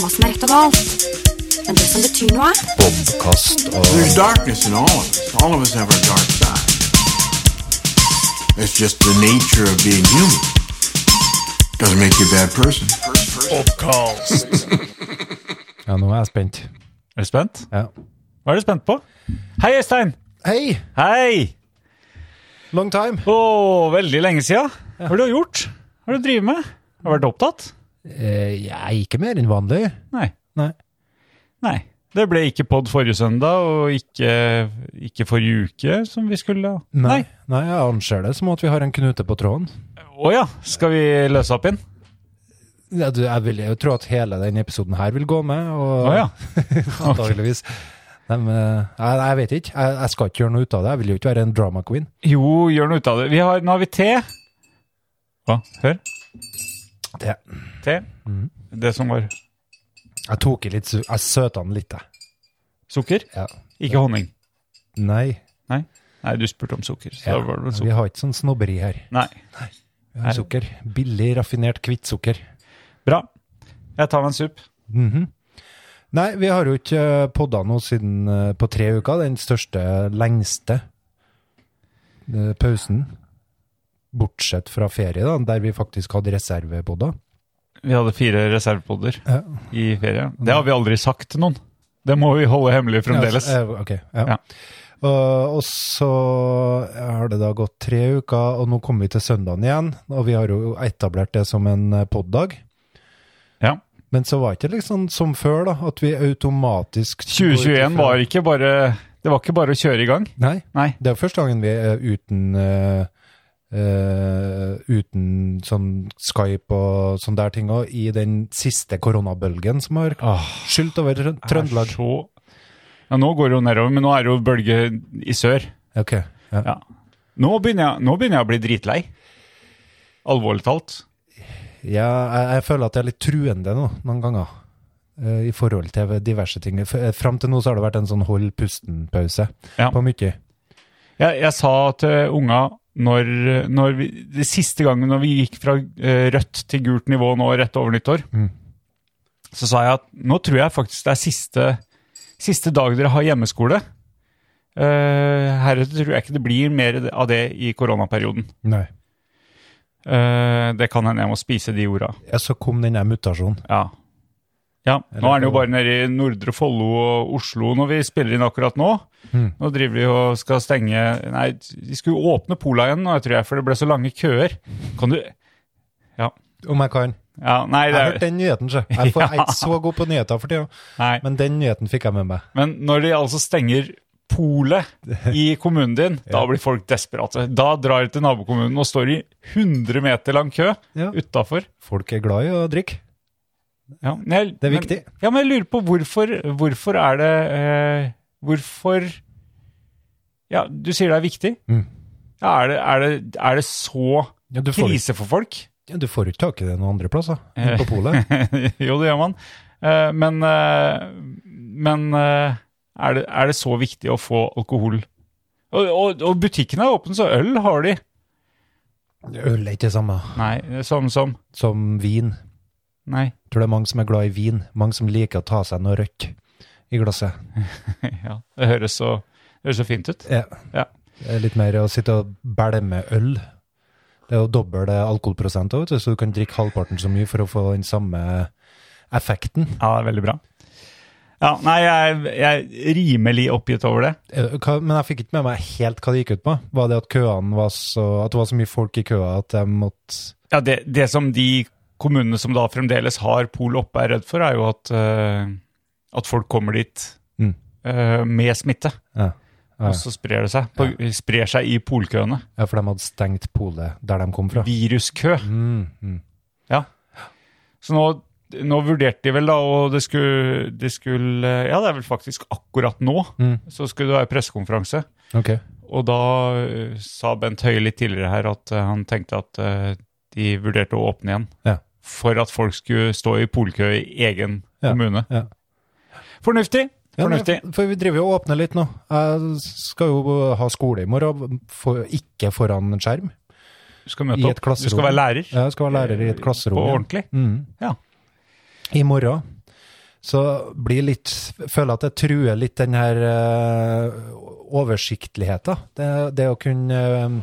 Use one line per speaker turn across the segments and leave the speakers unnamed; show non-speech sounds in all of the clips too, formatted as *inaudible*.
spørsmål. Men det som betyr noe,
Bobkast og
There's darkness in all of us. All of us have our dark side. It's just the nature of being human. Doesn't make you a bad person.
Ja, nå er jeg spent.
Er du spent?
Ja.
Hva er du spent på? Hei, Øystein!
Hei!
Hei!
Long time.
Å, veldig lenge siden. Hva har du gjort? Hva har du drevet med? Har du vært opptatt?
Eh, jeg er ikke mer enn vanlig.
Nei.
Nei.
Nei. Det ble ikke pod forrige søndag, og ikke, ikke forrige uke som vi skulle.
Nei. Nei, jeg anser det som at vi har en knute på tråden.
Å ja, skal vi løse opp igjen?
Ja, du, jeg vil jo tro at hele denne episoden her vil gå med,
Å
og
ja.
*laughs* antageligvis. Nei, men, eh, jeg, jeg vet ikke. Jeg, jeg skal ikke gjøre noe ut av det. Jeg vil jo ikke være en drama queen.
Jo, gjør noe ut av det. Vi har, nå har vi te. Hva? Hør.
Det,
Te. Det som var
jeg tok i litt, su- jeg søta den litt, jeg.
sukker.
Ja.
Ikke honning.
Nei,
Nei. Nei, du spurte om sukker. Så
ja.
da var det vel
vi
sukker.
har ikke sånn snobberi her.
Nei.
Vi har Sukker. Billig, raffinert, hvitt sukker.
Bra. Jeg tar meg en sup.
Mhm. Nei, vi har jo ikke podda nå siden eh, på tre uker. Den største, lengste eh, pausen. Bortsett fra ferie, da, der vi faktisk hadde reservepodder.
Vi hadde fire reservepoder
Ja.
i ferie. Det har vi aldri sagt til noen. Det må vi holde hemmelig fremdeles.
Ja, altså, eh, ok, ja.
Ja.
Og- og så eh, har det da gått tre uker, og nå kommer vi til søndagen igjen. Og vi har jo etablert det som en poddag.
Ja.
Men så var ikke det liksom som før, da, at vi automatisk
2021 var ikke bare Det var ikke bare å kjøre i gang.
Nei.
Nei.
Det er jo første gangen vi er uten eh, eh, uten sånn Skype og sånne der ting også, i den siste koronabølgen som har skylt over Trø- Trøndelag.
Ah. Er Så... Ja, nå går det jo nedover, men nå er det jo bølge i sør.
Ok, ja.
Ja. Nå begynner jeg, nå begynner jeg å bli dritlei. Alvorlig talt.
Ja, jeg, jeg føler at jeg er litt truende nå, noen ganger, eh, i forhold til diverse ting. F eh, frem til nå så har det vært en sånn hold pusten-pause
Ja.
på mye.
Jeg, jeg sa til unga når, når vi, det siste gangen når vi gikk fra eh, rødt til gult nivå nå rett over nyttår,
Mm.
så sa jeg at nå tror jeg faktisk det er siste, siste dag dere har hjemmeskole. Uh, Heretter tror jeg ikke det blir mer av det i koronaperioden.
Nei.
Eh, det kan hende jeg må spise de orda.
Ja, så kom den der mutasjonen.
Ja. ja. Nå
Eller-
er den jo bare nede i Nordre Follo og Oslo når vi spiller inn akkurat nå.
Mm.
Nå driver vi og skal stenge Nei, de skulle jo åpne Pola igjen nå, jeg tror jeg, for det ble så lange køer. Kan du
Om jeg kan.
Ja, nei,
Jeg
det
har hørt
er
den nyheten, sjø. Jeg, får- jeg er
Ja.
ikke så god på nyheter for tida,
Nei.
men den nyheten fikk jeg med meg.
Men når de altså stenger
*laughs*
polet i kommunen din, da blir folk desperate. Da drar de til nabokommunen og står i 100 meter lang kø
Ja.
utafor.
Folk er glad i å drikke.
Ja, men jeg-
Det er
men-
viktig.
Ja, men jeg lurer på hvorfor, hvorfor er det eh, Hvorfor Ja, du sier det er viktig.
Mm.
Ja, er, det, er, det, er det så
Ja, du, får,
krise for folk? *laughs*
ikke- ja, du får ikke tak i det noen andre plasser enn på polet.
jo, det gjør man. Eh, men eh, men eh, er, det, er det så viktig å få alkohol? Og, og, og butikken er åpen, så øl har de.
*laughs* Øl er ikke det samme
Nei, det er samme som
som vin.
Nei.
Jeg tror det er mange som er glad i vin. Mange som liker å ta seg noe rødt i glasset.
ja, det høres så, det høres så fint ut.
Ja.
Ja.
Det er litt mer å sitte og bælme øl. Det er jo dobbel alkoholprosent, også, vet du, så du kan drikke halvparten så mye for å få den samme effekten.
Ja, det er veldig bra. Ja, nei, jeg, jeg er rimelig oppgitt over det.
Eh, hva- Men jeg fikk ikke med meg helt hva det gikk ut på. Var det at køene var så At det var så mye folk i køa at jeg måtte
Ja, det, det som de kommunene som da fremdeles har pol oppe er redd for, er jo at, eh, at folk kommer dit
Mm.
eh, med smitte.
Ja. Ja.
Og så sprer det seg. På, Sprer seg i polkøene.
Ja, for de hadde stengt polet der de kom fra.
Viruskø.
Mm, mm.
Så nå, nå vurderte de vel da, og det skulle, det skulle Ja, det er vel faktisk akkurat nå,
Mm.
så skulle det være pressekonferanse.
Ok.
Og da eh, sa Bent Høie litt tidligere her at eh, han tenkte at eh, de vurderte å åpne igjen.
Ja.
For at folk skulle stå i polkø i egen
Ja,
kommune.
ja.
Fornuftig!
Ja, nei,
Fornuftig.
for- for vi driver jo og åpner litt nå. Jeg skal jo ha skole i morgen, for, ikke foran en skjerm.
Du skal
I
møte
et
opp. Du skal
klasserom.
være lærer. Eh,
Jeg skal være lærer i et klasserom.
På
igjen.
ordentlig.
Mm.
Ja.
I Mm. morgen så blir litt Føler at det truer litt den her eh, oversiktligheten. Det, det å kunne, eh,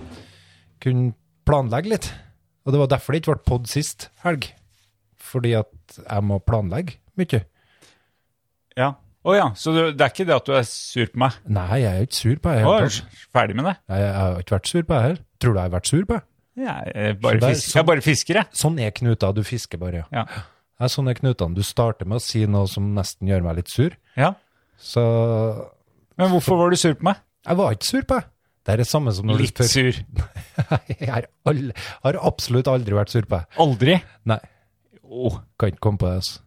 kunne planlegge litt. Og det var derfor det ikke ble pod sist helg. Fordi at jeg må planlegge mye.
Ja. Å ja, så du, det er ikke det at du er sur på meg?
Nei, jeg er jo ikke sur på det.
Å, er
hele tatt.
du ferdig med det?
Jeg, jeg har ikke vært sur på det her. Tror du jeg har vært sur på det?
Jeg eh,
Så
bare,
det er
fisker. jeg bare fisker, jeg.
Sånn er knuta, du fisker bare.
Ja.
Det er sånn er knutene. Du starter med å si noe som nesten gjør meg litt sur.
ja.
Så
Men hvorfor var du sur på meg?
jeg var ikke sur på det. Det er det samme som når
Litt
du spør.
sur.
*laughs* Jeg har, all, har absolutt aldri vært sur på det.
Aldri.
Nei,
Åh,
kan ikke komme på det. Altså.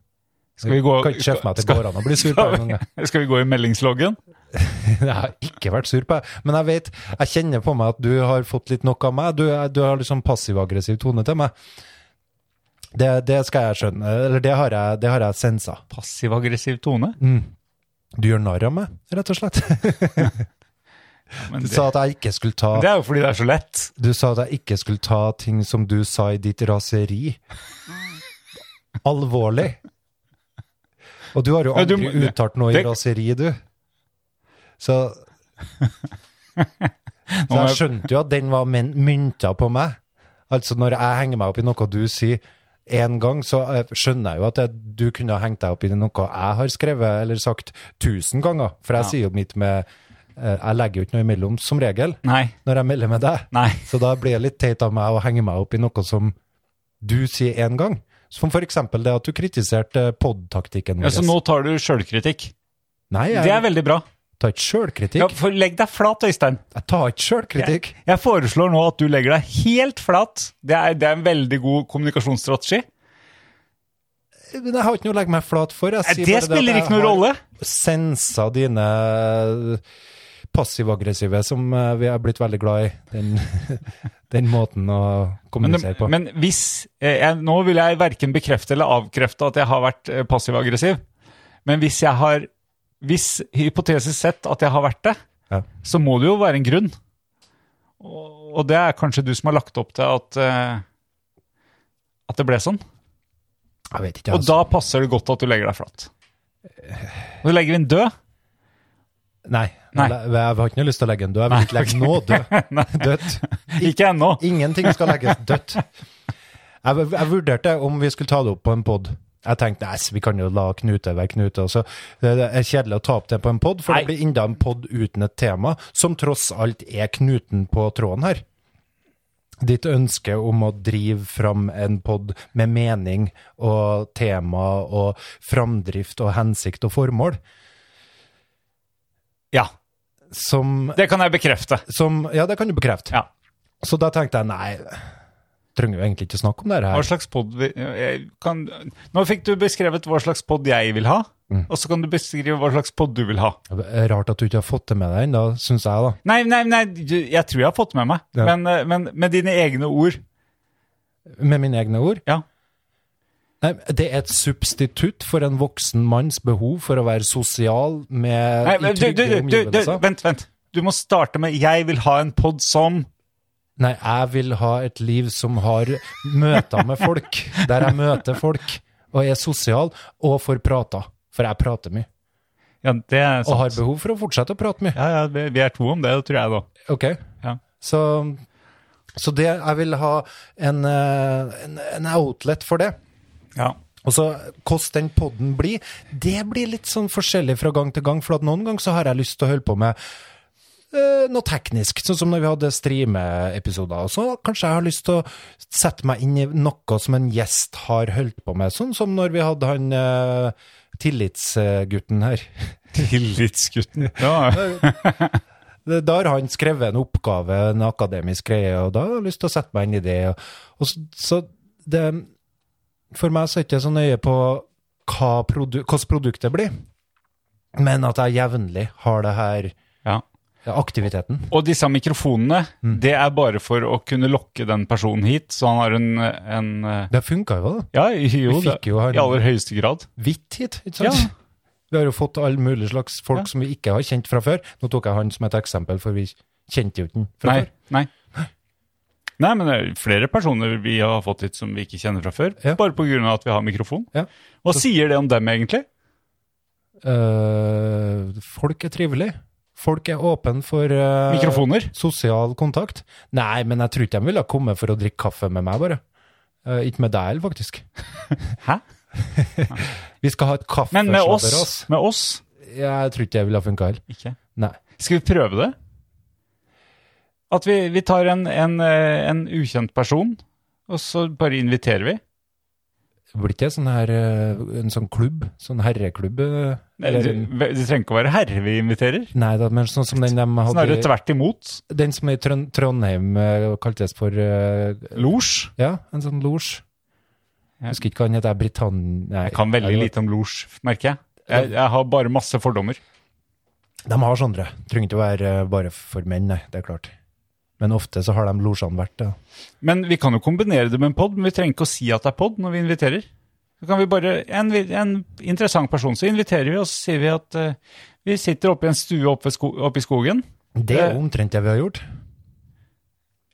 Skal vi gå
Kan ikke se for meg at det går an å bli sur på det. noen gang.
*laughs* skal, skal vi gå i meldingsloggen?
*laughs* Jeg har ikke vært sur på det. Men jeg vet, jeg kjenner på meg at du har fått litt nok av meg. Du, er- du har liksom passiv-aggressiv tone til meg. Det, det skal jeg skjønne. Eller det har jeg, det har jeg sensa.
Passiv-aggressiv tone?
Du gjør narr av meg, rett og slett. *laughs*
Men
Du
det,
sa at jeg ikke skulle ta
det er jo fordi det er så lett.
Du sa at jeg ikke skulle ta ting som du sa i ditt raseri. Alvorlig. Og du har jo
Ja, du
aldri
må-
uttalt noe i
det-
raseri, du. Så,
*laughs* Nå
så
må
jeg
jeg-
skjønte jo at den var men- mynta på meg. Altså når jeg henger meg opp i noe du sier én gang, så eh, skjønner jeg jo at jeg, du kunne ha hengt deg opp i noe jeg har skrevet eller sagt tusen ganger. For jeg sier jo mitt med eh, Jeg legger jo ikke noe imellom, som regel,
Nei.
når jeg melder med deg.
Nei.
Så da blir det litt teit av meg å henge meg opp i noe som du sier én gang. Som for eksempel det at du kritiserte podtaktikken vår.
Ja, så nå tar du sjølkritikk.
Nei,
Det er
jeg
veldig bra.
tar ikke sjølkritikk.
Ja, for legg deg flat, Øystein.
Jeg tar ikke sjølkritikk.
Jeg foreslår nå at du legger deg helt flat. Det er, det er en veldig god kommunikasjonsstrategi.
Men jeg har ikke noe å legge meg flat for. Jeg
Eh,
sier
Det
bare at
spiller
jeg
ikke noen
har
rolle.
Sensa dine eh, passiv-aggressive, som eh, vi er blitt veldig glad i. Den, *laughs* den måten å
Men,
kommunisere på.
men hvis eh, jeg, Nå vil jeg verken bekrefte eller avkrefte at jeg har vært eh, passiv-aggressiv. Men hvis jeg har Hvis hypotesis sett at jeg har vært det,
Ja.
så må det jo være en grunn. Og, og det er kanskje du som har lagt opp til at eh, at det ble sånn.
jeg vet ikke,
Og
altså.
da passer det godt at du legger deg
*sighs*
flat. Og så legger vi en død. *laughs*
Nei,
Nei.
Jeg, jeg har ikke noe lyst til å legge en død. Jeg vil ikke legge nå
*laughs*
død. Dødt.
Ikke ennå.
Ingenting skal
*laughs*
legges dødt. Jeg, jeg vurderte om vi skulle ta det opp på en pod. Jeg tenkte nei, vi kan jo la Knute være Knute. Også. Det det er kjedelig å ta opp det på en pod, for det
Nei.
blir enda en pod uten et tema, som tross alt er knuten på tråden her. Ditt ønske om å drive fram en pod med mening og tema og framdrift og hensikt og formål,
Ja,
som,
det kan jeg bekrefte.
som Ja, det kan du bekrefte.
Ja.
Så da tenkte jeg nei, trenger jo egentlig ikke snakke om det her.
Hva slags pod vi, jeg kan, Nå fikk du beskrevet hva slags pod jeg vil ha,
Mm.
og så kan du beskrive hva slags pod du vil ha.
Rart at du ikke har fått det med deg ennå, syns jeg, da.
Nei, nei, nei, du- jeg tror jeg har fått med meg,
Ja.
men, eh, men med dine egne ord.
Med mine egne ord.
Ja.
Nei, det er et substitutt for en voksen manns behov for å være sosial med
Nei, men
i
du, du,
trygge
du, du, du,
omgivelser.
vent, vent. Du må starte med 'jeg vil ha en pod som'
Nei, jeg vil ha et liv som har møter med folk, der jeg møter folk og er sosial, og får prata. For jeg prater mye,
Ja, det er
og har
sant.
behov for å fortsette å prate mye.
Ja, ja, vi vi er to om det, tror jeg, da.
Ok.
Ja.
Så, så det, jeg vil ha en, eh, en, en outlet for det.
Ja. *laughs*
Og så Altså, hvordan den podden blir, det blir litt sånn forskjellig fra gang til gang. For at noen ganger så har jeg lyst til å holde på med eh, noe teknisk, sånn som når vi hadde streameepisoder. Og så kanskje jeg har lyst til å sette meg inn i noe som en gjest har holdt på med. Sånn som når vi hadde han eh, tillitsgutten her.
Tillitsgutten. Ja.
Det- Da har han skrevet en oppgave, en akademisk greie, og da har jeg lyst til å sette meg inn i det. Og, og så, så det For meg så er det ikke så nøye på hva produ hvordan produktet blir, men at jeg jevnlig har det her
ja.
aktiviteten.
Og disse mikrofonene,
Mm.
det er bare for å kunne lokke den personen hit, så han har en, en eh,
Det funka jo, da.
Ja, jo,
Vi fikk
det-
jo han-
i aller høyeste grad.
Hvitt hit, ikke
Ja.
sant? Vi har jo fått alle mulige slags folk som vi ikke har kjent fra før. Nå tok jeg han som et eksempel, for vi kjente jo ikke han fra
Nei,
før.
nei. Nei, men det er flere personer vi har fått hit som vi ikke kjenner fra før,
Ja.
bare på grunn av at vi har mikrofon.
Ja.
Hva sier det om dem egentlig?
eh, folk er trivelige. Folk er åpne for eh,
Mikrofoner?
sosial kontakt. Nei, men jeg tror ikke de ville ha kommet for å drikke kaffe med meg, bare. Eh, ikke med deg heller, faktisk.
*laughs* Hæ?
*laughs* Vi skal ha et
Men med oss?
kaffeslabberas.
Med oss?
Jeg tror ikke det ville ha funka heller.
Ikke.
Nei.
Skal vi prøve det? At vi, vi tar en, en, eh, en ukjent person, og så bare inviterer vi?
Blir ikke det sånn her, eh, en sånn klubb? Sånn herreklubb? eh,
Nei,
eller-
Det det trenger ikke å være herre vi inviterer.
Nei da, men sånn som den de
Snarere
hadde
tvert imot.
Den som er i Trøn Trondheim eh, kaltes for eh,
Losj.
Ja, en sånn losj.
Ja.
Jeg Husker ikke hva den heter. Britann... Nei,
Jeg kan veldig
jeg-
lite om losj, merker jeg. jeg. Jeg har bare masse fordommer.
De har sånne. Trenger ikke å være eh, bare for menn, nei. Det er klart. Men ofte så har de losjene vært det.
Men vi kan jo kombinere det med en pod, men vi trenger ikke å si at det er pod når vi inviterer. Så kan vi bare, en, en interessant person, så inviterer vi, og så sier vi at eh, vi sitter oppe i en stue oppe, ved sko, oppe i skogen.
Det er jo omtrent det vi har gjort.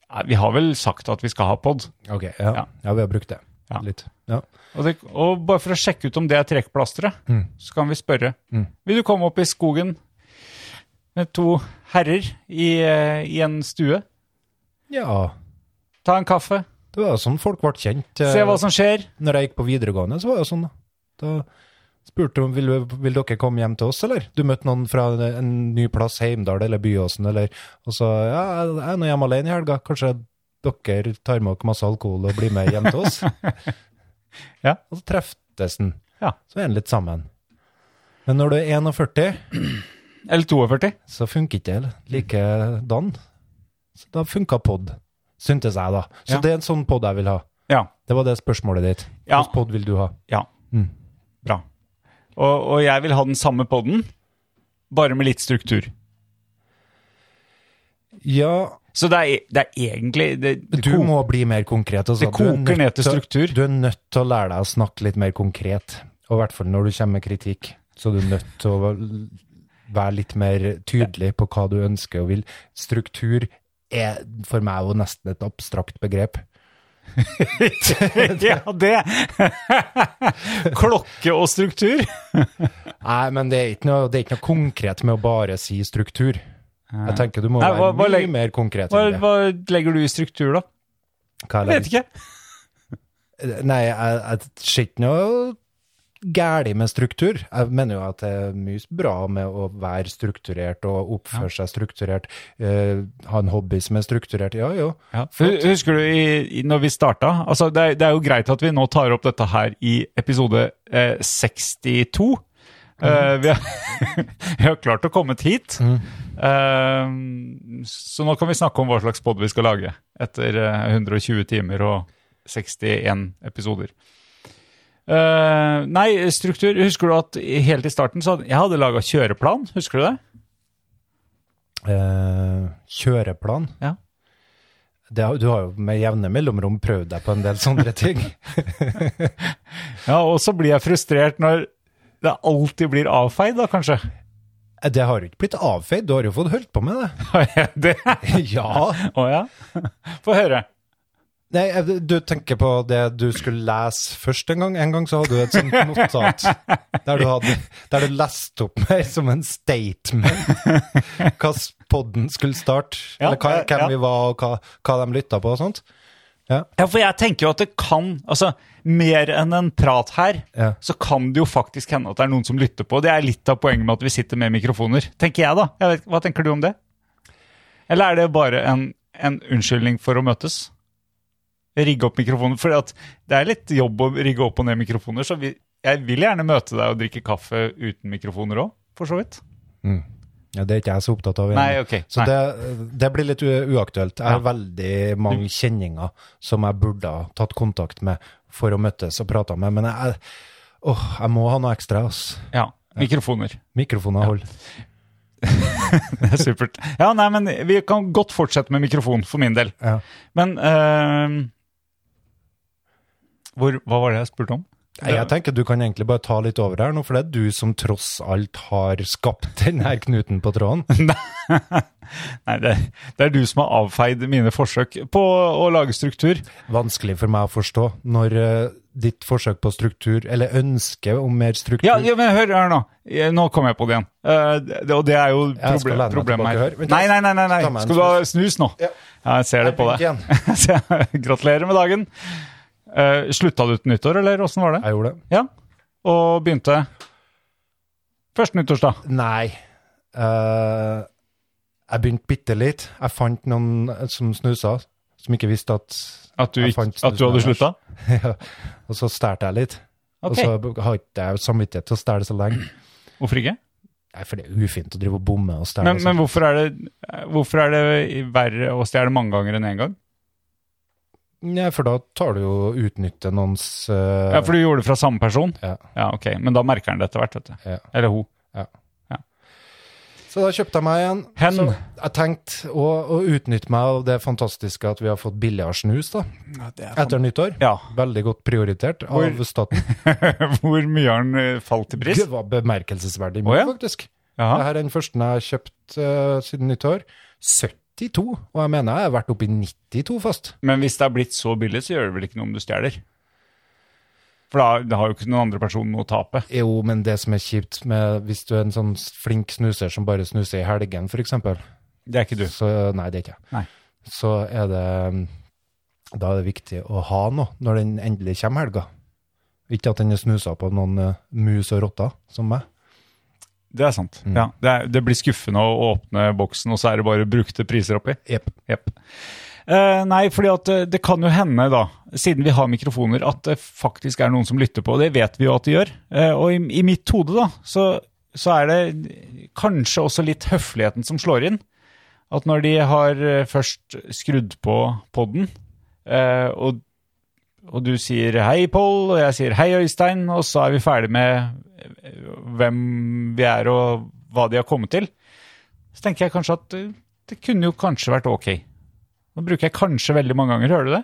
Nei, Vi har vel sagt at vi skal ha pod.
Ok, ja.
Ja.
Ja, vi har brukt det.
Ja.
Litt. Ja.
Og, det, og bare for å sjekke ut om det er trekkplasteret,
Mm.
så kan vi spørre.
Mm.
Vil du komme opp i skogen med to herrer i, eh, i en stue?
ja.
Ta en kaffe,
Det var jo sånn folk ble kjent. eh,
se hva som skjer.
Når jeg gikk på videregående, så var det jo sånn. Da spurte de vil, vil dere komme hjem til oss, eller? Du møtte noen fra en, en ny plass, Heimdal eller Byåsen, eller Og så ja, jeg er nå hjemme alene i helga, kanskje dere tar med dere masse alkohol og blir med hjem til oss?
*laughs* Ja.
Og så treftes den.
Ja.
Så er den litt sammen. Men når du er 41,
Eller 42.
så funker ikke det likedan. Så da funka pod, syntes jeg, da. Så
Ja.
det er en sånn pod jeg vil ha.
Ja.
Det var det spørsmålet ditt.
Ja.
Hvilken pod vil du ha?
Ja.
Mm.
Bra. Og, og jeg vil ha den samme podden, bare med litt struktur.
Ja,
Så det er, det er egentlig det, det
du
ko-
må bli mer konkret. Altså.
Det
Du er
koker
nødt
ned til struktur.
Du er nødt til å lære deg å snakke litt mer konkret. Og i hvert fall når du kommer med kritikk, så er du nødt til å være litt mer tydelig på hva du ønsker og vil. Struktur er for meg jo nesten et abstrakt begrep.
*laughs* Ja,
*laughs*
det! Klokke og struktur.
Nei, men det er ikke noe, det er ikke noe konkret med å bare si struktur. Jeg tenker du må
Nei,
være
hva- hva legg-
mye mer konkret
Hva,
enn det.
hva legger du i struktur, da?
Hva
Jeg vet ikke.
Nei, jeg, jeg ser ikke noe gærlig med struktur. Jeg mener jo at det er mye bra med å være strukturert og oppføre seg strukturert. eh, ha en hobby som er strukturert. Ja, jo.
Hu- Husker du i, i, når vi starta? Altså, det, er, det er jo greit at vi nå tar opp dette her i episode eh, 62. Eh, vi, har, *laughs* vi har klart å komme hit. Eh, så nå kan vi snakke om hva slags pod vi skal lage etter eh, 120 timer og 61 episoder. Eh, nei, struktur. Husker du at i- helt i starten så hadde jeg hadde laga kjøreplan? Husker du det?
Eh, kjøreplan.
Ja.
Det, har- du har jo med jevne mellomrom prøvd deg på en del sånne ting.
Ja, og så blir jeg frustrert når det alltid blir avfeid, da, kanskje.
Eh, Det har jo ikke blitt avfeid, du har jo fått holdt på med det.
Har jeg det?
ja. *laughs*
Å ja? Få høre.
Nei, jeg- du tenker på det du skulle lese først en gang. En gang så hadde du et sånt notat der du, hadde, der du leste opp meg som en statement hva podden skulle starte,
Ja, eh,
eller hva, hvem
ja.
vi var, og hva, hva de lytta på og sånt.
Ja, for jeg tenker jo at det kan Altså, mer enn en prat her,
Ja.
så kan det jo faktisk hende at det er noen som lytter på. Det er litt av poenget med at vi sitter med mikrofoner, tenker jeg, da. Jeg vet, hva tenker du om det? Eller er det bare en, en unnskyldning for å møtes? Rigge opp mikrofoner. For det er litt jobb å rigge opp og ned mikrofoner, så vi, jeg vil gjerne møte deg og drikke kaffe uten mikrofoner òg, for så vidt.
Ja, det er ikke jeg så opptatt av. egentlig.
Nei, ok.
Så
Nei.
det, det blir litt u- uaktuelt. Jeg har veldig mange kjenninger som jeg burde ha tatt kontakt med for å møtes og prate med, men jeg, åh, jeg må ha noe ekstra. ass.
Ja, mikrofoner.
Mikrofoner holder.
Det er *laughs* supert. Ja, nei, men vi kan godt fortsette med mikrofon, for min del.
Ja.
Men ehm, hvor, Hva var det jeg spurte om?
Nei, jeg tenker du kan egentlig bare ta litt over her nå, for det er du som tross alt har skapt *laughs* den her knuten på tråden.
Nei, det, det er du som har avfeid mine forsøk på å lage struktur.
Vanskelig for meg å forstå når eh, ditt forsøk på struktur, eller ønske om mer struktur
Ja, ja, men hør, hør nå. Eh, Nå kom jeg på det igjen. Eh, det, og det er jo
Jeg
proble
skal lene meg
problemet
tilbake
her.
her. Vent da.
Nei, nei, nei. nei,
Ta
nei.
meg en
Skal du ha snus nå?
Ja.
Ja, jeg ser det på *laughs* deg.
Jeg begynte
Så jeg- Gratulerer med dagen. Eh, slutta du til nyttår, eller åssen var det?
Jeg gjorde det.
Ja. Og begynte Første nyttårsdag.
Nei. Eh, jeg begynte bitte litt. Jeg fant noen eh, som snusa, som ikke visste at
At du,
Jeg
ikke,
fant
at du hadde
snusen
slutta?
ja. Og så stjal jeg litt.
Ok.
Og så har ikke jeg samvittighet til å stjele så lenge.
Hvorfor ikke?
Nei, for det er ufint å drive og bomme og stjele.
Men, men hvorfor, er det, eh, hvorfor er det verre å stjele mange ganger enn én gang?
Nei, for da tar du jo å utnytte noens eh,
Ja, For du gjorde det fra samme person?
Ja.
ok. Men da merker han det etter hvert, vet du.
Ja.
Eller hun.
Så da kjøpte jeg meg en.
Hen.
Så jeg tenkte å, å utnytte meg av det fantastiske at vi har fått billigere snus da, etter nyttår.
Ja.
Veldig godt prioritert av
Hvor-
staten.
*laughs* Hvor mye har den eh, falt i pris?
Det var bemerkelsesverdig
Å,
mye,
ja?
faktisk.
Jaha.
Dette er den første jeg har kjøpt eh, siden nyttår. 72, og jeg mener jeg har vært oppe i 92 fast.
Men hvis det har blitt så billig, så gjør det vel ikke noe om du stjeler? For da, da har jo ikke noen andre person noe å tape.
Jo, men det som er kjipt med hvis du er en sånn flink snuser som bare snuser i helgen, for eksempel,
Det er ikke du.
så Nei, det er ikke jeg.
Nei.
Så er det mm, Da er det viktig å ha noe når den endelig kommer helga. Ikke at den er snusa på noen eh, mus og rotter som meg.
Det er sant.
Mm.
Ja, det, er, det blir skuffende å åpne boksen, og så er det bare brukte priser oppi.
Jepp.
Jepp. Eh, nei, fordi at eh, det kan jo hende, da, siden vi har mikrofoner, at det faktisk er noen som lytter på. og Det vet vi jo at de gjør. Eh, og i, i mitt hode, da, så, så er det kanskje også litt høfligheten som slår inn. At når de har eh, først skrudd på podden, eh, og, og du sier hei, Pål, og jeg sier hei, Øystein, og så er vi ferdig med eh, hvem vi er og hva de har kommet til, så tenker jeg kanskje at eh, det kunne jo kanskje vært ok. Nå bruker jeg kanskje veldig mange ganger, hører du det?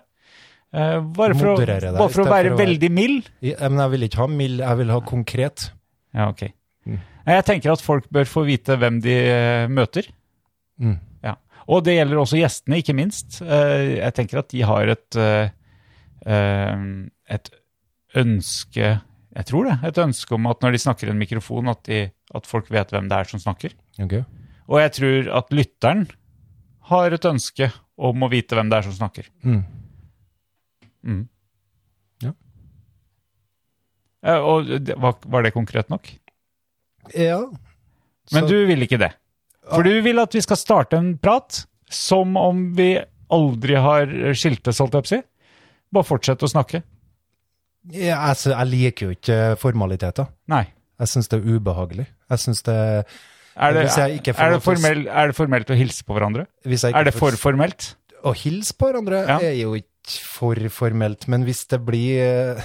Eh, bare for, å,
Moderere deg,
bare for å
i stedet
være
for å være-
veldig mild.
I- eh, Men jeg vil ikke ha mild, jeg vil ha konkret.
Ja, ok.
Mm.
Nei, Jeg tenker at folk bør få vite hvem de eh, møter.
Mm.
Ja. Og det gjelder også gjestene, ikke minst. Eh, Jeg tenker at de har et, eh, eh, et ønske Jeg tror det. Et ønske om at når de snakker i en mikrofon, at, de, at folk vet hvem det er som snakker.
Ok.
Og jeg tror at lytteren har et ønske om å vite hvem det er som snakker.
Mm.
Mm.
Ja.
Eh, Og det- var, var det konkret nok?
Ja.
Men
Så-
du vil ikke det. For du vil at vi skal starte en prat som om vi aldri har skiltes, holdt jeg på å si. Bare fortsette å snakke.
Ja, altså, jeg liker jo ikke formaliteter.
Nei.
Jeg syns det er ubehagelig. Jeg syns det
Er det,
Hvis jeg ikke får
er, det
lov til å s-
formell, er det formelt å hilse på hverandre?
hvis jeg ikke
Er det
får-
for formelt?
Å hilse på hverandre
Ja.
er jo ikke for formelt, men hvis det blir eh,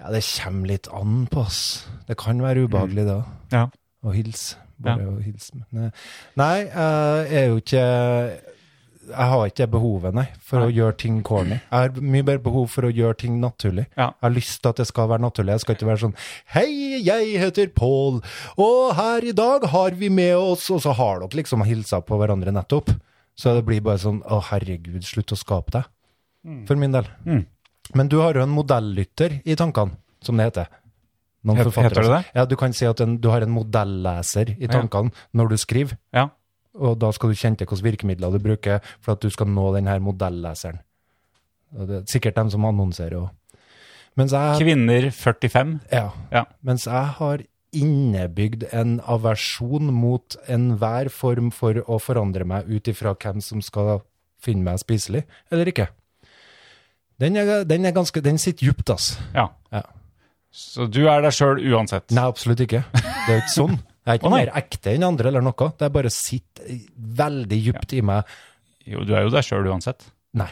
Ja, det kommer litt an på, ass. Det kan være ubehagelig da,
Mm. Ja.
å hilse. Bare å hilse. Men, eh, Nei, eh, jeg er jo ikke Jeg har ikke det behovet, nei, for å gjøre ting corny. Jeg har mye mer behov for å gjøre ting naturlig.
Ja.
Jeg har lyst til at det skal være naturlig. Jeg skal ikke være sånn Hei, jeg heter Pål, og her i dag har vi med oss Og så har dere liksom hilsa på hverandre nettopp. Så det blir bare sånn Å, herregud, slutt å skape deg.
Mm.
For min del. Men du har jo en modellytter i tankene, som det heter. Noen
Het-
forfattere-
heter det det?
Ja, du kan si at en, du har en modelleser i tankene når du skriver.
Ja.
Og da skal du kjenne til hvilke virkemidler du bruker for at du skal nå denne modelleseren. Og det er sikkert dem som annonserer òg. Mens, jeg-
Kvinner 45.
ja,
Ja.
mens jeg har innebygd en aversjon mot enhver form for å forandre meg ut ifra hvem som skal finne meg spiselig eller ikke. Den, er, den, er ganske, den sitter djupt, ass.
ja.
Ja.
Så du er deg sjøl uansett.
Nei, absolutt ikke. Det er jo ikke sånn. Jeg er ikke
Å, nei.
mer ekte enn andre eller noe. Det er bare sitter veldig djupt i meg.
Jo, du er jo deg sjøl uansett.
Nei.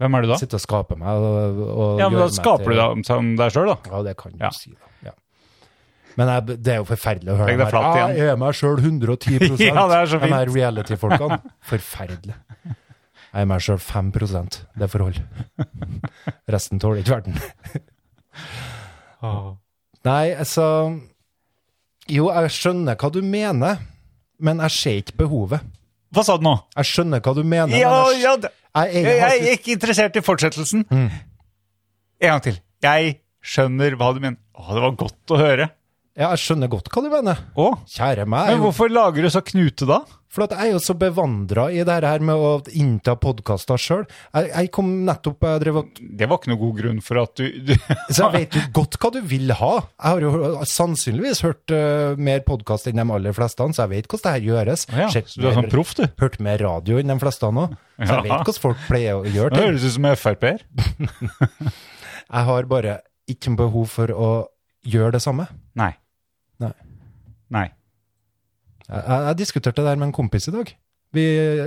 Hvem er du da?
Sitte og skape meg og, og
Ja, men
gjøre
Da
meg
skaper
til-
du deg om- som deg sjøl, da.
Ja, det kan du
Ja.
si, da. Ja. Men jeg, det er jo forferdelig å høre
Legg deg
dem her,
flat igjen.
Jeg er meg
*laughs*
sjøl 110
Ja, det er så
De her
fint. *laughs*
reality-folkene. Forferdelig. Jeg er meg sjøl 5 Det får holde. Resten tåler ikke verden. Nei, altså Jo, jeg skjønner hva du mener, men jeg ser ikke behovet.
Hva sa du nå?
Jeg skjønner hva du mener.
Ja,
men jeg,
ja, det-
jeg, jeg,
jeg
har Mm.
er ikke interessert i fortsettelsen. En gang til. Jeg skjønner hva du mener. Å, det var godt å høre.
Ja, jeg skjønner godt hva du mener.
Å,
Kjære meg. jeg er
men
jo-
hvorfor lager du så knute da?
For at jeg er jo så bevandra i det her med å innta podkaster sjøl. Jeg, jeg kom nettopp jeg drev og
Det var ikke noe god grunn for at du, du
Så jeg vet jo godt hva du vil ha. Jeg har jo hø- sannsynligvis hørt eh, mer podkast enn de aller fleste, så jeg vet hvordan det her gjøres.
*laughs* ja,
Sett
Så du er
mer-
sånn proff, du.
Hørt mer radio enn de fleste òg, så jeg vet
Ja.
hvordan folk pleier å gjøre
Nå
ting.
høres du ut som en Frp-er.
Jeg har bare ikke behov for å gjøre det samme.
Nei.
Nei.
Nei.
Jeg, jeg jeg diskuterte det der med en kompis i dag. Vi,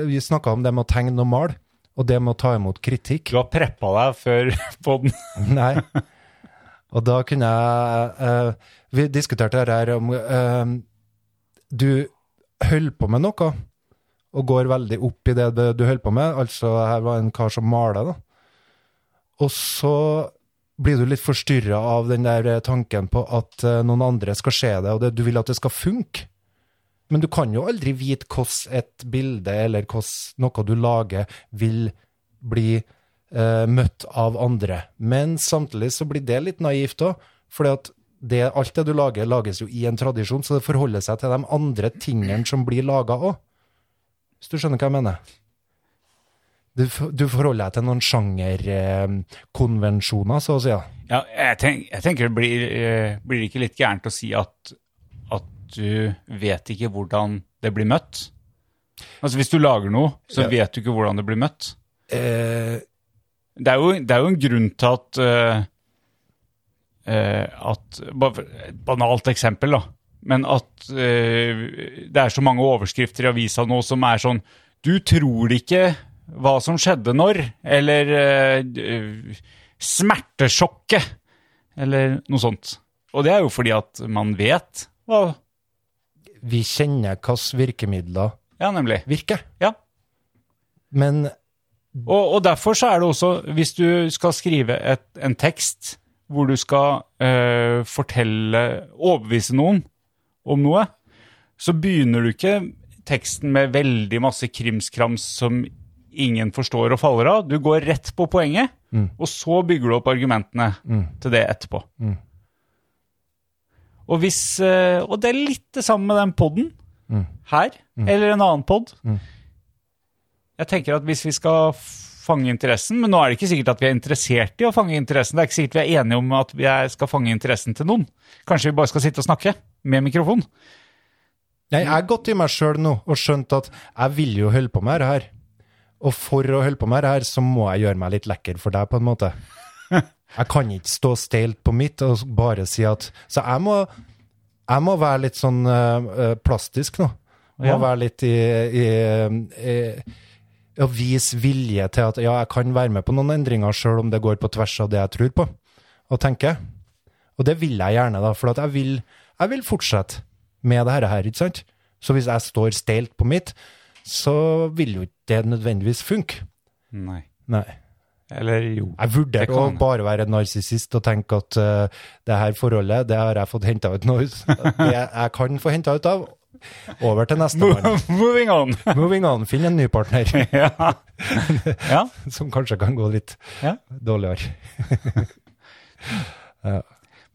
vi snakka om det med å tegne og male, og det med å ta imot kritikk.
Du har preppa deg før *laughs* podden.
*laughs* Nei. Og da kunne jeg eh, Vi diskuterte det her om eh, Du holder på med noe, og går veldig opp i det du du holder på med. Altså, her var en kar som maler, da. Og så blir du litt forstyrra av den der eh, tanken på at eh, noen andre skal se det, og det, du vil at det skal funke. Men du kan jo aldri vite hvordan et bilde eller hvordan noe du lager, vil bli eh, møtt av andre. Men samtidig så blir det litt naivt òg, for alt det du lager, lages jo i en tradisjon, så det forholder seg til de andre tingene som blir laga òg. Hvis du skjønner hva jeg mener? Du, f- du forholder deg til noen sjangerkonvensjoner, så å si. ja.
Ja, jeg, tenk, jeg tenker det blir, eh, blir det ikke litt gærent å si at, at du vet ikke hvordan det blir møtt? Altså Hvis du lager noe, så
Ja.
vet du ikke hvordan det blir møtt.
Eh,
Det er jo, det er jo en grunn til at eh, eh, at, bare for- Et banalt eksempel, da. Men at eh, det er så mange overskrifter i avisa nå som er sånn Du tror ikke hva som skjedde når, eller eh, d- Smertesjokket, eller noe sånt. Og det er jo fordi at man vet hva
vi kjenner hvilke virkemidler
Ja, nemlig.
virker.
Ja.
Men
Og, og derfor så er det også, hvis du skal skrive et, en tekst hvor du skal eh, fortelle, overbevise noen om noe, så begynner du ikke teksten med veldig masse krimskrams som ingen forstår og faller av. Du går rett på poenget, og så bygger du opp argumentene til det etterpå. Og, hvis, eh, og det er litt det samme med den podden her, eller en annen podd. Jeg tenker at hvis vi skal fange interessen, men nå er det ikke sikkert at vi er interessert i å fange interessen, det er ikke sikkert vi er enige om at vi er- skal fange interessen til noen. Kanskje vi bare skal sitte og snakke med mikrofon?
Nei, jeg har gått i meg sjøl nå og skjønt at jeg vil jo holde på med det her. Og for å holde på med det her, så må jeg gjøre meg litt lekker for deg, på en måte. Jeg kan ikke stå steilt på mitt og bare si at Så jeg må, jeg må være litt sånn eh, eh, plastisk nå. Må
Ja.
være litt i, i, i Å vise vilje til at ja, jeg kan være med på noen endringer sjøl om det går på tvers av det jeg tror på og tenker. Og det vil jeg gjerne, da, for at jeg, vil, jeg vil fortsette med det her, her, ikke sant? Så hvis jeg står steilt på mitt, så vil jo ikke det nødvendigvis funke.
Nei.
Nei.
Eller jo.
Jeg
Det
vurderte å
kan-
bare være en narsissist og tenke at eh, det her forholdet, det har jeg fått henta ut nå. *laughs* Det jeg kan få henta ut av. Over til neste mann.
*laughs* Moving on!
Moving on. Finn en ny
*laughs*
partner *laughs*
ja. *laughs* ja.
som kanskje kan gå litt
Ja.
dårligere.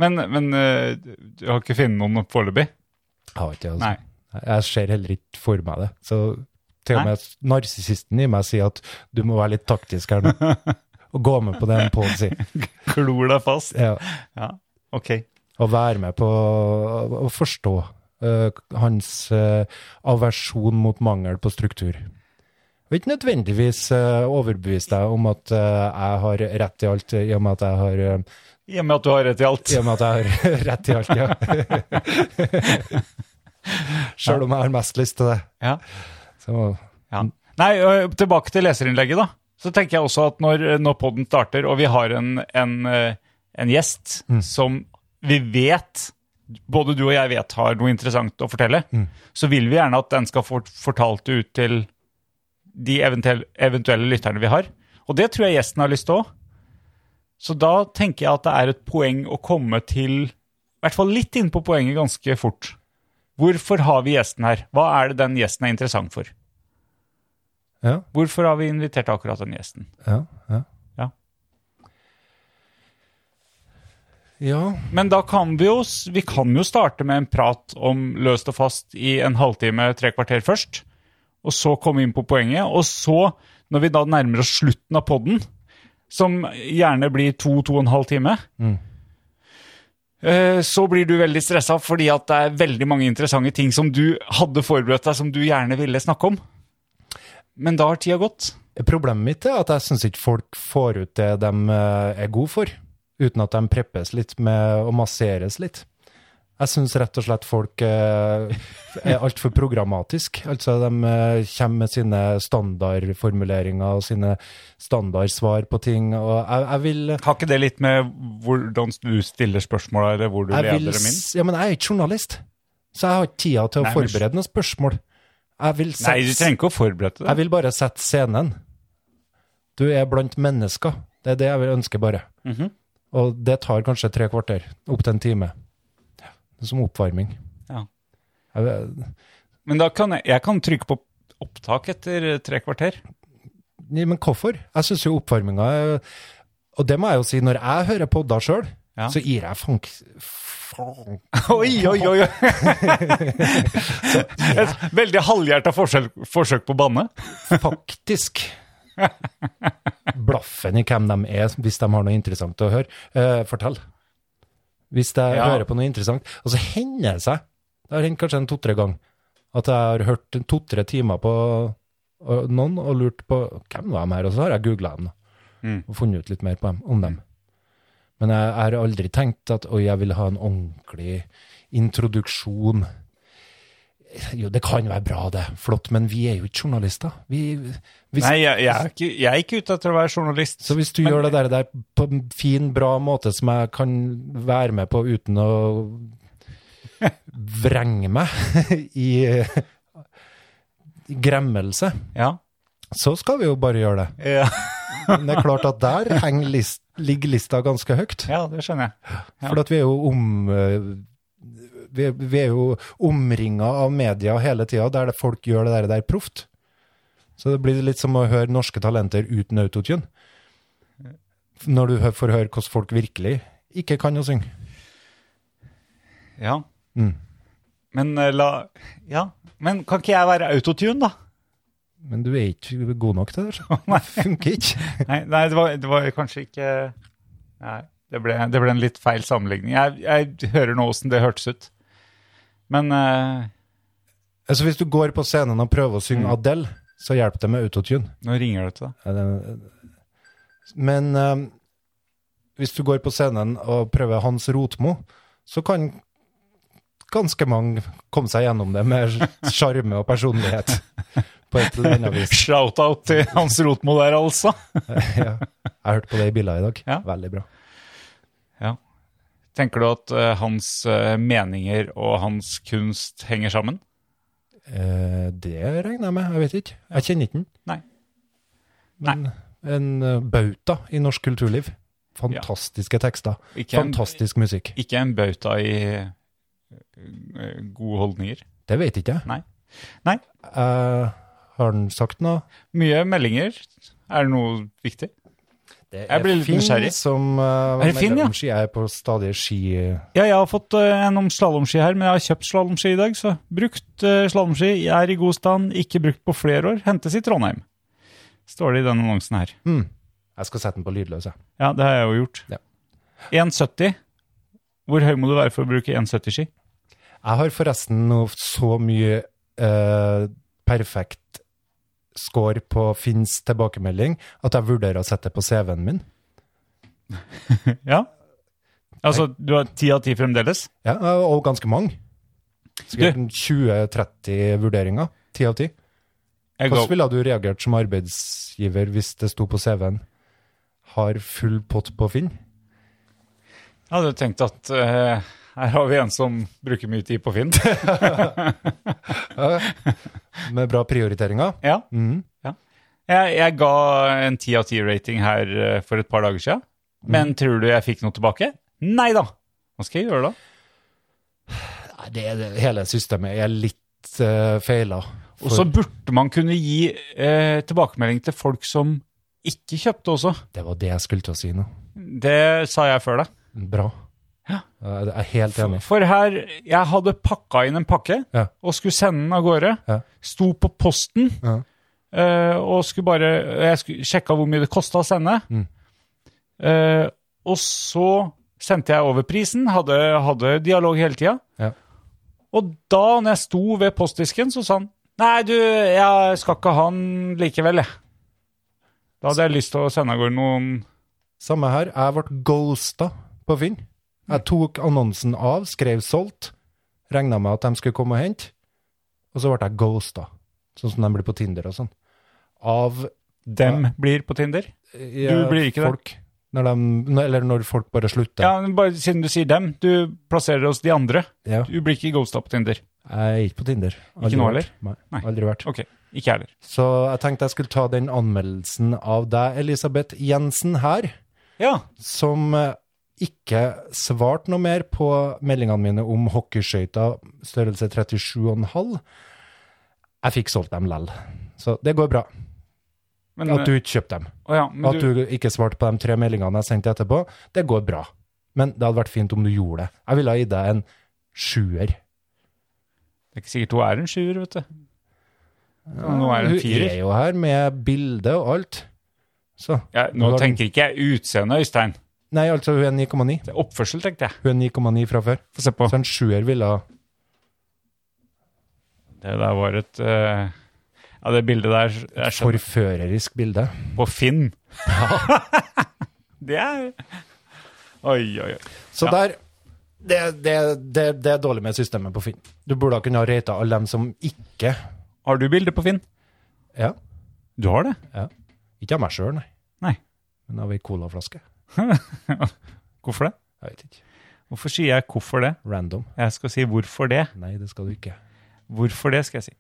Men, men eh, du har ikke funnet noen foreløpig?
Jeg har ikke det, altså.
Nei.
Jeg ser heller ikke for meg det. Så til og
Nei.
med narsissisten i meg sier at du må være litt taktisk
*laughs*
her nå. Og gå med på det en Pål sier.
Klor deg fast?
Ja,
Ja. Ok.
og være med på å å forstå eh, hans eh, aversjon mot mangel på struktur. Og ikke nødvendigvis eh, overbevise deg om at eh, jeg har rett i alt, i og med at jeg har, eh,
I og med at du har rett i alt.
i og med at jeg har *laughs* rett i alt, ja. *laughs* Sjøl om jeg har mest lyst til det.
Ja.
Så
Ja. Mm. Nei, ø, tilbake til leserinnlegget, da. Så tenker jeg også at når, når podden starter, og vi har en, en, ø, en gjest som vi vet både du og jeg vet har noe interessant å fortelle, så vil vi gjerne at den skal få fortalt det ut til de eventuelle, eventuelle lytterne vi har. Og det tror jeg gjesten har lyst til òg. Så da tenker jeg at det er et poeng å komme til I hvert fall litt inn på poenget ganske fort. Hvorfor har vi gjesten her? Hva er det den gjesten er interessant for?
ja.
Hvorfor har vi invitert akkurat den gjesten?
Ja, ja.
Ja.
Ja.
Men da kan vi jo, s- vi kan jo starte med en prat om løst og fast i en halvtime, tre kvarter først. Og så komme inn på poenget. Og så, når vi da nærmer oss slutten av podden, som gjerne blir to, to og en halv time, eh, så blir du veldig stressa fordi at det er veldig mange interessante ting som du hadde forberedt deg, som du gjerne ville snakke om. Men da har tida gått.
Problemet mitt er at jeg syns ikke folk får ut det de eh, er gode for, uten at de preppes litt med og masseres litt. Jeg syns rett og slett folk eh, er altfor programmatisk. Altså, de eh, kommer med sine standardformuleringer og sine standardsvar på ting. Og jeg, jeg vil
Har ikke det litt med hvordan du stiller spørsmåla, eller hvor du
jeg
leder
vil
dem inn?
s- Ja, men jeg er ikke journalist, så jeg har ikke tida til å
Nei, men-
forberede noen spørsmål. Jeg vil
Nei, du
sette-
trenger ikke å forberede
Jeg
deg.
vil bare sette scenen. Du er blant mennesker. Det er det jeg vil ønske bare.
Mhm.
Og det tar kanskje tre kvarter, opp til en time. Det er Som oppvarming.
Ja.
Jeg, vil-
Men da kan jeg, jeg kan trykke på opptak etter eh, tre kvarter.
Nei, men hvorfor? Jeg syns jo oppvarminga er Og det må jeg jo si, når jeg hører podder sjøl,
Ja.
så gir jeg fank... Faen.
*laughs* Oi, oi, oi! oi. *laughs* Et veldig halvhjerta forsøk, forsøk på å banne.
faktisk blaffen i hvem de er, hvis de har noe interessant å høre. Eh, fortell. Hvis jeg
Ja.
hører på noe interessant. Og så hender det seg, det har hendt kanskje en to-tre gang, at jeg har hørt en to-tre timer på og noen og lurt på hvem var de her, og så har jeg googla dem da,
Mm.
og funnet ut litt mer på dem, om dem. Men jeg, jeg har aldri tenkt at oi, jeg vil ha en ordentlig introduksjon. Jo, det kan være bra, det. Flott. Men vi er jo ikke journalister. Vi, hvis,
Nei, jeg, jeg, er ikke, jeg er ikke ute etter å være journalist.
så hvis du gjør det der, der på en fin, bra måte som jeg kan være med på uten å vrenge meg *laughs* i, i gremmelse,
Ja.
så skal vi jo bare gjøre det.
Ja,
Men det er klart at der henger lis- ligger lista ganske høyt.
ja det skjønner jeg. Ja.
For at vi er jo om... eh, Vi, vi er jo omringa av media hele tida, der det folk gjør det der, der proft. Så det blir litt som å høre norske talenter uten autotune. Når du hø- får høre hvordan folk virkelig ikke kan å synge.
Ja.
Mm.
Men eh, la Ja. Men kan ikke jeg være autotune, da?
Men du er ikke god nok til det. så Det funker ikke.
Nei, nei det, var, det var kanskje ikke Nei, det ble, det ble en litt feil sammenligning. Jeg, jeg hører nå åssen det hørtes ut. Men eh,
Altså Hvis du går på scenen og prøver å synge Adele, så hjelper det med autotune.
nå ringer det til deg.
Ja, det- Men eh, hvis du går på scenen og prøver Hans Rotmo, så kan ganske mange komme seg gjennom det
*laughs*
med sjarme og personlighet. På et eller annet vis.
Shout-out til Hans Rotmo der, altså.
Ja. Jeg hørte på det i bilen i dag.
Ja.
Veldig bra.
Tenker du at eh, hans eh, meninger og hans kunst henger sammen?
Eh, det regner jeg med. Jeg vet ikke. Jeg kjenner ikke den.
Nei.
Men en eh, bauta i norsk kulturliv. Fantastiske tekster.
Ikke en,
Fantastisk musikk.
ikke en bauta i eh, gode holdninger.
Det vet ikke jeg.
Nei. Nei.
Eh, har han sagt noe?
Mye meldinger. Er det noe viktig?
Det
Jeg blir litt nysgjerrig.
som uh,
Er det Finn, ja?
medlemsski er på stadig ski...
Ja, jeg har fått eh, en om slalåmski her, men jeg har kjøpt slalåmski i dag. Så brukt uh, slalåmski, jeg er i god stand, ikke brukt på flere år. Hentes i Trondheim, står det i den annonsen her.
Hmm. Jeg skal sette den på lydløs, jeg.
Ja, det har jeg jo gjort.
Ja.
1,70. Hvor høy må du være for å bruke 1,70-ski?
Jeg har forresten nå så mye eh, perfekt score på Finns tilbakemelding at jeg vurderer å sette det på CV-en min.
Ja. Altså, du har ti av ti fremdeles?
Ja, og ganske mange. Sikkert
Du-
en 20-30 vurderinger. 10 av 10.
Jeg
Hvordan
ga,
ville du reagert som arbeidsgiver hvis det sto på CV-en har full pott på Finn?
jeg hadde tenkt at eh, her har vi en som bruker mye tid på Finn. *laughs*
Med bra prioriteringer?
ja.
Mhm.
jeg, jeg ga en ti av ti-rating her eh, for et par dager siden. Men tror du jeg fikk noe tilbake? Nei da! Hva skal jeg gjøre da?
Nei, det, det, hele systemet er litt uh, feila.
Og så burde man kunne gi eh, tilbakemelding til folk som ikke kjøpte også.
Det var det jeg skulle til å si nå.
Det sa jeg før deg.
Bra. Jeg er helt enig.
For her, jeg hadde pakka inn en pakke
Ja.
og skulle sende den av gårde.
Ja.
Sto på posten
Ja.
eh, og skulle bare Jeg skulle sjekka hvor mye det kosta å sende.
Mm.
Eh, og så sendte jeg over prisen, hadde, hadde dialog hele tida.
Ja.
Og da, når jeg sto ved postdisken, så sa han Nei, du, jeg skal ikke ha den likevel, jeg. Da hadde jeg lyst til å sende av gårde noen
Samme her. Jeg ble ghosta på Finn. Jeg tok annonsen av, skrev solgt, regna med at de skulle komme og hente, og så ble jeg ghosta. Sånn som de blir på Tinder og sånn. Av
Dem blir på Tinder.
ja,
Du blir ikke det.
folk. Når de, eller når folk bare slutter.
Ja, men bare Siden du sier dem, du plasserer oss de andre.
Ja.
Du blir ikke ghosta på Tinder.
Jeg er ikke på Tinder. Aldri
nå
vært.
heller?
Nei,
Nei.
Aldri vært.
Ok, ikke jeg heller.
Så jeg tenkte jeg skulle ta den anmeldelsen av deg, Elisabeth Jensen, her,
Ja.
som eh, ikke svarte noe mer på meldingene mine om hockeyskøyter størrelse 37,5. Jeg fikk solgt dem lell. Så det går bra.
Men, eh,
At du ikke kjøpte dem.
Å ja,
At
men du,
du ikke svarte på de tre meldingene jeg sendte etterpå. Det går bra. Men det hadde vært fint om du gjorde det. Jeg ville ha gitt deg en sjuer.
det er ikke sikkert hun er en sjuer, vet du. Nå er hun
Hun
en firer.
er jo her med bilde og alt. Så.
Ja, nå
Hun har-
tenker ikke jeg utseende, Øystein.
Nei, altså hun er 9,9.
Det er oppførsel, tenkte jeg.
Hun er 9,9 fra før.
Få se på.
Så en sjuer ville ha
Det der var et eh, Ja, det bildet der er skjønt
forførerisk bilde.
på Finn. *laughs* det er Oi, oi, oi.
Så
Ja.
der det, det, det, det er dårlig med systemet på Finn. Du burde ha kunnet rate alle dem som ikke
Har du bilde på Finn?
Ja.
Du har det?
Ikke av meg sjøl, nei.
Nei.
Men av ei colaflaske.
Hvorfor det?
Jeg vet ikke.
Hvorfor sier jeg 'hvorfor det'?
Random.
Jeg skal si 'hvorfor det'.
Nei, det skal du ikke.
Hvorfor det, skal jeg si.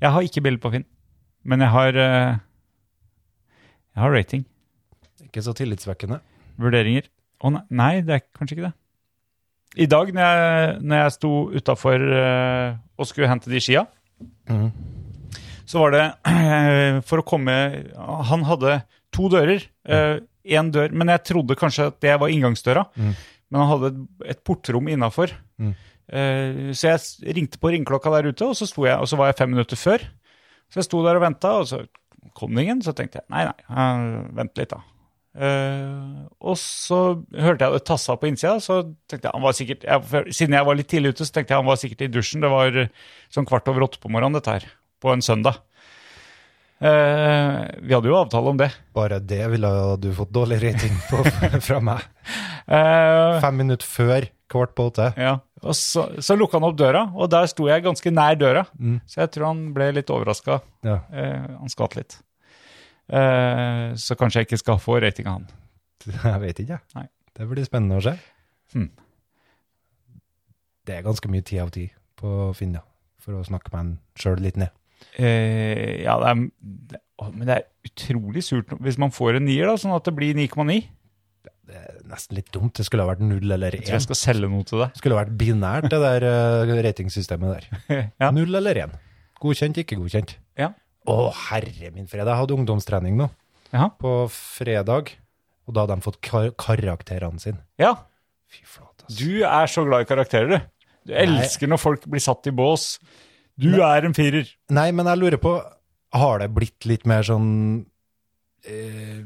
Jeg har ikke bilde på Finn, men jeg har eh, Jeg har rating.
Ikke så tillitsvekkende.
Vurderinger. Å nei, nei, det er kanskje ikke det. I dag når jeg, når jeg sto utafor eh, og skulle hente de skia,
Mhm.
så var det eh, for å komme Han hadde to dører. Én dør, men jeg trodde kanskje at det var inngangsdøra.
Mhm.
Men han hadde et, et portrom innafor.
Mhm.
Eh, så jeg s- ringte på ringeklokka der ute, og så, sto jeg, og så var jeg fem minutter før. Så jeg sto der og venta, og så kom det ingen. Så tenkte jeg nei, nei, eh, vent litt, da. Eh, og så hørte jeg det tassa på innsida, så tenkte jeg han var sikkert jeg, for- Siden jeg var litt tidlig ute, så tenkte jeg han var sikkert i dusjen. Det var eh, sånn kvart over åtte på morgenen, dette her. På en søndag. Eh, vi hadde jo avtale om det.
Bare det ville du fått dårlig rating på *laughs* fra meg.
Eh,
Fem minutter før kvart på åtte.
ja. Og så, så lukka han opp døra, og der sto jeg ganske nær døra.
Mm.
Så jeg tror han ble litt overraska.
Ja.
han skvatt litt. Eh, så kanskje jeg ikke skal få rating av han.
*laughs* Jeg vet ikke, jeg.
Nei.
Det blir spennende å se.
Hmm.
Det er ganske mye ti av ti på Finn, ja. For å snakke meg sjøl litt ned.
Eh, ja, det er, det, å, men det er utrolig surt nå- hvis man får en nier, da, sånn at det blir 9,9.
Det er nesten litt dumt. Det skulle ha vært null eller
Jeg tror jeg
én.
skal selge noe til deg.
Det skulle ha vært binært, det der eh, ratingsystemet der.
*laughs* ja.
Null eller én. Godkjent, ikke godkjent.
Ja.
Å, herre min fred. Jeg hadde ungdomstrening nå
Jaha.
på fredag, og da hadde de fått kar karakterene sine.
ja,
Fy flate. ass.
du er så glad i karakterer, du. Du elsker når folk blir satt i bås. Du er en firer.
Nei, men jeg lurer på, har det blitt litt mer sånn eh,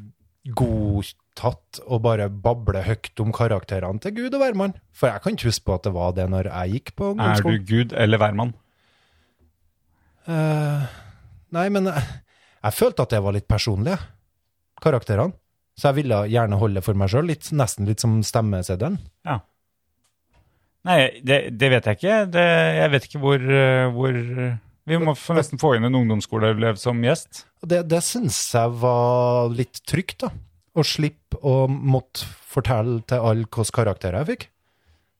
godtatt å bare bable høyt om karakterene til Gud og hvermann? For jeg kan ikke huske på at det var det når jeg gikk på
Er du
ungdomsskolen.
Gud eller hvermann?
Eh, nei, men jeg, jeg følte at det var litt personlig, jeg. karakterene. Så jeg ville gjerne holde det for meg sjøl, nesten litt som stemmeseddelen.
Nei, det, det vet jeg ikke. Det, jeg vet ikke hvor, eh, hvor eh, Vi må få nesten få inn en ungdomsskoleelev som gjest.
Og det, det syns jeg var litt trygt, da. Å slippe å måtte fortelle til alle hvilke karakterer jeg fikk.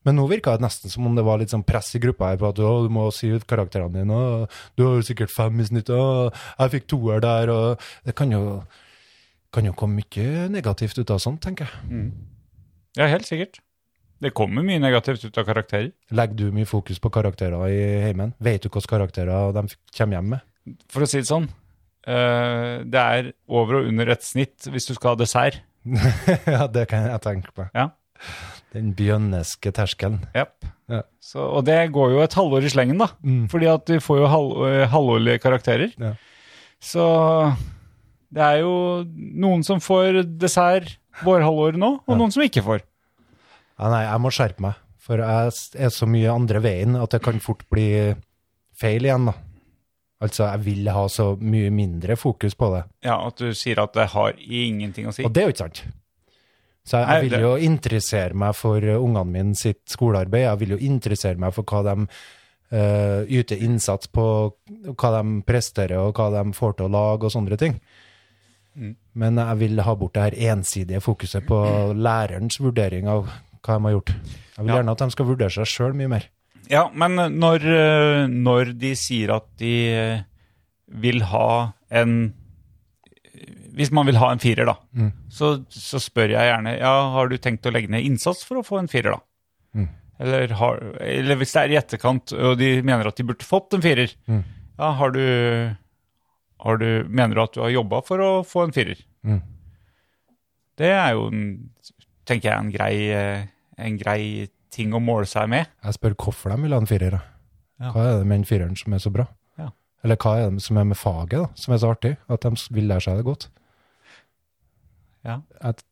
Men nå virka det nesten som om det var litt sånn press i gruppa her på at «Å, du må si ut karakterene dine, og du har jo sikkert fem i snitt, og jeg fikk toer der, og Det kan jo, kan jo komme mye negativt ut av sånt, tenker jeg.
Ja, helt sikkert. Det kommer mye negativt ut av karakterer.
Legger du mye fokus på karakterer i heimen? Vet du hvilke karakterer de fikk- kommer hjem med? *laughs*
For å si det sånn, eh, det er over og under et snitt hvis du skal ha dessert.
ja, det kan jeg tenke meg.
Ja.
Den bjønneske terskelen.
Jepp.
Ja.
Så, og det går jo et halvår i slengen, da.
Mm.
Fordi at du får jo halv, eh, halvårlige karakterer.
Ja.
Så det er jo noen som får dessert vårhalvåret nå, og
Ja.
noen som ikke får.
Ja, nei, jeg må skjerpe meg, for jeg s- er så mye andre veien at det kan fort bli feil igjen, da. Altså, jeg vil ha så mye mindre fokus på det,
Ja, At du sier at det har ingenting å si.
og det er jo ikke sant. Så jeg,
Nei,
jeg vil
det-
jo interessere meg for eh, ungene mine sitt skolearbeid, jeg vil jo interessere meg for hva de eh, yter innsats på, og hva de presterer, og hva de får til å lage, og sånne ting.
Mm.
Men jeg vil ha bort det her ensidige fokuset på lærerens vurdering av hva de har gjort. Jeg vil
Ja.
gjerne at de skal vurdere seg sjøl mye mer.
Ja, men når, eh, når de sier at de eh, vil ha en eh, Hvis man vil ha en firer, da, så, så spør jeg gjerne ja, har du tenkt å legge ned innsats for å få en firer, da. Eller, har, eller hvis det er i etterkant, og de mener at de burde fått en firer, ja, har du, har du Mener du at du har jobba for å få en firer? Det er jo, en, tenker jeg, en grei, eh, en grei ting å måle seg med.
Jeg spør hvorfor de vil ha en firer. da.
Ja.
Hva er det med den fireren som er så bra?
Ja.
Eller hva er det som er med faget da, som er så artig, at de s- vil lære seg det godt?
Ja.
At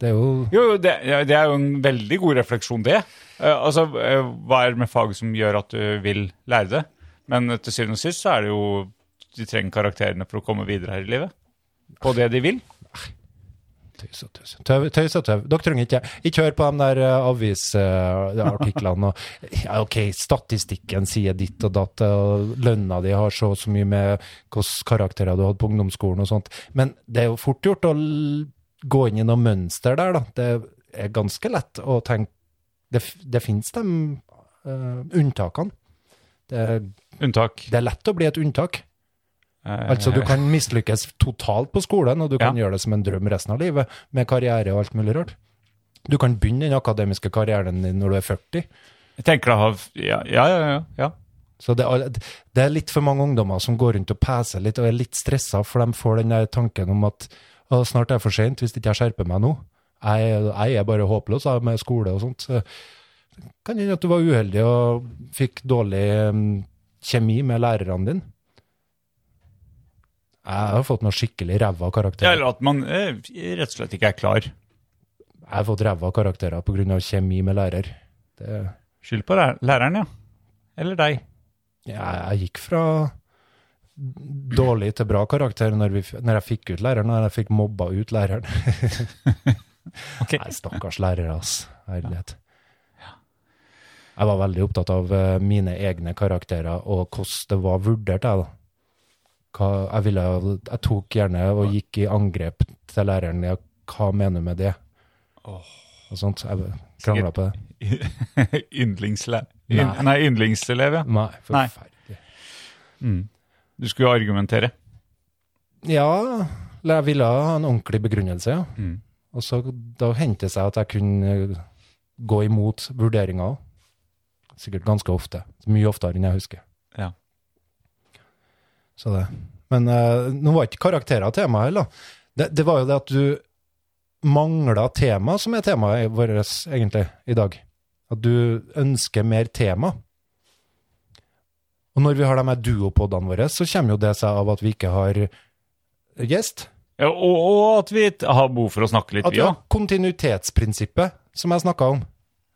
det er jo
Jo, jo, det, ja, det er jo en veldig god refleksjon, det. Eh, altså, eh, hva er det med fag som gjør at du vil lære det? Men eh, til syvende og sist så er det jo De trenger karakterene for å komme videre her i livet. På det de vil.
tøys og tøys. Tøv, tøys og tøv. Dere trenger ikke Ikke hør på de der eh, avisartiklene og ja, OK, statistikken sier ditt og datt, og lønna di har så og så mye med hvilke karakterer du hadde på ungdomsskolen og sånt. Men det er jo fort gjort å l- gå inn i noe mønster der, da. Det er ganske lett å tenke Det, f- det fins de eh, unntakene. Det,
Unntak.
det er lett å bli et unntak.
Eh,
Altså, du kan mislykkes totalt på skolen, og du kan
Ja.
gjøre det som en drøm resten av livet, med karriere og alt mulig rart. Du kan begynne den akademiske karrieren din når du er 40.
Jeg tenker da har Ja, ja, ja. ja, ja.
Så det er, det er litt for mange ungdommer som går rundt og peser litt og er litt stressa, for de får den der tanken om at å, snart er det for seint hvis ikke jeg skjerper meg nå. Jeg, er- jeg er bare håpløs jeg, med skole og sånt. Så kan hende at du var uheldig og fikk dårlig mm, kjemi med lærerne dine. Jeg har fått noe skikkelig ræva
Ja,
karakterer.
Eller at man eh, rett og slett ikke er klar.
Jeg har fått ræva karakterer pga. kjemi med lærer. Det,
Skyld på læ- læreren, ja. Eller deg.
jeg, jeg gikk fra dårlig til bra karakter når, vi, f- når jeg fikk ut læreren, og når jeg fikk mobba ut læreren.
Ok.
Nei, stakkars lærere, ass. Herlighet. Jeg var veldig opptatt av eh, mine egne karakterer og hvordan det var vurdert, jeg, da. Hva, jeg, ville, jeg tok gjerne og gikk i angrep til læreren. Ja, hva mener du med det? Og sånt. Jeg krangla på det.
*laughs* Yndlingslæ...
Nei.
Nei, yndlingselev, ja.
Nei,
Nei.
forferdelig.
Du skulle jo argumentere.
Ja, eller jeg ville ha en ordentlig begrunnelse, ja.
Mm.
Og så da hendte det seg at jeg kunne eh, gå imot vurderinger òg. Sikkert ganske ofte. Mye oftere enn jeg husker.
Ja.
Så det. Men eh, nå var ikke karakterer tema heller. Det, det var jo det at du mangla tema som er temaet vårt egentlig i dag. At du ønsker mer tema. Og når vi har de her duopodene våre, så kommer jo det seg av at vi ikke har gjest.
Ja, og, og at vi t- har behov for å snakke litt,
At vi
vi òg.
har kontinuitetsprinsippet, som jeg snakka om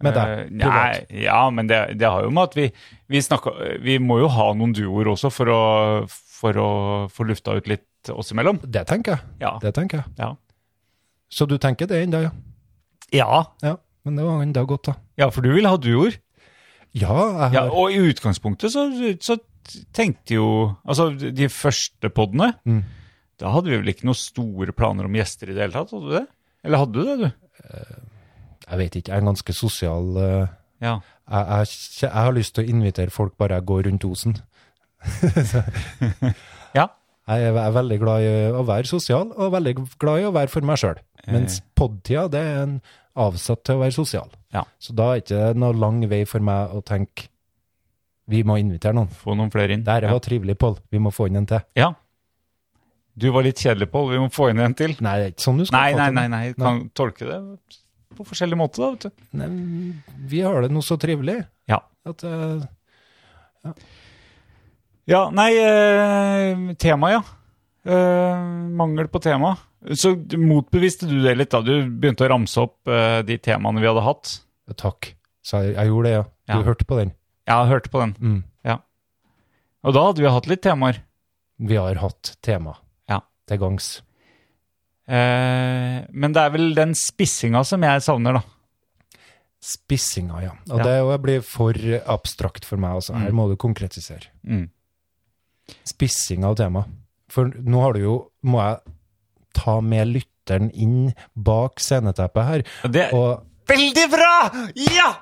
med
Eh,
deg. privat.
Nei, ja, men det, det har jo med at vi, vi snakker Vi må jo ha noen duoer også for å, for å få lufta ut litt oss imellom.
Det tenker jeg.
Ja.
Det tenker jeg.
Ja.
Så du tenker det ennå, ja.
ja.
ja. Men det var enda godt, da.
Ja, for du vil ha duoer.
Ja, jeg har
Ja, og i utgangspunktet så, så tenkte jo Altså, de første podene
Mm.
Da hadde vi vel ikke noen store planer om gjester i det hele tatt, hadde du det? Eller hadde du det, du?
Jeg vet ikke, jeg er ganske sosial. eh,
Ja.
jeg, jeg, kje- jeg har lyst til å invitere folk bare jeg går rundt osen.
*laughs* Ja.
Jeg er, jeg er veldig glad i å være sosial, og veldig glad i å være for meg sjøl. Mens podtida, det er en avsatt til å være sosial.
Eh. Ja.
Så da er det ikke noe lang vei for meg å tenke vi må invitere noen.
Få noen flere inn.
Dette
ja.
var trivelig, Pål. Vi må få inn en til.
ja. Du var litt kjedelig, Pål. Vi må få inn en til.
Nei, det er ikke sånn du skal
Nei,
få
nei,
til
nei,
det.
nei. Kan tolke det på forskjellig måte, da, vet du.
Nei, vi har det nå så trivelig
Ja.
at eh,
Ja, nei, eh, tema, ja. Eh, mangel på tema. Så motbeviste du det litt da. Du begynte å ramse opp eh, de temaene vi hadde hatt.
Takk. Så jeg, jeg gjorde det, ja. Du
Ja.
hørte på den.
Ja, jeg hørte på den.
Mm.
Og da hadde vi hatt litt temaer.
Vi har hatt tema
Ja.
til gangs.
Eh, men det er vel den spissinga som jeg savner, da.
Spissinga, ja. Og
Ja.
det er jo- blir for abstrakt for meg, altså. Her må du konkretisere.
Mm.
Spissing av tema. For nå har du jo Må jeg ta med lytteren inn bak sceneteppet her
Det er
og
veldig bra! Ja!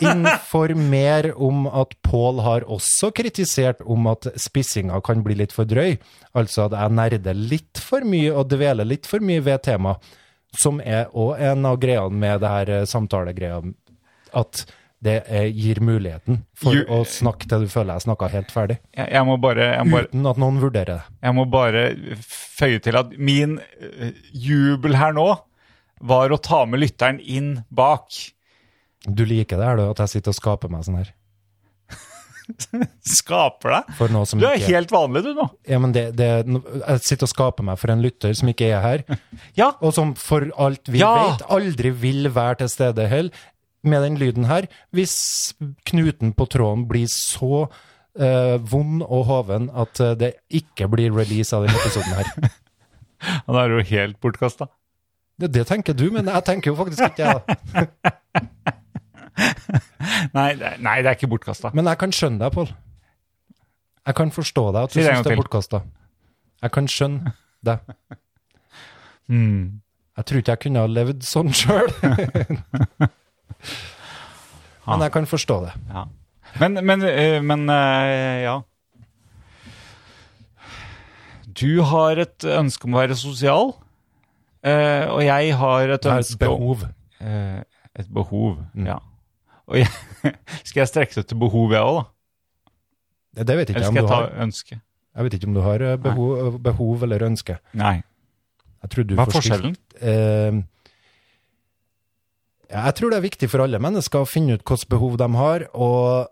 informere om at Pål har også kritisert om at spissinga kan bli litt for drøy. Altså at jeg nerder litt for mye og dveler litt for mye ved temaet, som er òg en av greiene med det her eh, samtalegreia, at det eh, gir muligheten for
Ju-
å snakke til du føler jeg snakka helt ferdig,
Jeg, jeg må bare, jeg må bare
uten at noen vurderer det.
Jeg må bare føye til at min eh, jubel her nå var å ta med lytteren inn bak.
Du liker det her, du, at jeg sitter og skaper meg sånn her.
Skaper deg.
For noe som
Du er
ikke
helt vanlig, du nå.
ja, men det, det, Jeg sitter og skaper meg for en lytter som ikke er her.
*laughs* Ja.
og som for alt vi
Ja!
vet aldri vil være til stede heller, med den lyden her, hvis knuten på tråden blir så eh, vond og hoven at eh, det ikke blir release av denne episoden her. *laughs*
Ja, Da er du jo helt bortkasta.
Det, det tenker du, men jeg tenker jo faktisk ikke jeg. da.
Nei, det er- nei, det er ikke bortkasta.
Men jeg kan skjønne deg, Pål. Jeg kan forstå deg at du
Si det en
syns
gang
det er
til.
bortkasta. Jeg kan skjønne deg.
Mm.
Jeg tror ikke jeg kunne ha levd sånn sjøl.
*laughs*
*laughs* Men jeg kan forstå det.
Ja. Men, men, eh, men eh, ja. Du har et ønske om å være sosial, eh, og jeg har et Mm.
Det er et
ønske om
behov.
Eh, et behov, ja. Og jeg, *laughs* skal jeg strekke det til behov, jeg òg, da?
Det det vet ikke
Eller
jeg om
skal
du
jeg ta
har.
ønske?
Jeg vet ikke om du har eh, behov, behov eller ønske.
Nei.
Jeg tror du
Hva er
forstyrrer-
forskjellen?
Eh, ja, jeg tror det er viktig for alle mennesker å finne ut hvilket behov de har, og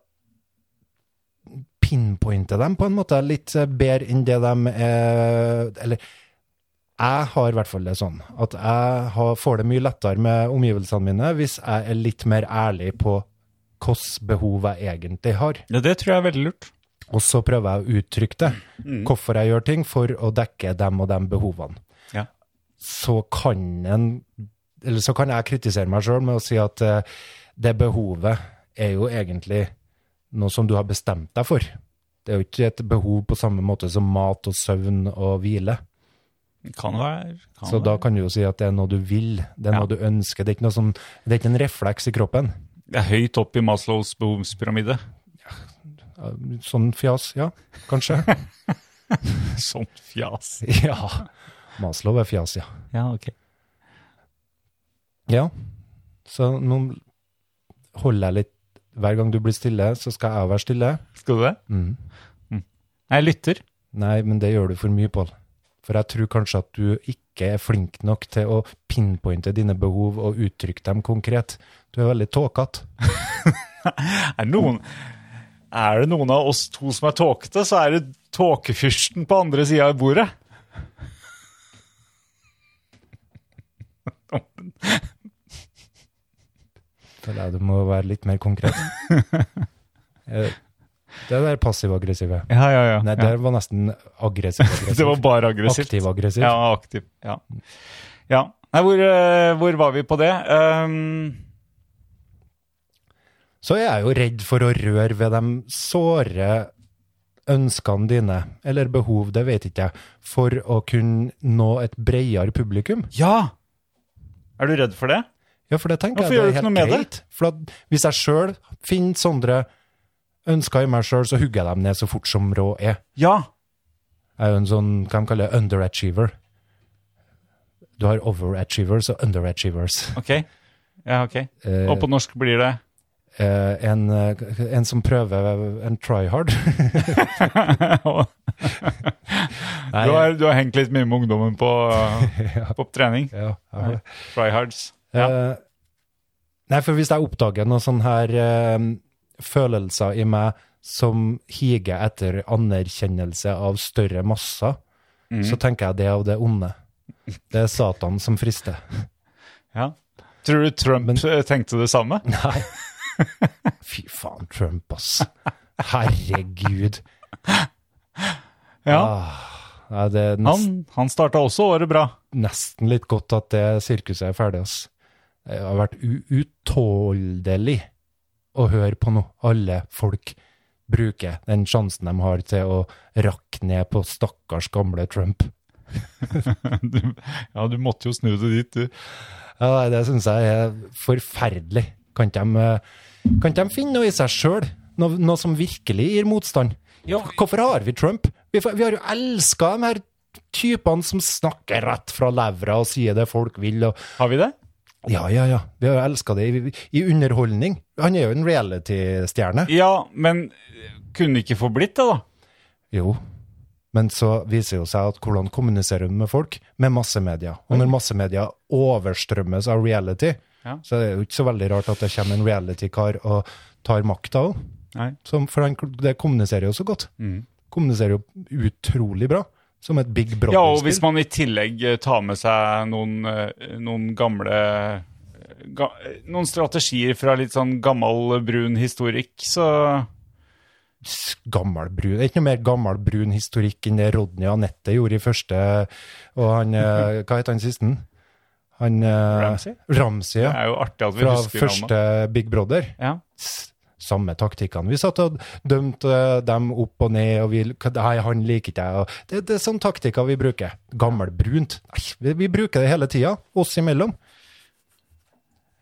pinpointe dem på en måte litt eh, bedre enn det de er Eller jeg har i hvert fall det sånn at jeg har, får det mye lettere med omgivelsene mine hvis jeg er litt mer ærlig på hvilke behov jeg egentlig har.
Ja, det tror jeg er veldig lurt.
Og så prøver jeg å uttrykke det,
Mm.
hvorfor jeg gjør ting, for å dekke dem og de behovene.
Ja.
Så kan en Eller så kan jeg kritisere meg sjøl med å si at eh, det behovet er jo egentlig noe som du har bestemt deg for. Det er jo ikke et behov på samme måte som mat og søvn og hvile.
Kan være. Kan
Så da
være.
kan du jo si at det er noe du vil, det er
Ja.
noe du ønsker. Det er ikke, noe som, det er ikke en refleks i kroppen.
Det er høyt opp i Maslows behovspyramide. *laughs*
Sånn fjas, ja,
*laughs*
kanskje.
Sånt fjas.
ja. Maslow er fjas, ja.
Ja, ok.
Ja, så nå holder jeg litt Hver gang du blir stille, så skal jeg være stille.
Skal du det?
Mm.
Jeg lytter.
Nei, men det gjør du for mye, Pål. For jeg tror kanskje at du ikke er flink nok til å pinpointe dine behov og uttrykke dem konkret. Du er veldig tåkete.
Er, noen, er det noen av oss to som er tåkete, så er det tåkefyrsten på andre sida av bordet.
Føler jeg du må være litt mer
*laughs*
konkret. Eh, Det der passiv-aggressive.
Ja, ja, ja.
Nei, det var nesten
*laughs*
aggressiv-aggressiv.
Det var bare aggressivt.
Aktiv-aggressiv.
Ja, aktiv. Ja. ja. Nei, hvor, eh, hvor var vi på det? Ehm,
så er jeg jo redd for å røre ved de såre ønskene dine, eller behov, det vet ikke jeg, for å kunne nå et bredere publikum.
ja! Er du redd for det?
Ja, for det tenker
Hvorfor
jeg
gjør
det
du
er
ikke noe med
helt
det?
greit. For at hvis jeg sjøl finner sånne ønsker i meg sjøl, så hugger jeg dem ned så fort som råd er.
Ja.
Jeg er jo en sånn, hva de kaller underachiever. Du har overachievers og underachievers.
Ok. Ja, ok.
Eh,
Og på norsk blir
*laughs*
det
eh, en, eh, en som prøver en tryhard. Nei, *laughs*
du, har, du har hengt litt mye med ungdommen på, eh, på trening.
ja, jeg har det.
Tryhards. Ja.
Eh, Nei, for hvis jeg oppdager noen sånne her eh, følelser i meg som higer etter anerkjennelse av større masser,
Mhm.
så tenker jeg det er av det onde. Det er Satan som frister.
Ja. Tror du Trump
Men-
eh, tenkte det samme?
Nei. Fy faen, Trump,
*laughs*
ass. Herregud. Ah,
Ja.
Nei, det er nesten,
Han, han starta også året bra. *laughs*
nesten litt godt at det sirkuset er ferdig, ass. Det har vært u- utåldelig å høre på nå. Alle folk bruker den sjansen de har til å rakke ned på stakkars gamle Trump.
Du, ja, du måtte jo snu det dit, du.
Ja, nei, det syns jeg er forferdelig. Kan ikke de, eh, kan ikke de finne noe i seg sjøl? Noe, noe som virkelig gir motstand? Hvorfor har vi Trump? Vi, får- vi har jo elska de her typene som snakker rett fra levra og sier det folk vil. Og,
Har vi det?
ja, ja, ja. Vi har jo elska det i, i underholdning. Han er jo en reality-stjerne.
Ja, men eh, kunne ikke få blitt det, da?
Jo. Men så viser det jo seg at hvordan kommuniserer du med folk? Med massemedia. Og når massemedia overstrømmes av reality,
Ja.
så er det jo ikke så veldig rart at det kommer en reality-kar og tar makta òg.
Nei. Mm.
For han, det kommuniserer jo så godt. Kommuniserer jo utrolig bra. Som et Big Brother-spill.
Ja, og hvis man i tillegg eh, tar med seg noen, eh, noen gamle eh, ga, eh, Noen strategier fra litt sånn gammel eh, brun historikk, så
gammel brun. Det er ikke noe mer gammel brun historikk enn det Rodney Anette gjorde i første Og han
*laughs*
eh, Hva het han sisten? Han eh,
Ramsey?
Ramsey,
Det
ja.
er jo artig at vi
Fra
husker navnet.
første Big Brother.
Ja.
S- Samme taktikkene. Vi satt og dømte eh, dem opp og ned, og vi Nei, han liker ikke jeg. og Det, det er sånne taktikker vi bruker. Gammelbrunt. Nei, vi, vi bruker det hele tida, oss imellom.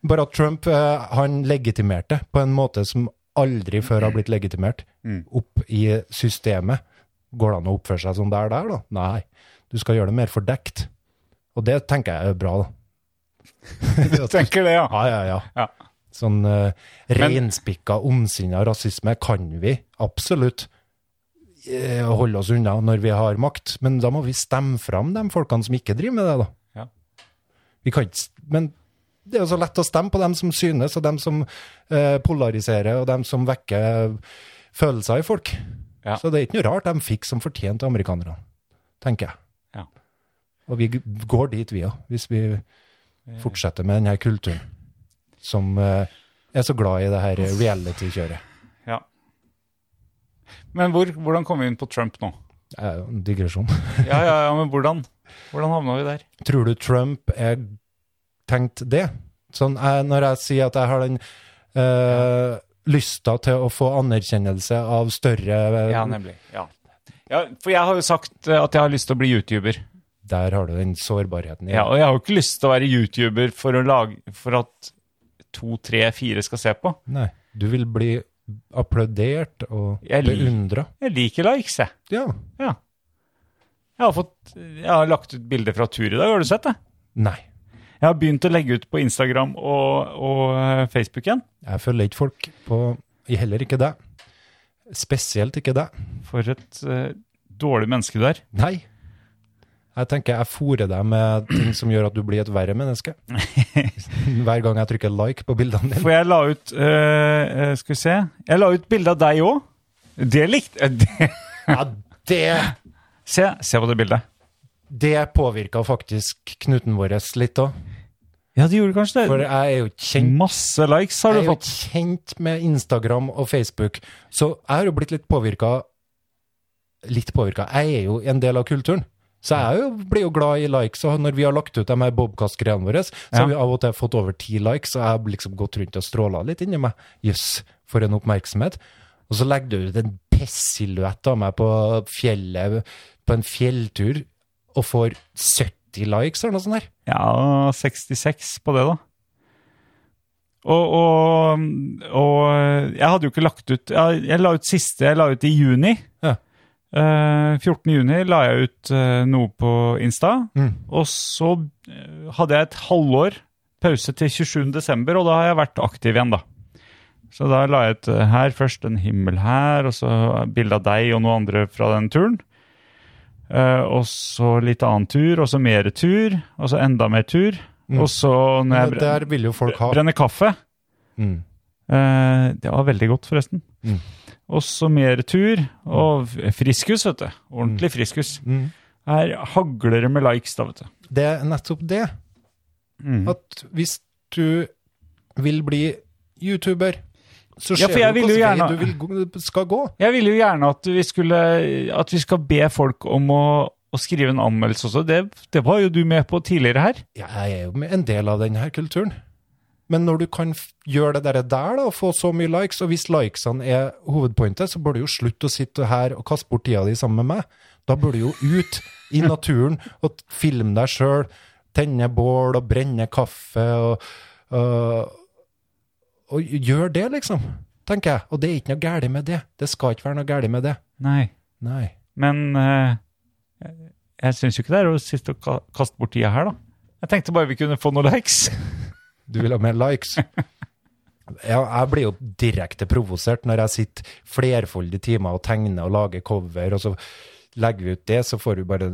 Bare at Trump eh, han legitimerte på en måte som aldri før har blitt legitimert. Opp i systemet. Går det an å oppføre seg sånn der, der, da? Nei. Du skal gjøre det mer fordekt. Og det tenker jeg er bra, da.
Tenker det, ja.
ja, ja, ja.
Ja.
Sånn uh,
Men-
renspikka, omsinna rasisme kan vi absolutt eh, holde oss unna når vi har makt, men da må vi stemme fram de folkene som ikke driver med det, da.
Ja.
Vi kan ikke, s- men det er jo så lett å stemme på dem som synes, og dem som eh, polariserer, og dem som vekker følelser i folk.
Ja.
Så det er ikke noe rart de fikk som fortjent av amerikanerne, tenker jeg.
Ja.
Og vi g- går dit vi òg, hvis vi
Eh.
fortsetter med denne kulturen som eh, er så glad i det her reality-kjøret.
ja. Men hvor, hvordan kom vi inn på Trump nå?
Det er jo en digresjon. *laughs*
Ja, ja, ja, men hvordan? Hvordan havna vi der? *laughs*
Tror du Trump er tenkt det? Sånn, jeg, når jeg sier at jeg har den eh, lysta til å få anerkjennelse av større eh,
Ja, nemlig. Ja. Ja, for jeg har jo sagt eh, at jeg har lyst til å bli YouTuber.
Der har du den sårbarheten. i-
Ja, og jeg har jo ikke lyst til å være YouTuber for, å lage, for at to, tre, fire skal se på.
Nei, du vil bli applaudert og
Jeg lik-
beundra.
Jeg liker likes, jeg.
Ja.
Ja. Jeg har, fått, jeg har lagt ut bilder fra tur i dag, har du sett det?
Nei.
Jeg har begynt å legge ut på Instagram og, og eh, Facebook igjen.
Jeg følger ikke folk på Heller ikke deg. Spesielt ikke deg.
For et eh, dårlig menneske du er.
Nei. Jeg tenker jeg fôrer deg med ting som gjør at du blir et verre menneske. Hver gang jeg trykker like på bildene dine.
For jeg la ut eh, eh, Skal vi se. Jeg la ut bilde av deg òg. Det likte eh, det. *laughs*
Ja, det,
Se, se på det bildet.
det påvirka faktisk knuten vår litt òg.
Ja, det gjorde kanskje
For
det.
jeg er jo ikke kjent,
Masse likes har
jeg
du
er jo
fått.
ikke kjent med Instagram og Facebook, så jeg har jo blitt litt påvirka Litt påvirka. Jeg er jo en del av kulturen. Så jeg er jo, blir jo glad i likes, og når vi har lagt ut de her Bobkast-greiene våre, så
Ja.
har vi av og til fått over ti likes, og jeg har liksom gått rundt og stråla litt inni meg. Jøss, for en oppmerksomhet. Og så legger du ut en pessilhuett av meg på fjellet, på en fjelltur, og får 70 likes eller noe sånt her.
Ja, 66 på det, da. Og, og, og eh, jeg hadde jo ikke lagt ut Jeg, jeg la ut siste jeg la ut i juni.
Ja.
Eh, 14. juni la jeg ut eh, noe på Insta.
Mm.
Og så eh, hadde jeg et halvår pause til 27. desember, og da har jeg vært aktiv igjen, da. Så da la jeg ut eh, her først en himmel her, og så bilde av deg og noen andre fra den turen. Eh, og så litt annen tur, og så mer tur, og så enda mer tur. Og så når jeg
Mm. Men
brenner,
der vil jo folk ha
brenner kaffe,
Mm.
Eh, det var veldig godt, forresten.
Mm.
Og så mer tur, og f- friskus, vet du. Ordentlig friskus.
Mm.
Her hagler det med likes, da, vet du.
Det er nettopp det.
Mm.
At hvis du vil bli YouTuber, så
Ja,
ser
for jeg
du
vil jo
hvilken
gjerne-
vei du vil, gå- skal gå.
Jeg ville jo gjerne at vi skulle At vi skal be folk om å, å skrive en anmeldelse også. Det, det var jo du med på tidligere her.
Jeg er jo med en del av denne kulturen. Men når du kan f- gjøre det der, der da, og få så mye likes, og hvis likesene er hovedpointet, så bør du jo slutte å sitte her og kaste bort tida di sammen med meg. Da bør du jo ut i naturen og t- filme deg sjøl, tenne bål og brenne kaffe og, øh, og gjør det, liksom, tenker jeg. Og det er ikke noe galt med det. Det skal ikke være noe galt med det.
Nei.
Nei.
Men eh, jeg syns jo ikke det er å sitte og ka- kaste bort tida her, da. Jeg tenkte bare vi kunne få noen likes.
Du vil ha mer likes. Ja, jeg blir jo direkte provosert når jeg sitter flerfoldige timer og tegner og lager cover, og så legger vi ut det, så får vi bare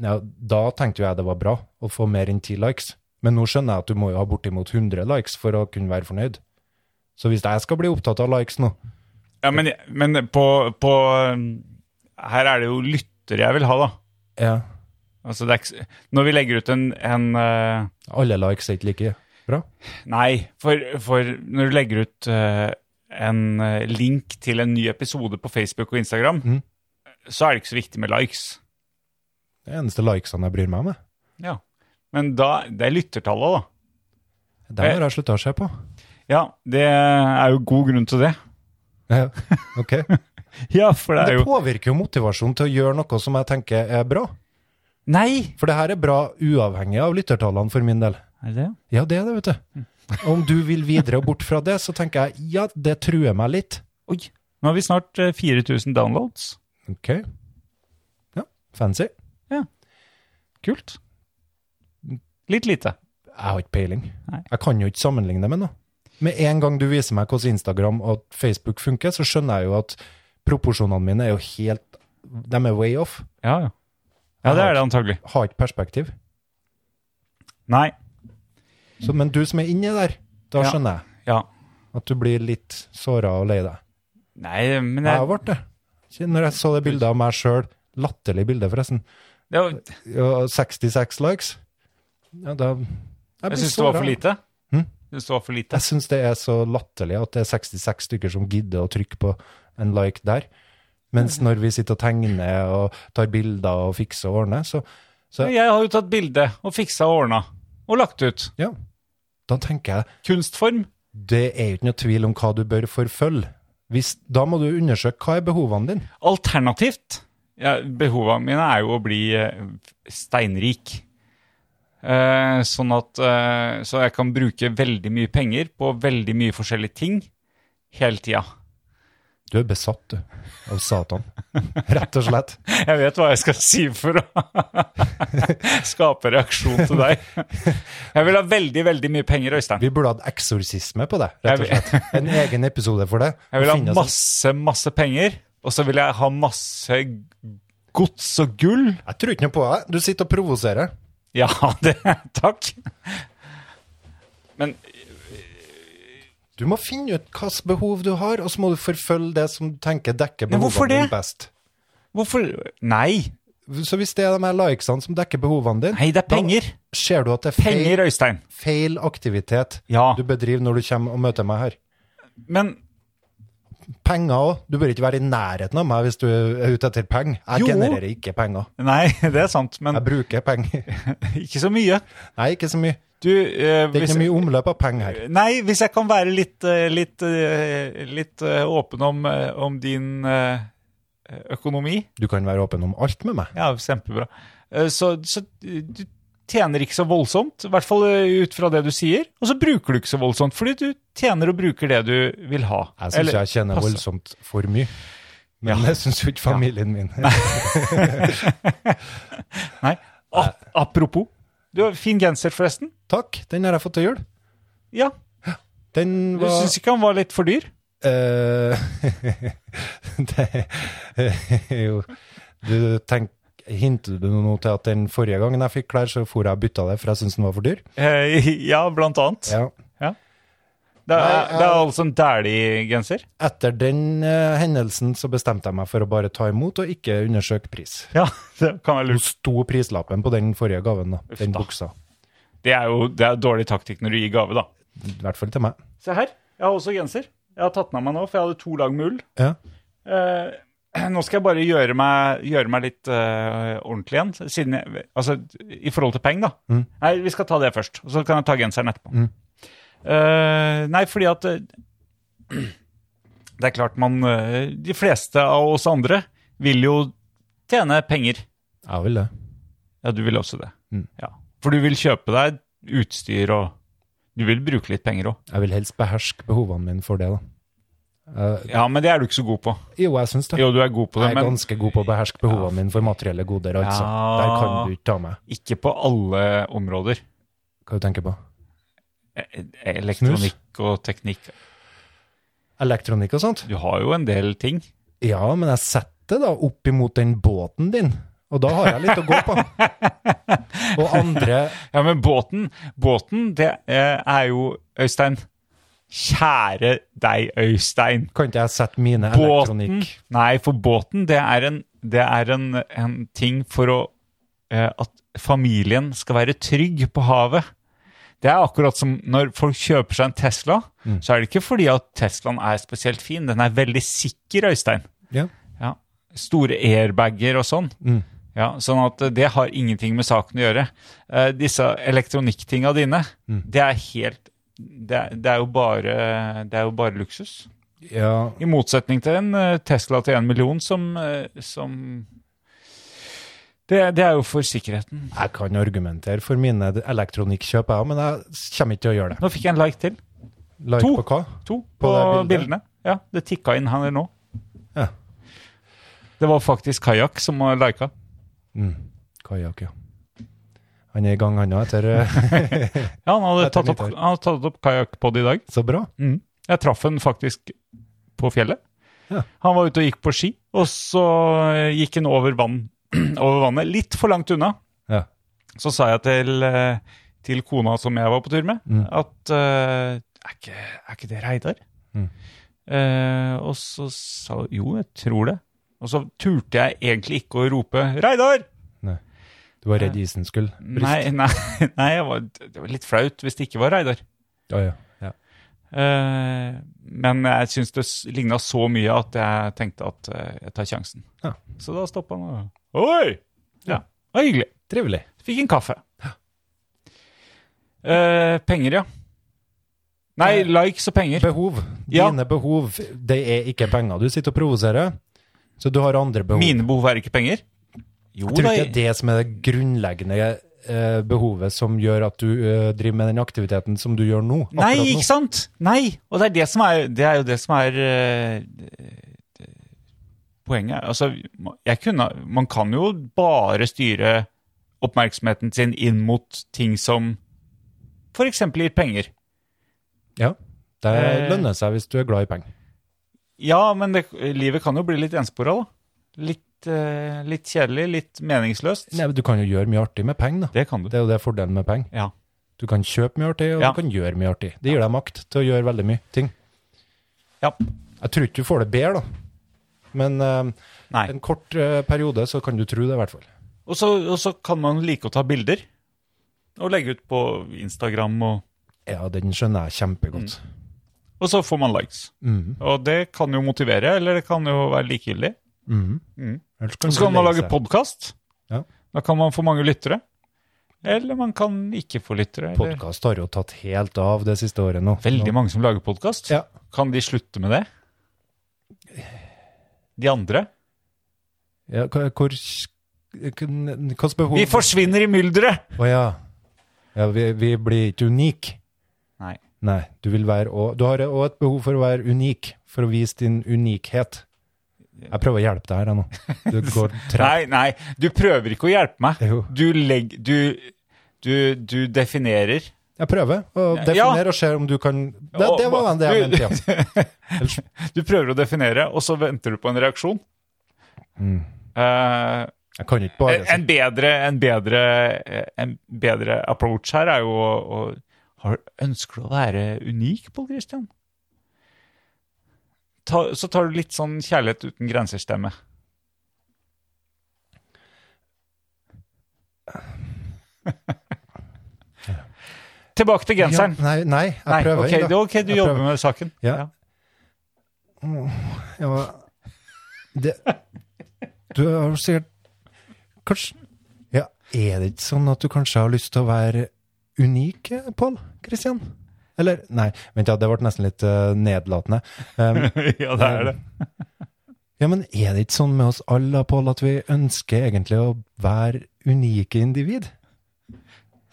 ja, Da tenkte jo jeg det var bra å få mer enn ti likes. Men nå skjønner jeg at du må jo ha bortimot 100 likes for å kunne være fornøyd. Så hvis jeg skal bli opptatt av likes nå
Ja, men, men på, på um, Her er det jo lyttere jeg vil ha, da.
ja,
Altså, det er ikke, s- når vi legger ut en, en eh,
Alle likes er ikke like bra.
Nei, for, for når du legger ut eh, en eh, link til en ny episode på Facebook og Instagram,
Mhm.
så er det ikke så viktig med likes.
Det er eneste likesene jeg bryr meg om. jeg.
Ja. Men da, det er lyttertallet, da.
Dem har jeg slutta å se på.
Ja, det er jo god grunn til det.
Ja, *laughs* ok.
Ja, for det
Men
er
det
jo
påvirker jo motivasjonen til å gjøre noe som jeg tenker er bra.
Nei!
For det her er bra uavhengig av lyttertallene for min del.
Er det det?
Ja, det er det, vet du. Om du vil videre og bort fra det, så tenker jeg ja, det truer meg litt.
Oi. Nå har vi snart eh, 4000 downloads.
Ok. Ja, fancy.
Kult. Litt lite.
Jeg har ikke peiling.
Nei.
Jeg kan jo ikke sammenligne det med noe. Med en gang du viser meg hvordan Instagram og Facebook funker, så skjønner jeg jo at proporsjonene mine er jo helt De er way off.
Ja, ja. Ja, det er det antagelig.
Har ikke perspektiv.
Nei.
Så, men du som er inni der, da
Ja.
skjønner jeg
Ja.
at du blir litt såra og lei deg.
Nei, men
Jeg har
jeg,
vært det. Når jeg så det bildet av meg sjøl, latterlig bilde forresten,
det var,
og 66 likes, ja, da Jeg, blir
jeg syns
så
det var
rar.
for lite.
Hm?
Jeg syns det var for lite.
Jeg syns det er så latterlig at det er 66 stykker som gidder å trykke på en like der.
Mm.
Mens når vi sitter og tegner og tar bilder og fikser og ordner, så, så
Jeg har jo tatt bilde og fiksa og ordna og lagt ut.
ja. Da tenker jeg
Kunstform.
det er jo ikke noe tvil om hva du bør forfølge. Hvis, da må du undersøke hva er behovene dine.
Alternativt ja, Behova mine er jo å bli eh, steinrik. Eh, sånn at eh, Så jeg kan bruke veldig mye penger på veldig mye forskjellige ting hele tida.
Du er besatt, du, av
*laughs*
Satan. Rett og slett.
Jeg vet hva jeg skal *laughs* si for å skape reaksjon til deg. Jeg vil ha veldig, veldig mye penger, Øystein.
Vi burde hatt eksorsisme på det, rett
Jeg
og
vil-
slett. En egen episode for det.
Jeg vil
Og
ha
finne oss-
masse, masse penger, og så vil jeg ha masse gods og gull.
Jeg tror ikke noe på deg. Du sitter og provoserer.
Ja, *laughs* det Takk. Men
Du må finne ut hvilket behov du har, og så må du forfølge det som du tenker dekker
Men hvorfor
behovene dine
det?
best.
hvorfor Nei.
Så hvis det er de her likesene som dekker behovene dine,
Nei, det er penger.
da ser du at det er feil,
Penger, Øystein.
feil aktivitet
Ja.
du bedriver når du kommer og møter meg her.
Men
Penger òg. Du bør ikke være i nærheten av meg hvis du er ute etter penger. Jeg
Jo.
genererer ikke penger.
Nei, *laughs* det er sant. Men
Jeg bruker penger. *laughs*
ikke så mye.
Nei, ikke så mye.
Du eh,
Det er
hvis-
ikke mye omløp av penger her.
Nei, hvis jeg kan være litt, eh, litt, eh, litt eh, åpen om, eh, om din eh, økonomi
Du kan være åpen om alt med meg.
Ja, kjempebra. Eh, Så, så du tjener ikke så voldsomt, i hvert fall eh, ut fra det du sier. Og så bruker du ikke så voldsomt, fordi du tjener og bruker det du vil ha.
Jeg syns
Eller-
jeg tjener
passe.
voldsomt for mye. Men det syns jo ikke familien min.
Nei. A apropos, du har fin genser, forresten.
Takk, den har jeg fått til jul.
Ja,
Den
Du
var
syns ikke han var litt for dyr?
Eh, *laughs* Det er jo Du tenk, Hintet du nå til at den forrige gangen jeg
*laughs*
fikk klær, så for jeg og bytta det, for jeg syntes den var for dyr?
Eh, ja, blant annet.
Ja.
Ja. Det er,
Nei, jeg-
det er altså en Dæhlie-genser?
Etter den eh, hendelsen så bestemte jeg meg for å bare ta imot og ikke undersøke pris.
Ja, *laughs* det kan være
Hvor
lurt.
sto prislappen på den forrige gaven, da? Den
da.
buksa.
Det er jo det er dårlig taktikk når du gir gave, da.
I hvert fall til meg.
Se her, jeg har også genser. Jeg har tatt den av meg nå, for jeg hadde to lag med ull.
Ja.
Eh, *clears throat* nå skal jeg bare gjøre meg, gjøre meg litt eh, ordentlig igjen, siden jeg, altså, i forhold til penger, da. Nei, vi skal ta det først, og så kan jeg ta genseren etterpå. Eh, nei, fordi at eh, *clears throat* Det er klart man eh, De fleste av oss andre vil jo tjene penger.
Jeg vil det.
Ja, du vil også det.
Mm.
Ja. For du vil kjøpe deg utstyr og Du vil bruke litt penger òg.
Jeg vil helst beherske behovene mine for det, da. Eh,
Ja, men det er du ikke så god på.
jo, jeg syns det.
Jo, du er god på det,
jeg er
men
ganske god på å beherske behovene mine for materielle goder, altså.
Ja.
Der kan du ikke ta meg.
ikke på alle områder.
Hva du tenker på?
E- Elektronikk og teknikk.
Elektronikk og sånt?
Du har jo en del ting.
Ja, men jeg setter det da opp imot den båten din, og da har jeg litt å gå på.
*laughs*
Og andre
Ja, men båten, båten det eh, er jo Øystein. Kjære deg, Øystein.
kan ikke jeg sette mine
Båten
elektronikk
Nei, for båten, det er en, det er en, en ting for å eh, At familien skal være trygg på havet. Det er akkurat som når folk kjøper seg en Tesla, så er det ikke fordi at Teslaen er spesielt fin. Den er veldig sikker, Øystein.
ja.
Ja. Store airbager og sånn.
Mm.
Ja, sånn at eh, det har ingenting med saken å gjøre. Eh, disse elektronikktinga dine,
Mm.
det er helt det er, det, er jo bare, det er jo bare luksus.
ja,
I motsetning til en eh, Tesla til en million som, eh, som det, det er jo for sikkerheten.
jeg kan argumentere for mine elektronikkjøp, jeg òg, men jeg kommer ikke til å gjøre det.
Nå fikk jeg en like til.
Like
To.
på hva?
To på,
På det bildet?
bildene. Ja, det tikka inn her nå.
Ja.
Det var faktisk Kajakk som lika.
Kajakk, ja. Mm, Han er i gang, han òg, etter eh, *laughs*
Ja, han hadde
Dette er
tatt opp,
mitt her.
han hadde tatt opp kajakkpod i dag.
Så bra.
Mm. Jeg traff han faktisk på fjellet.
Ja.
Han var ute og gikk på ski, og så eh, gikk han over, vann, *clears throat* over vannet, litt for langt unna.
Ja.
Så sa jeg til, eh, til kona som jeg var på tur med, at eh, er, ikke, er ikke det Reidar?
Mm.
Eh, og så sa hun jo, jeg tror det. Og så turte jeg egentlig ikke å rope 'Reidar!'
Du var redd isen skulle
Nei,
briste?
*laughs* nei, nei jeg var, det var litt flaut hvis det ikke var Reidar.
Å, ja. Ja.
Eh, men jeg syns det ligna så mye at jeg tenkte at eh, jeg tar sjansen.
Ja.
Så da stoppa han og Oi! Ja, det var hyggelig.
Trivelig.
Fikk en kaffe. Eh, penger, ja. Nei,
Eh.
likes og penger.
Behov.
Ja.
Dine behov, det er ikke penger. Du sitter og provoserer, så du har andre behov.
Mine behov er ikke penger. Jo,
Jeg tror ikke
da-
det er det som er det grunnleggende eh, behovet som gjør at du eh, driver med den aktiviteten som du gjør nå.
Nei,
akkurat nå.
ikke sant? Nei. Og det er, det som er, det er jo det som er eh, det- poenget. Altså, jeg kunne, man kan jo bare styre oppmerksomheten sin inn mot ting som f.eks. gir penger.
Ja, det
Eh.
lønner seg hvis du er glad i penger.
Ja, men det, livet kan jo bli litt enspora, da. Litt, eh, litt kjedelig, litt meningsløst.
Nei, men Du kan jo gjøre mye artig med penger, da.
Det kan du.
Det er jo det fordelen med penger.
Ja.
Du kan kjøpe mye artig, og
Ja.
du kan gjøre mye artig. Det gir deg makt til å gjøre veldig mye ting.
ja.
Jeg tror ikke du får det bedre, da. Men eh,
Nei.
en kort eh, periode så kan du tro det, i hvert fall.
Og så, og så kan man like å ta bilder. Og legge ut på Instagram, og,
Ja, den skjønner jeg kjempegodt.
og så får man likes.
Mhm.
Og det kan jo motivere, eller det kan jo være likegyldig.
Mhm.
Mm.
Ellers
Og
du
så kan man
legge
lage
seg.
podkast.
Ja.
Da kan man få mange lyttere. Eller man kan ikke få lyttere. Eller.
Podcast har jo tatt helt av det siste året nå.
Veldig mange som lager podkast.
Ja.
Kan de slutte med det? De andre?
Ja, hva- hvor Hvilket behov
Vi forsvinner i mylderet!
Å ja. ja vi, vi blir ikke unike.
Nei.
Nei. Du, vil være, og, du har òg et behov for å være unik, for å vise din unikhet. Jeg prøver å hjelpe deg her,
*laughs*
jeg nå. Det går tregt.
Nei, nei, du prøver ikke å hjelpe meg.
Jo.
Du legg... Du, du, du definerer.
Jeg prøver å
Ja.
definere og se om du kan Det, det var det jeg mente,
*laughs*
ja. Ellers-
Du prøver å definere, og så venter du på en reaksjon.
Mm.
Eh,
Jeg kan ikke bare
en bedre, en bedre, en bedre approach her er jo å, å har, ønsker du å være unik, Pål Christian? Ta, så tar du litt sånn kjærlighet uten grenser-stemme. *laughs* Tilbake til genseren.
Ja, nei, nei, jeg
Nei,
prøver.
ok,
da.
det er ok, du
Jeg
jobber
prøver.
med
*laughs*
saken.
Ja. Ja, men det, du har jo sikkert Kanskje ja, Er det ikke sånn at du kanskje har lyst til å være unik, eh, Pål Kristian? Eller Nei, vent, ja, det ble nesten litt eh, nedlatende. Um,
*laughs*
eh,
ja, det er det.
ja, men er det ikke sånn med oss alle, da, Pål, at vi ønsker egentlig å være unike individ?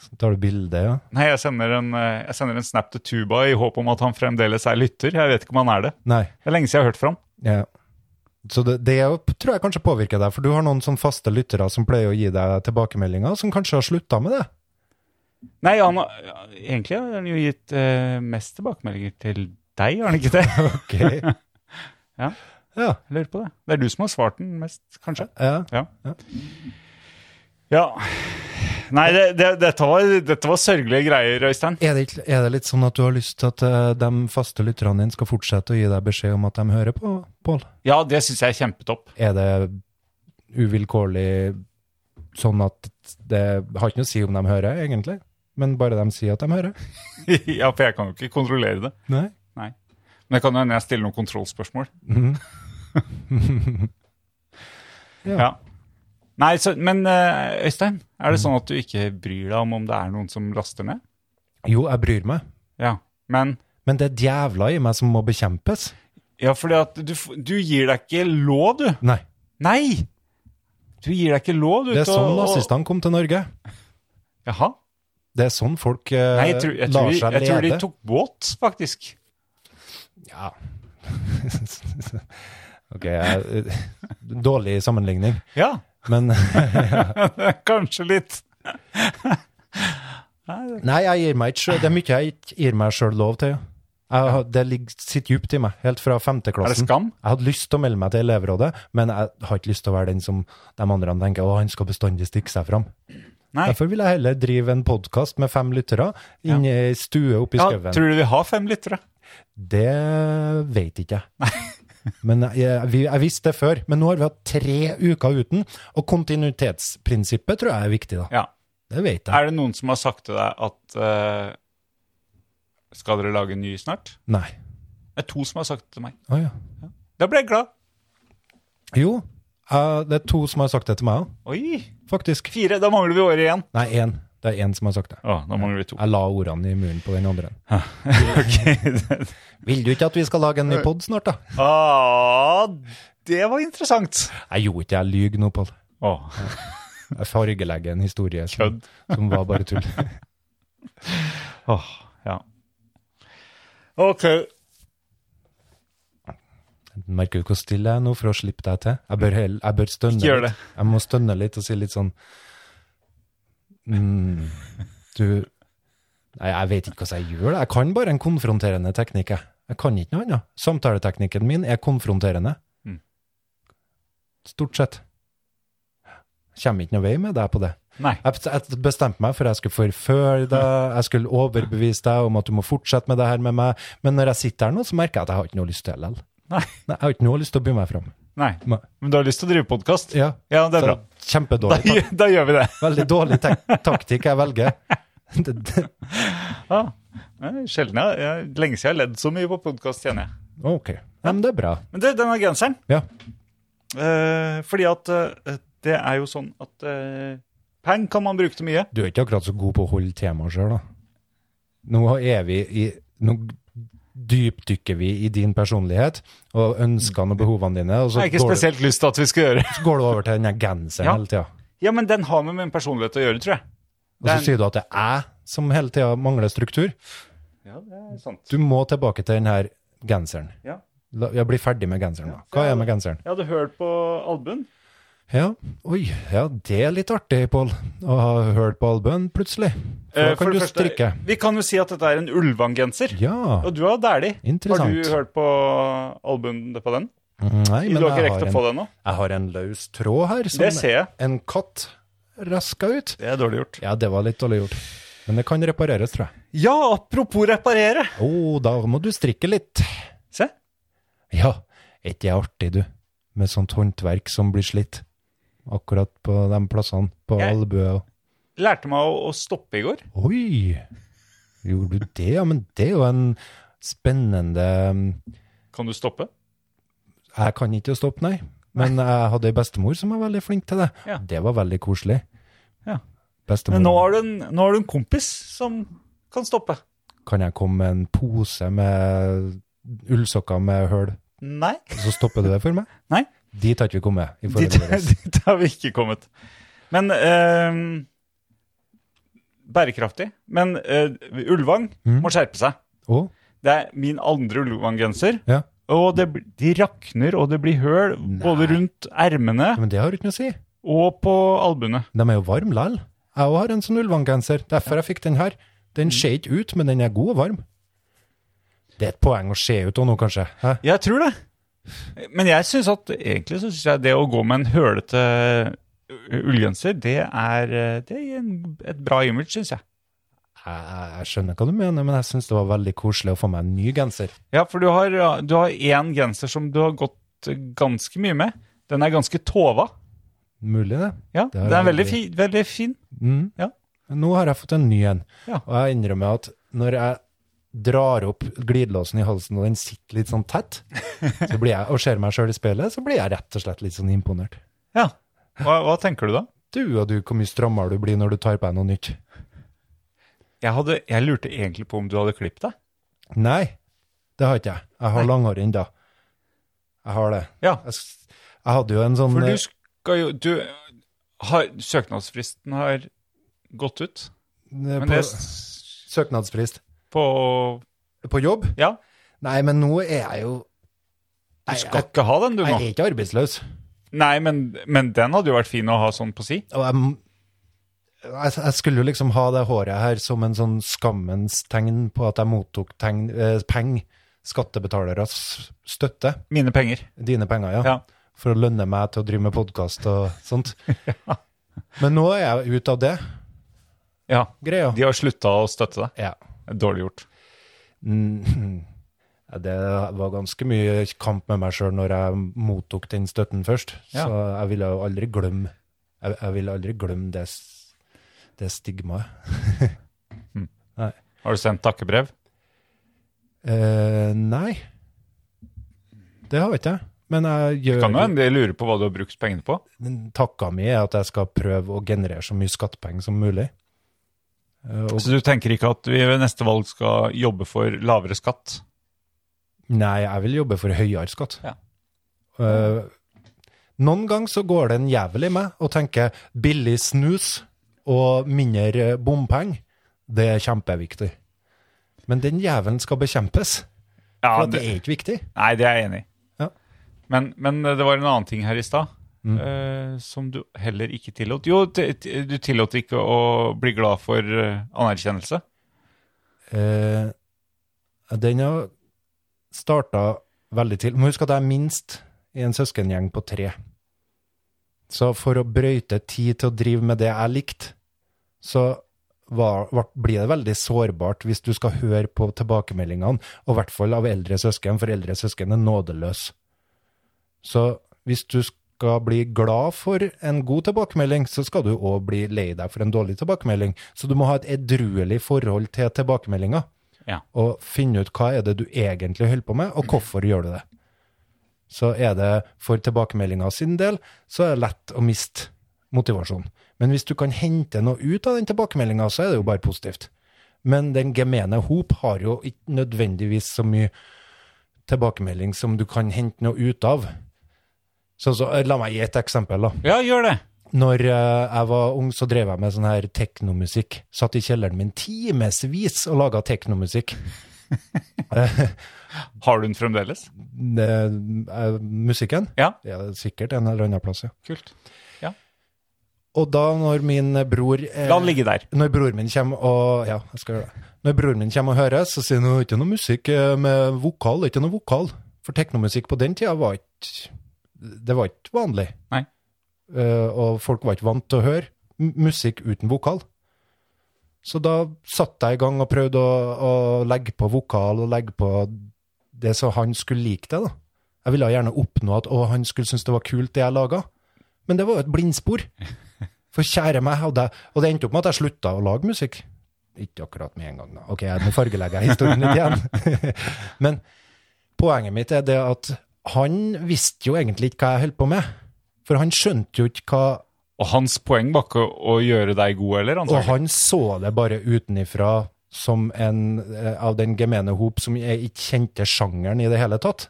Så tar du bilde, ja.
Nei, jeg sender, en, eh, jeg sender en snap til Tuba i håp om at han fremdeles er lytter. Jeg vet ikke om han er det.
Nei.
Det er lenge siden jeg har hørt fra ham.
Ja. Så det, det er jo- tror jeg kanskje påvirker deg, for du har noen sånn faste lyttere som pleier å gi deg tilbakemeldinger, som kanskje har slutta med *laughs* det.
Nei, han har, ja, egentlig har han jo gitt eh, mest tilbakemeldinger til deg, har han ikke det?
Ok.
Ja.
Ja.
Jeg lurer på det. Det er du som har svart den mest, kanskje?
ja.
Ja. Ja. Nei, det, det, dette, var, dette var sørgelige greier, Øystein.
Er, det, ikke- er det litt sånn at du har lyst til at eh, de faste lytterne dine skal fortsette å gi deg beskjed om at de hører på, Pål?
Ja, det syns jeg er kjempetopp.
Er det uvilkårlig sånn at det har ikke noe å si om de hører, egentlig? Men bare de sier at de hører?
*laughs* ja, for jeg kan jo ikke kontrollere det.
Nei.
Men det kan jo hende jeg stiller noen kontrollspørsmål.
Mhm.
*laughs* Ja. Nei, så, men eh, Øystein, er det sånn at du ikke bryr deg om om det er noen som laster ned?
Jo, jeg bryr meg,
Ja, men
men det er djevla i meg som må bekjempes.
Ja, fordi at du, f- du gir deg ikke lov, du.
Nei.
Nei! Du gir deg ikke lov, du.
Det er
til å-
sånn nazistene kom til Norge.
Jaha.
Det er sånn folk eh,
Nei, jeg tror, jeg, tror
lar
de,
seg
jeg tror de
lede.
tok båt, faktisk.
Ja. *laughs* ok, jeg, dårlig sammenligning,
Ja, *laughs*
men *laughs*
kanskje litt.
Nei, jeg gir meg ikke sjøl. Det er mye jeg ikke gir meg sjøl lov til. Jeg, har- det ligger, sitter djupt i meg, helt fra
Er det
femteklassen.
skam?
Jeg hadde lyst til å melde meg til elevrådet, men jeg har ikke lyst til å være den som de andre tenker å, han skal bestandig stikke seg fram.
Nei.
Derfor vil jeg heller drive en podkast med fem lyttere inne i ei stue oppe i
Ja,
skauen.
tror du vi har fem lyttere?
Det vet ikke jeg. Men jeg, vi- jeg visste det før. Men nå har vi hatt tre uker uten, og kontinuitetsprinsippet tror jeg er viktig, da.
Ja.
Det vet jeg.
Er det noen som har sagt til deg at eh, Skal dere lage en ny snart?
Nei.
Det er to som har sagt det til meg.
Å ja.
Da ble jeg glad.
Jo, eh, det er to som har sagt det til meg òg,
Oi!
faktisk.
Fire. Da mangler vi året igjen.
Nei, én. Det er én som har sagt det.
Å, da mangler vi to.
Jeg la ordene i munnen på den andre.
Ok. *laughs*
Vil du ikke at vi skal lage en ny pod snart, da?
ah, det var interessant.
Jeg gjorde ikke jeg lyver nå, Pål.
Åh.
Jeg fargelegger en historie som,
Kødd.
som var bare tull.
Åh, ja. Ok.
Merker du hvor stille jeg er nå for å slippe deg til? Jeg bør, hell- jeg bør stønne
Ikke gjør det.
litt. Jeg må stønne litt og si litt sånn mm, Du Nei, jeg vet ikke hva jeg gjør. da. Jeg kan bare en konfronterende teknikk. Jeg, jeg kan ikke noe annet. Samtaleteknikken min er konfronterende.
Mm.
Stort sett. Kommer ikke noe vei med deg på det.
Nei.
Jeg jeg bestemte meg for at jeg skulle forføre deg, jeg skulle overbevise deg om at du må fortsette med det her med meg, men når jeg sitter her nå, så merker jeg at jeg har ikke noe lyst til det likevel.
Nei.
Nei, jeg har ikke noe lyst til å by meg fram.
Nei.
Nei.
Men du har lyst til å drive podkast?
Ja,
Ja, det er
*laughs*
bra. Da,
Kjempedårlig.
gjør- da gjør vi det.
tak- Veldig dårlig tek taktikk jeg
*laughs*
velger. Det, det,
Ah, nei, sjelden jeg, jeg, lenge siden jeg har ledd så mye på podkast, kjenner jeg.
ok, ja, men det er bra.
Men du, denne genseren
Ja.
eh, Fordi at eh, det er jo sånn at eh, Peng kan man bruke til mye.
Du er ikke akkurat så god på å holde temaet sjøl, da. Nå er vi i Nå dypdykker vi i din personlighet og ønskene og behovene dine, og
Det
så
har jeg ikke
går du,
spesielt lyst til at vi skal gjøre. *laughs*
går du over til den her genseren
Ja.
hele tida.
Ja, men den har med min personlighet å gjøre, tror jeg.
Og så
Den-
sier du at det er jeg som hele tida mangler struktur.
Ja, det er sant.
Du må tilbake til den her genseren.
Ja.
La- Ja, bli ferdig med genseren, da. Hva er med genseren?
Jeg hadde hørt på albuen.
Ja, oi, ja, det er litt artig, Pål, å ha hørt på albuen plutselig. For da
Eh, for
kan
det
du
første,
strikke.
Vi kan jo si at dette er en Ulvang-genser.
Ja,
Og du har Dæhlie. Har
interessant.
du hørt på albumet på den?
Nei, men
du har ikke
jeg
rekt
har,
å
en,
få den nå?
jeg har en løs tråd her
Det
som
ser jeg.
en katt raska ut.
Det er dårlig gjort.
Ja, det var litt dårlig gjort. Men det kan repareres, tror jeg.
Ja, apropos reparere.
Å, da må du strikke litt.
Se.
Ja, er ikke det artig, du? Med sånt håndverk som blir slitt. Akkurat på de plassene. På
Jeg-
albue og
Lærte meg å, å stoppe i går.
Oi! Gjorde du det? Ja, men det er jo en spennende
Kan du stoppe?
Jeg kan ikke å stoppe, nei. Men jeg hadde ei bestemor som var veldig flink til det.
Ja.
Det var veldig koselig.
Ja.
Bestemor,
Men nå har, du en, nå har du en kompis som kan stoppe.
kan jeg komme med en pose med ullsokker med høl,
Nei,
så stopper du det for meg?
Nei.
Dit har ikke vi kommet. i
dit, *laughs*
forholdet vårt.
dit har vi ikke kommet. Men eh, Bærekraftig. Men eh, Ulvang
Mm.
må skjerpe seg.
Å?
Det er min andre Ulvang-genser.
Ja.
Og det, bl- de rakner, og det blir høl både rundt ermene
Ja, Men det har ikke noe å si.
og på albuene.
De er jo varme likevel. Jeg òg har en sånn ullvanngenser. Derfor jeg fikk den her. Den ser ikke ut, men den er god og varm. Det er et poeng å se ut òg nå, kanskje. Hæ?
Jeg tror det. Men jeg synes at egentlig så synes jeg det å gå med en hølete u- ullgenser, det er, eh, det er en, et bra image, synes jeg.
Jeg, jeg- jeg skjønner hva du mener, men jeg syns det var veldig koselig å få meg en ny genser.
Ja, for du har, du har en genser som du har gått ganske mye med. Den er ganske tova.
Mulig, det.
Ja,
Det er
den er veldig,
veldig-
fi, veldig fin.
Mm.
Ja.
Nå har jeg fått en ny en.
Ja.
Og jeg innrømmer at når jeg drar opp glidelåsen i halsen, og den sitter litt sånn tett, så blir jeg, og ser meg sjøl i speilet, så blir jeg rett og slett litt sånn imponert.
Ja. Hva, hva tenker du da?
Du og du, hvor mye strammere du blir når du tar på deg noe nytt.
Jeg, hadde, jeg lurte egentlig på om du hadde klippet deg.
Nei, det har ikke jeg. Jeg har
Nei.
langhår ennå. Jeg har det.
Ja,
Jeg, s- jeg hadde jo en sånn
for
eh,
du skal jo du, har, Søknadsfristen har gått ut.
eh, på,
Men det er s-
søknadsfrist
på
på jobb.
Ja.
Nei, men nå er jeg jo
Du
Nei,
skal ikke ha den, du
Jeg
nå.
er ikke arbeidsløs.
Nei, men, men den hadde jo vært fin å ha sånn på si.
Og jeg, m- jeg, jeg skulle jo liksom ha det håret her som en sånn skammens tegn på at jeg mottok tegn, eh, penger. Skattebetaleres støtte.
Mine penger.
Dine penger, ja.
Ja.
for å lønne meg til å drive med podkast og
*laughs*
sånt. Men nå er jeg ute av det
ja.
greia.
De har slutta å støtte deg.
Ja.
Dårlig gjort.
Mm. Ja, Det var ganske mye kamp med meg sjøl når jeg mottok den støtten først.
Ja.
Så jeg ville jo aldri glemme jeg, jeg ville aldri glemme det, s- det stigmaet.
Har du sendt takkebrev?
Eh, nei, det har jeg ikke. Men jeg gjør
Kan jo hende de lurer på hva du har brukt pengene på.
Men Takka mi er at jeg skal prøve å generere så mye skattepenger som mulig. Eh, og,
Så du tenker ikke at vi ved neste valg skal jobbe for lavere skatt?
nei, jeg vil jobbe for høyere skatt.
Ja.
Eh, noen ganger så går det en jævel i meg og tenker billig snus og mindre bompeng, det er kjempeviktig. Men den jævelen skal bekjempes,
Ja,
for at det
det,
er ikke viktig.
nei, det er jeg enig i.
Ja.
Men, men eh, det var en annen ting her i stad eh, som du heller ikke tillot. Jo, t- t- du tillot ikke å bli glad for eh, anerkjennelse.
Eh, den har starta veldig til. Må huske at jeg er minst i en søskengjeng på tre. Så for å brøyte tid til å drive med det jeg likte, så var, var, blir det veldig sårbart hvis du skal høre på tilbakemeldingene, og i hvert fall av eldre søsken, for eldre søsken er nådeløse. Så hvis du skal bli glad for en god tilbakemelding, så skal du òg bli lei deg for en dårlig tilbakemelding. Så du må ha et edruelig forhold til tilbakemeldinger,
Ja.
og finne ut hva er det du egentlig holder på med, og hvorfor gjør du det. Så er det for tilbakemeldinga sin del, så er det lett å miste motivasjon. Men hvis du kan hente noe ut av den tilbakemeldinga, så er det jo bare positivt. Men den gemene hop har jo ikke nødvendigvis så mye tilbakemelding som du kan hente noe ut av. Sånn så, la meg gi et eksempel, da.
Ja, gjør det!
Når eh, jeg var ung, så drev jeg med sånn her teknomusikk. Satt i kjelleren min timevis og laga teknomusikk.
Har du den fremdeles?
Eh, eh, musikken?
Ja.
Sikkert en eller annen plass, ja.
Kult.
Og da, når min bror eh,
La den ligge der.
når broren min kommer og Ja, jeg skal gjøre det. Når broren min kommer og hører, så sier han «Nå er det ikke noe musikk eh, med vokal. det er Ikke noe vokal. For teknomusikk på den tida var ikke Det var ikke vanlig.
Nei.
Eh, og folk var ikke vant til å høre m- musikk uten vokal. Så da satt jeg i gang og prøvde å, å legge på vokal og legge på det så han skulle like det. da. Jeg ville gjerne oppnå at å, han skulle synes det var kult det jeg laga. Men det var jo et blindspor. For kjære meg, hadde jeg, og det endte opp med at jeg slutta å lage musikk. Ikke akkurat med en gang, da. Ok, nå fargelegger jeg historien litt igjen. *laughs* Men poenget mitt er det at han visste jo egentlig ikke hva jeg holdt på med. For han skjønte jo ikke hva
Og hans poeng var ikke å gjøre deg god heller,
og
antagelig.
han så det bare utenifra som en eh, av den gemene hop som jeg ikke kjente sjangeren i det hele tatt.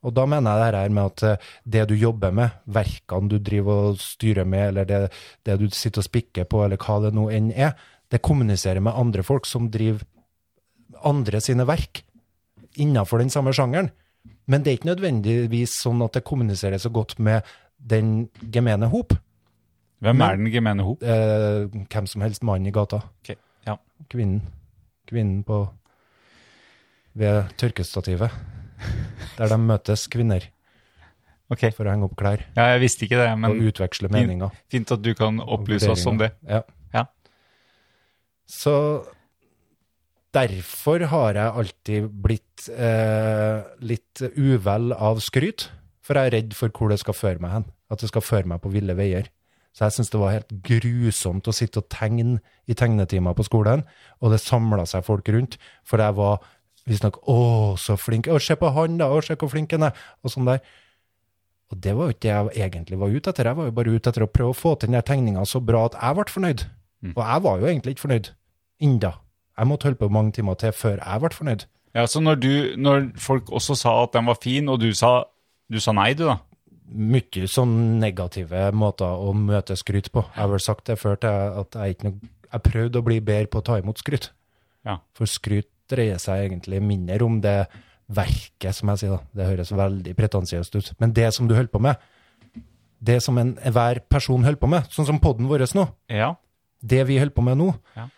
Og da mener jeg det her med at eh, det du jobber med, verkene du driver og styrer med, eller det, det du sitter og spikker på, eller hva det nå enn er, det kommuniserer med andre folk som driver andre sine verk innenfor den samme sjangeren. Men det er ikke nødvendigvis sånn at det kommuniserer så godt med den gemene hop.
Hvem er den gemene hop?
Eh, hvem som helst mann i gata
Ok, Ja.
kvinnen. Kvinnen på ved tørkestativet. Der de møtes, kvinner,
Ok.
for å henge opp klær
Ja, jeg visste ikke det, men
og utveksle meninger.
fint at du kan
og
opplyse oss om det.
vurderinger. Ja.
Ja.
Så derfor har jeg alltid blitt eh, litt uvel av skryt, for jeg er redd for hvor det skal føre meg hen. At det skal føre meg på ville veier. Så jeg syns det var helt grusomt å sitte og tegne i tegnetimer på skolen, og det samla seg folk rundt, for jeg var visstnok Å, så flink! Å, se på han, da! Å, se hvor flink han er! Og sånn der. Og det var jo ikke det jeg egentlig var ute etter. Jeg var jo bare ute etter å prøve å få til den tegninga så bra at jeg ble fornøyd. Og jeg var jo egentlig ikke fornøyd. Enda. Jeg måtte holde på mange timer til før jeg ble fornøyd.
Ja, Så når, du, når folk også sa at den var fin, og du sa, du sa nei, du, da?
Mye sånn negative måter å møte skryt på. Jeg har vel sagt det før til jeg- at jeg ikke noe Jeg prøvde å bli bedre på å ta imot skryt.
Ja.
For skryt dreier seg egentlig mindre om det verket, som jeg sier. da. Det høres veldig pretensiøst ut. Men det som du holder på med, det som en, hver person holder på med, sånn som podden vår nå,
Ja.
det vi holder på med nå.
Ja.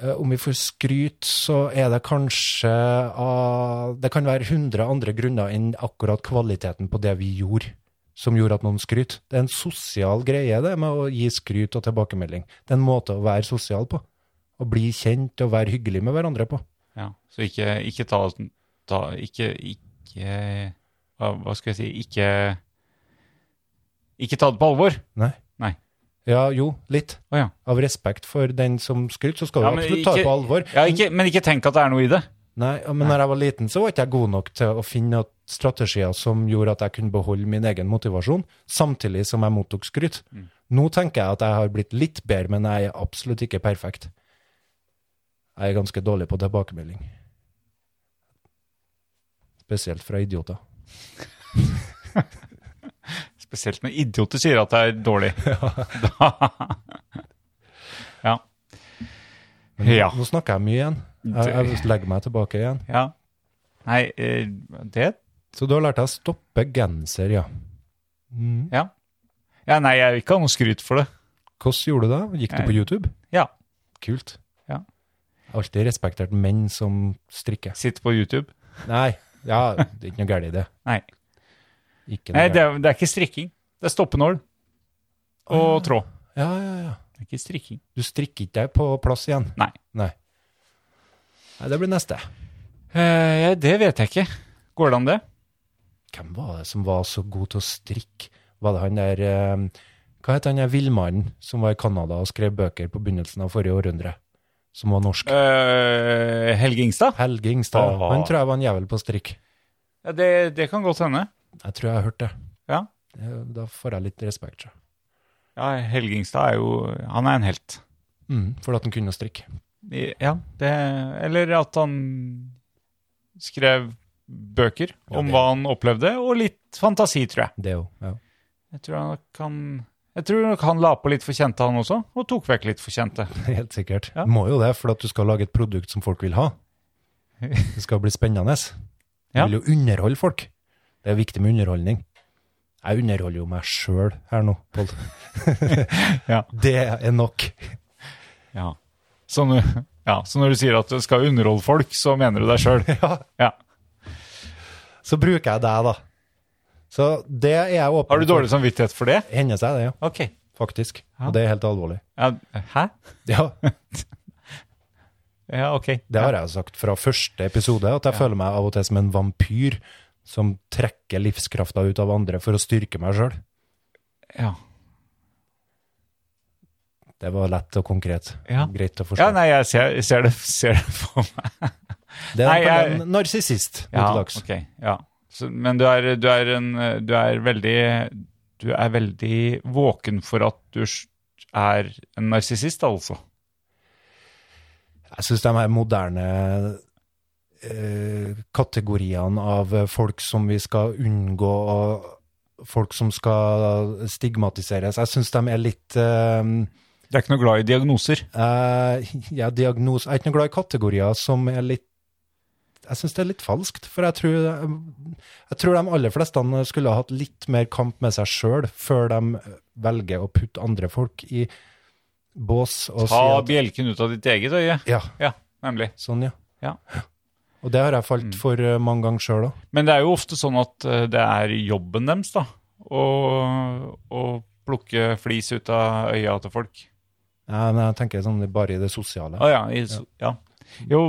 Eh, om vi får skryt, så er det kanskje av Det kan være 100 andre grunner enn akkurat kvaliteten på det vi gjorde, som gjorde at noen skryter. Det er en sosial greie, det med å gi skryt og tilbakemelding. Det er en måte å være sosial på. Å bli kjent og være hyggelig med hverandre på.
ja. Så ikke, ikke ta, ta Ikke, ikke hva, hva skal jeg si Ikke Ikke ta det på alvor.
Nei.
Nei.
Ja, jo, litt.
Å ja.
Av respekt for den som skryter, så skal
Ja,
du
men
absolutt ta
ikke-
det på alvor.
ja ikke, men ikke tenk at det er noe i det.
Nei, men når jeg var liten, så var ikke jeg god nok til å finne noen strategier som gjorde at jeg kunne beholde min egen motivasjon, samtidig som jeg mottok skryt. Nå tenker jeg at jeg har blitt litt bedre, men jeg er absolutt ikke perfekt. Jeg er ganske dårlig på tilbakemelding. Spesielt fra idioter.
Spesielt når idioter sier at det er *laughs* dårlig. Da- Ja. Ja.
Nå snakker jeg mye igjen. Jeg, jeg legger meg tilbake igjen.
ja. Nei, eh, det
Så du har lært deg å stoppe genser, ja.
Ja. ja. Nei, jeg vil ikke ha noe skryt for det.
Hvordan gjorde du det? Gikk du på YouTube?
Ja.
Kult.
Ja.
Jeg har alltid respektert menn som strikker.
Sitte på YouTube.
Nei, ja, det er ikke noe galt i det.
Nei.
Ikke noe
Nei, det
galt.
er, det er ikke strikking. Det er stoppenål og tråd.
Ja, ja, ja.
Det er ikke strikking.
Du strikker ikke deg på plass igjen?
Nei.
Nei. Nei, det blir neste.
Eh, det vet jeg ikke. Går det an, det?
Hvem var det som var så god til å strikke? Var det han der eh, Hva het han der villmannen som var i Canada og skrev bøker på begynnelsen av forrige århundre? Som var norsk?
Eh, Helge Ingstad?
Helge Ingstad.
Åh.
Han tror jeg var en jævel på strikk.
Ja, det, det kan godt hende.
Jeg tror jeg har hørt det.
Ja.
Eh, Da får jeg litt respekt, tror jeg.
ja Helge Ingstad er jo Han er en helt.
Mm, for at han kunne strikke.
I- Ja, det Eller at han skrev bøker
Ja,
om
det-
hva han opplevde, og litt fantasi, tror jeg.
Det òg. Ja.
Jeg tror han kan jeg tror nok han la på litt for kjente, han også, og tok vekk litt for kjente.
*laughs* Helt sikkert.
Ja.
Må jo det, for at du skal lage et produkt som folk vil
*laughs*
ha. Det skal bli spennende. Du
Ja.
vil jo underholde folk. Det er viktig med underholdning. Jeg underholder jo meg sjøl her nå, Pål.
*laughs* Ja.
Det er nok.
Ja. Så, nå- ja, så når du sier at du skal underholde folk, så mener du deg sjøl?
Ja.
*laughs* Ja.
Så bruker jeg deg, da. Så det er jeg åpen
Har du dårlig samvittighet for det?
for. Hender seg det, ja.
Ok.
Faktisk.
Ja.
Og det er helt alvorlig.
Ja, hæ?
Ja.
Ja, ok.
Det har jeg sagt fra første episode, at jeg føler meg av og til som en vampyr som trekker livskrafta ut av andre for å styrke meg sjøl.
Ja.
Det var lett og konkret.
Ja.
Greit å forstå.
ja, nei, jeg ser, jeg ser, det, ser det for meg.
det er
nei,
nok
jeg-
en narsissist ja,
Ja,
dags.
ok. Ja. Så, men du er, du, er en, eh, du er veldig Du er veldig våken for at du s- er en narsissist, altså.
Jeg syns de her moderne eh, kategoriene av eh, folk som vi skal unngå, og folk som skal stigmatiseres, jeg syns de er litt eh,
Du er ikke noe glad i diagnoser.
Eh, ja, diagnos Jeg er ikke noe glad i kategorier som er litt Jeg syns det er litt falskt, for jeg tror, eh, jeg tror de aller fleste skulle ha hatt litt mer kamp med seg sjøl før de eh, velger å putte andre folk i bås og
Ta
si
bjelken ut av ditt eget øye.
at Ja,
Ja, nemlig.
sånn, ja.
Ja. Mm.
Og det har jeg falt for eh, mange ganger sjøl òg.
Men det er jo ofte sånn at eh, det er jobben deres, da. Å å plukke flis ut av øya til folk.
Men jeg tenker sånn bare i det sosiale.
Å ja, i, so- ja. Jo,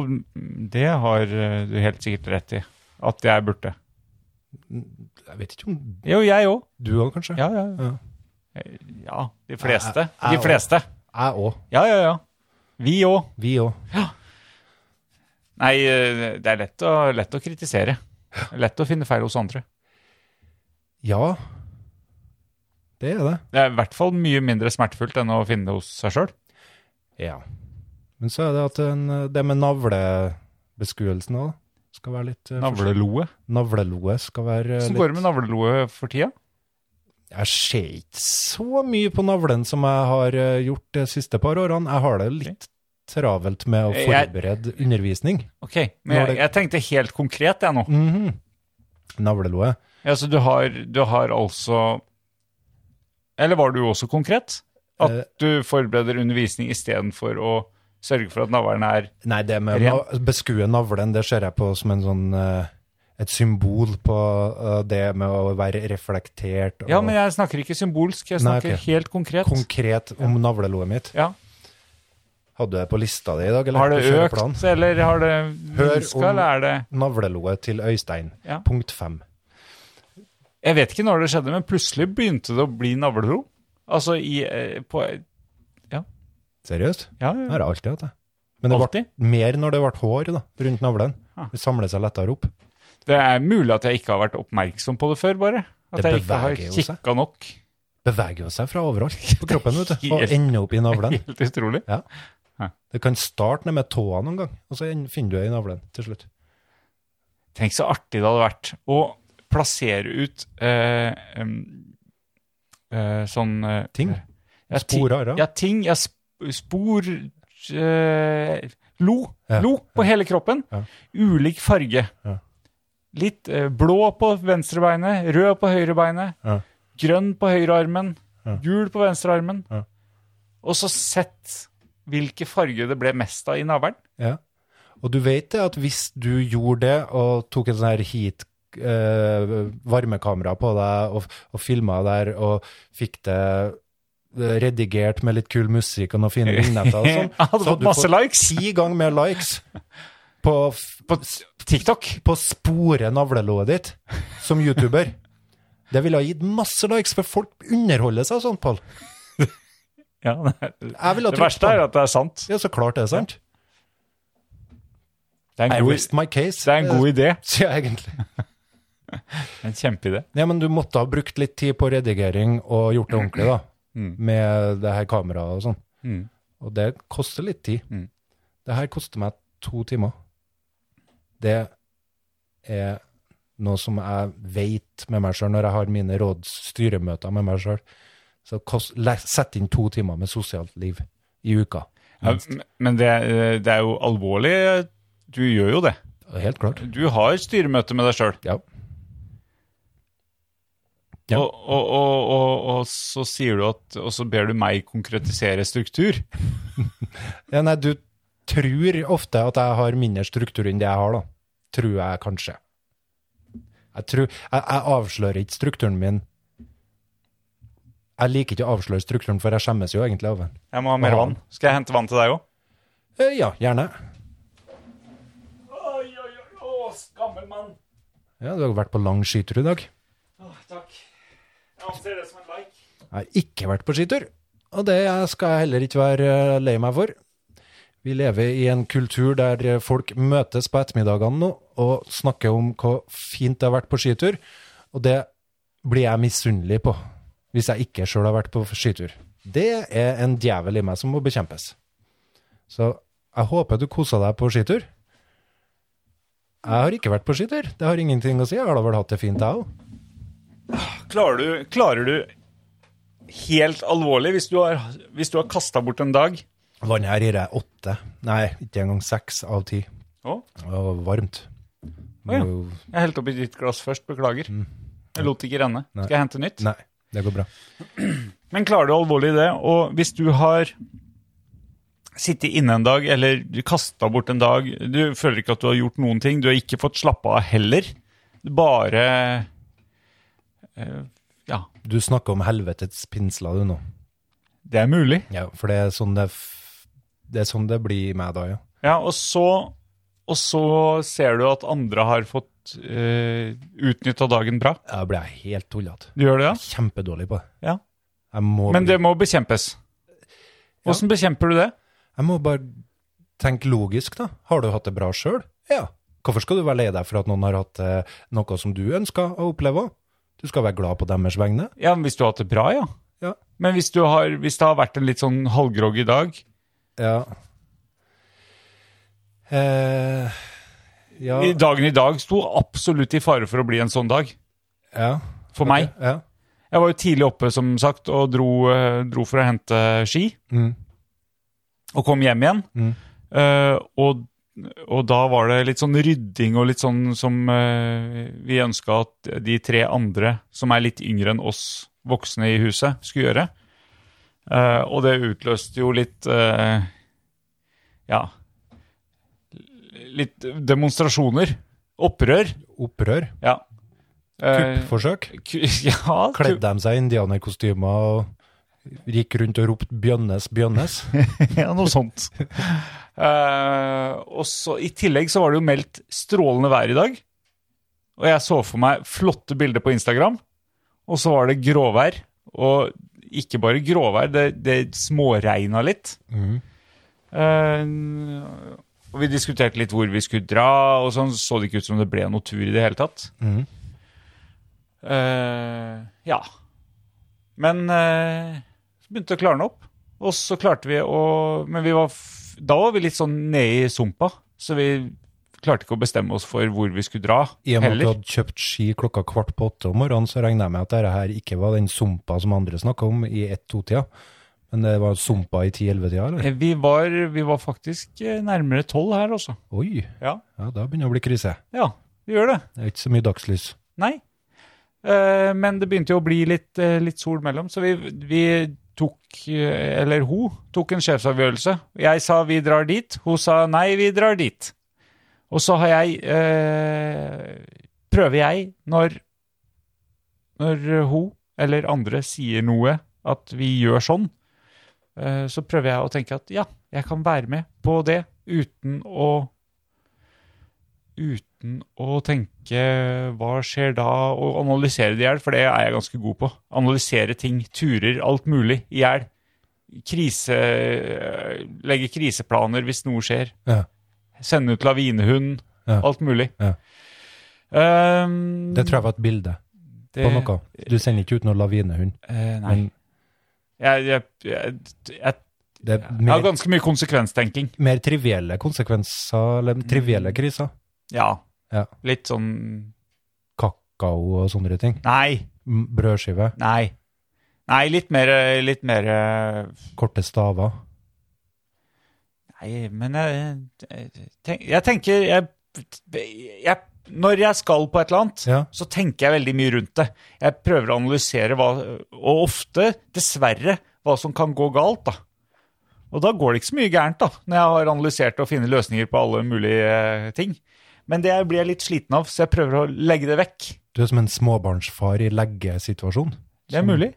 det har eh, du helt sikkert rett i. At jeg burde.
Jeg vet ikke om
Jo, jeg òg.
du òg, kanskje?
Ja, ja, ja. Eh,
Ja.
ja, de fleste.
Jeg- jeg
De fleste.
Jeg òg.
Ja, ja, ja. Vi òg.
Vi òg.
Nei, eh, det er lett å, lett å kritisere. Lett å finne feil hos andre.
Ja. Det er det.
Det er i hvert fall mye mindre smertefullt enn å finne det hos seg sjøl.
Ja. Men så er det at en, det med navlebeskuelsen òg skal være litt eh, forsiktig.
Navleloe.
Navleloet skal være eh,
Hvordan
litt
går det med navleloe for tida?
Jeg ser ikke så mye på navlen som jeg har eh, gjort de siste par årene. Jeg har det litt travelt med å
Jeg-
forberede undervisning.
Ok, men
Når
jeg,
det-
jeg tenkte helt konkret jeg nå.
Mhm. Navleloet.
Ja, så du har, du har altså Eller var du også konkret? At
Eh.
du forbereder undervisning istedenfor å sørge for at navlen er
Nei, det med
Ren.
å na- beskue navlen, det ser jeg på som en sånn eh, et symbol på eh, det med å være reflektert og
Ja, men jeg snakker ikke symbolsk, jeg
Nei,
snakker
ok.
helt konkret.
konkret om navleloet mitt.
ja.
Hadde du det på lista di i dag? eller
Har det
på kjøreplanen?
økt, eller har det
Hør
minska,
om-
eller er det
Navleloet til Øystein.
Ja.
Punkt fem.
Jeg vet ikke når det skjedde, men plutselig begynte det å bli navlelo. Altså i eh, på,
Seriøst?
Ja,
Det
ja.
har jeg alltid hatt, jeg. Men det
Alltid?
ble mer når det ble hår da, rundt navlen.
Ah.
Det samler seg lettere opp.
Det er mulig at jeg ikke har vært oppmerksom på det før, bare. At
Det
jeg ikke har
beveger jo seg.
kikka nok.
Beveger jo seg fra overalt *laughs* på kroppen vet du,
Helt-
og ender opp
*laughs*
i navlen.
Helt utrolig.
Det kan starte ned med tåa noen gang, og så en- finner du det i navlen til slutt.
Tenk så artig det hadde vært å plassere ut eh, em, eh, sånn eh,
Ting?
Ja, ti-
Sporer, ja.
Ja, ting. Ja, sp spor eh, Lo.
Ja,
Lo på hele kroppen.
Ja.
Ulik farge.
Ja.
Litt eh, blå på venstrebeinet, rød på høyrebeinet,
Ja.
grønn på høyrearmen,
Ja.
gul på venstrearmen.
Ja.
Og så sett hvilke farger det ble mest av i navlen.
Ja. Og du vet det at hvis du gjorde det og tok en sånn her heat eh, varmekamera på deg og, og filma der og fikk det eh, redigert med litt kul musikk og noen
*laughs*
fine vignetter og sånn,
Jeg hadde fått masse likes.
ti ganger mer likes på, f-
På TikTok.
på å spore navlelået ditt som YouTuber. Det ville ha gitt masse likes, for folk underholder seg sånn, Pål.
Ja, det,
Jeg ville ha
det
trodd
verste
på
er
det.
at det er sant.
Ja, så klart det er sant.
Det er
I
en god,
rest my case.
det er
*laughs*
en god idé.
Sier jeg egentlig.
En kjempeidé.
Ja, men du måtte ha brukt litt tid på redigering og gjort det ordentlig,
*clears throat*
da. Med det her kameraet og sånn.
Mm.
Og det koster litt tid.
Mm.
Det her koster meg to timer. Det er noe som jeg vet med meg sjøl når jeg har mine rådsstyremøter med meg sjøl. Så kost, le- sett inn to timer med sosialt liv i uka.
Ja, m- men det, eh, det er jo alvorlig. Du gjør jo det.
Helt klart.
Du har styremøte med deg sjøl.
Ja. Ja.
Og, og, og, og, og så sier du at Og så ber du meg konkretisere struktur.
ja. Nei, du tror ofte at jeg har mindre struktur enn det jeg har, da. Tror jeg kanskje. Jeg, tror, jeg, jeg avslører ikke strukturen min. Jeg liker ikke å avsløre strukturen, for jeg skjemmes jo egentlig over den.
Jeg må ha mer vann. Skal jeg hente vann til deg òg?
Eh, Ja, gjerne.
gammel mann.
Ja, du har vært på lang skitur i dag.
takk. Jeg anser det som en like.
Jeg har ikke vært på skitur, og det skal jeg heller ikke være eh, lei meg for. Vi lever i en kultur der eh, folk møtes på ettermiddagene nå og snakker om hvor fint det har vært på skitur, og det blir jeg misunnelig på hvis jeg ikke sjøl har vært på skitur. Det er en djevel i meg som må bekjempes. Så jeg håper du kosa deg på skitur. Jeg har ikke vært på skitur. Det har ingenting å si. Jeg har da vel hatt det fint, jeg òg.
Klarer du, klarer du helt alvorlig, hvis du har, hvis du har kasta bort en dag
Vannet her gir jeg åtte. Nei, ikke engang seks av ti.
Å,
Det var varmt.
Å ja.
Jo,
jeg helte oppi ditt glass først, beklager. Jeg lot det ikke renne.
Mm. Nei.
Skal jeg hente nytt?
Nei, det går bra.
Men klarer du alvorlig det? Og hvis du har sittet inne en dag, eller du kasta bort en dag, du føler ikke at du har gjort noen ting, du har ikke fått slappa av heller, du bare eh, Ja,
Du snakker om helvetets pinsler, du nå.
det er mulig.
Ja, for det er sånn det, f- det, er sånn det blir med da, ja.
Ja, og så, og så ser du at andre har fått eh, utnytta dagen bra.
Da blir jeg helt tullete.
Du gjør det, ja?
Kjempedårlig på det.
ja.
Jeg må,
Men
bli-
det må bekjempes. Åssen bekjemper du det?
jeg må bare tenke logisk, da. Har du hatt det bra sjøl? Ja. Hvorfor skal du være lei deg for at noen har hatt eh, noe som du ønsker å oppleve òg? Du skal være glad på deres vegne.
Ja, men Hvis du har hatt det bra, ja.
Ja.
Men hvis, du har, hvis det har vært en litt sånn halvgroggy dag,
Ja. Eh, ja.
I- Dagen i dag sto absolutt i fare for å bli en sånn dag.
ja.
For meg.
Ja.
Jeg var jo tidlig oppe, som sagt, og dro, eh, dro for å hente ski.
Mm.
Og kom hjem igjen.
Mm.
Eh, og, og da var det litt sånn rydding og litt sånn som eh, vi ønska at de tre andre, som er litt yngre enn oss voksne i huset, skulle gjøre. Eh, og det utløste jo litt eh, Ja. Litt demonstrasjoner. Opprør.
Opprør.
Ja. Eh,
Kuppforsøk.
ku- *laughs* ja, ku-
Kledde de seg i indianerkostymer og gikk rundt og ropte 'Bjønnes, Bjønnes'?
ja, noe sånt. *laughs* Eh, og så, I tillegg så var det jo meldt strålende vær i dag. Og jeg så for meg flotte bilder på Instagram. Og så var det gråvær. Og ikke bare gråvær, det, det småregna litt.
Mm.
Eh, og vi diskuterte litt hvor vi skulle dra, og sånn så det ikke ut som det ble noe tur i det hele tatt.
Mhm.
Eh, ja. Men eh, så begynte det å klarne opp. Og så klarte vi å Men vi var, f- da var vi litt sånn nede i sumpa, så vi klarte ikke å bestemme oss for hvor vi skulle dra
I og med at du
heller.
hadde kjøpt ski klokka kvart på åtte om morgenen, så regner jeg med at dette her ikke var den sumpa som andre snakka om i ett-to-tida, men det var sumpa i ti-elleve-tida, eller?
Eh, Vi var, vi var faktisk eh, nærmere tolv her også.
Oi,
Ja.
ja, da begynner det å bli krise.
ja, vi gjør det.
Det er ikke så mye dagslys.
Nei. Eh, men det begynte jo å bli litt, eh, litt sol mellom, så vi, vi tok eh, Eller hun tok en sjefsavgjørelse. Jeg sa vi drar dit, hun sa nei, vi drar dit. Og så har jeg eh, Prøver jeg, når, når hun eller andre sier noe, at vi gjør sånn, eh, så prøver jeg å tenke at ja, jeg kan være med på det uten å uten å tenke hva skjer da, og analysere det i hjel, for det er jeg ganske god på. Analysere ting, turer, alt mulig i hjel. Krise, eh, legge kriseplaner hvis noe skjer.
Ja.
Sende ut lavinehund,
Ja.
alt mulig.
Ja.
Ehm,
Det tror jeg var et bilde på
det-
noe. Du sender ikke ut noen lavinehund,
eh, Mm. nei.
men
Jeg, jeg, jeg, jeg,
det er
jeg har
mer,
ganske mye konsekvenstenking.
mer trivielle konsekvenser, eller
Mm.
trivielle kriser.
Ja.
Ja.
Litt sånn
Kakao og sånne ting.
Nei,
M- Brødskive,
nei. Nei, litt mer, litt mer
korte staver.
Nei, men jeg, tenk, jeg tenker jeg, jeg, Når jeg skal på et eller annet,
Ja.
så tenker jeg veldig mye rundt det. Jeg prøver å analysere hva Og ofte, dessverre, hva som kan gå galt, da. Og da går det ikke så mye gærent, da, når jeg har analysert og funnet løsninger på alle mulige eh, ting. Men det blir jeg litt sliten av, så jeg prøver å legge det vekk.
Du er som en småbarnsfar i leggesituasjon.
Det er mulig.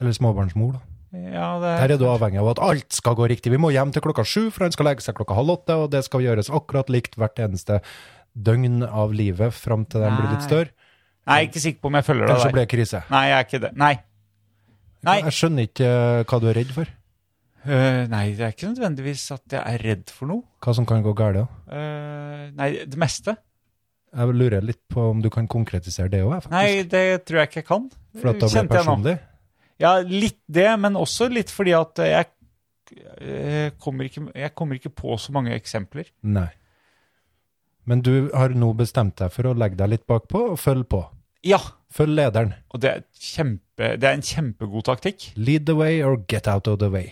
Eller småbarnsmor, da.
Ja, det,
Her er du avhengig av at alt skal gå riktig. Vi må hjem til klokka sju, for han skal legge seg klokka halv åtte, og det skal gjøres akkurat likt hvert eneste døgn av livet fram til de blir litt
Nei.
større.
Nei, jeg er ikke sikker på om jeg følger deg
Kanskje
der.
blir det krise.
Nei, jeg er ikke det. Nei. Nei.
Jeg skjønner ikke eh, hva du er redd for.
Øh, nei, det er ikke nødvendigvis at jeg er redd for noe.
Hva som kan gå galt. da.
Øh, nei, det meste.
Jeg lurer litt på om du kan konkretisere det òg, faktisk.
Nei, det tror jeg ikke jeg kan.
For at det blir personlig.
Ja, litt det, men også litt fordi at jeg, eh, kommer ikke, jeg kommer ikke på så mange eksempler.
Nei. Men du har nå bestemt deg for å legge deg litt bakpå og følge på.
Ja,
Følg lederen.
og det er, kjempe, det er en kjempegod taktikk.
Lead the way or get out of the way.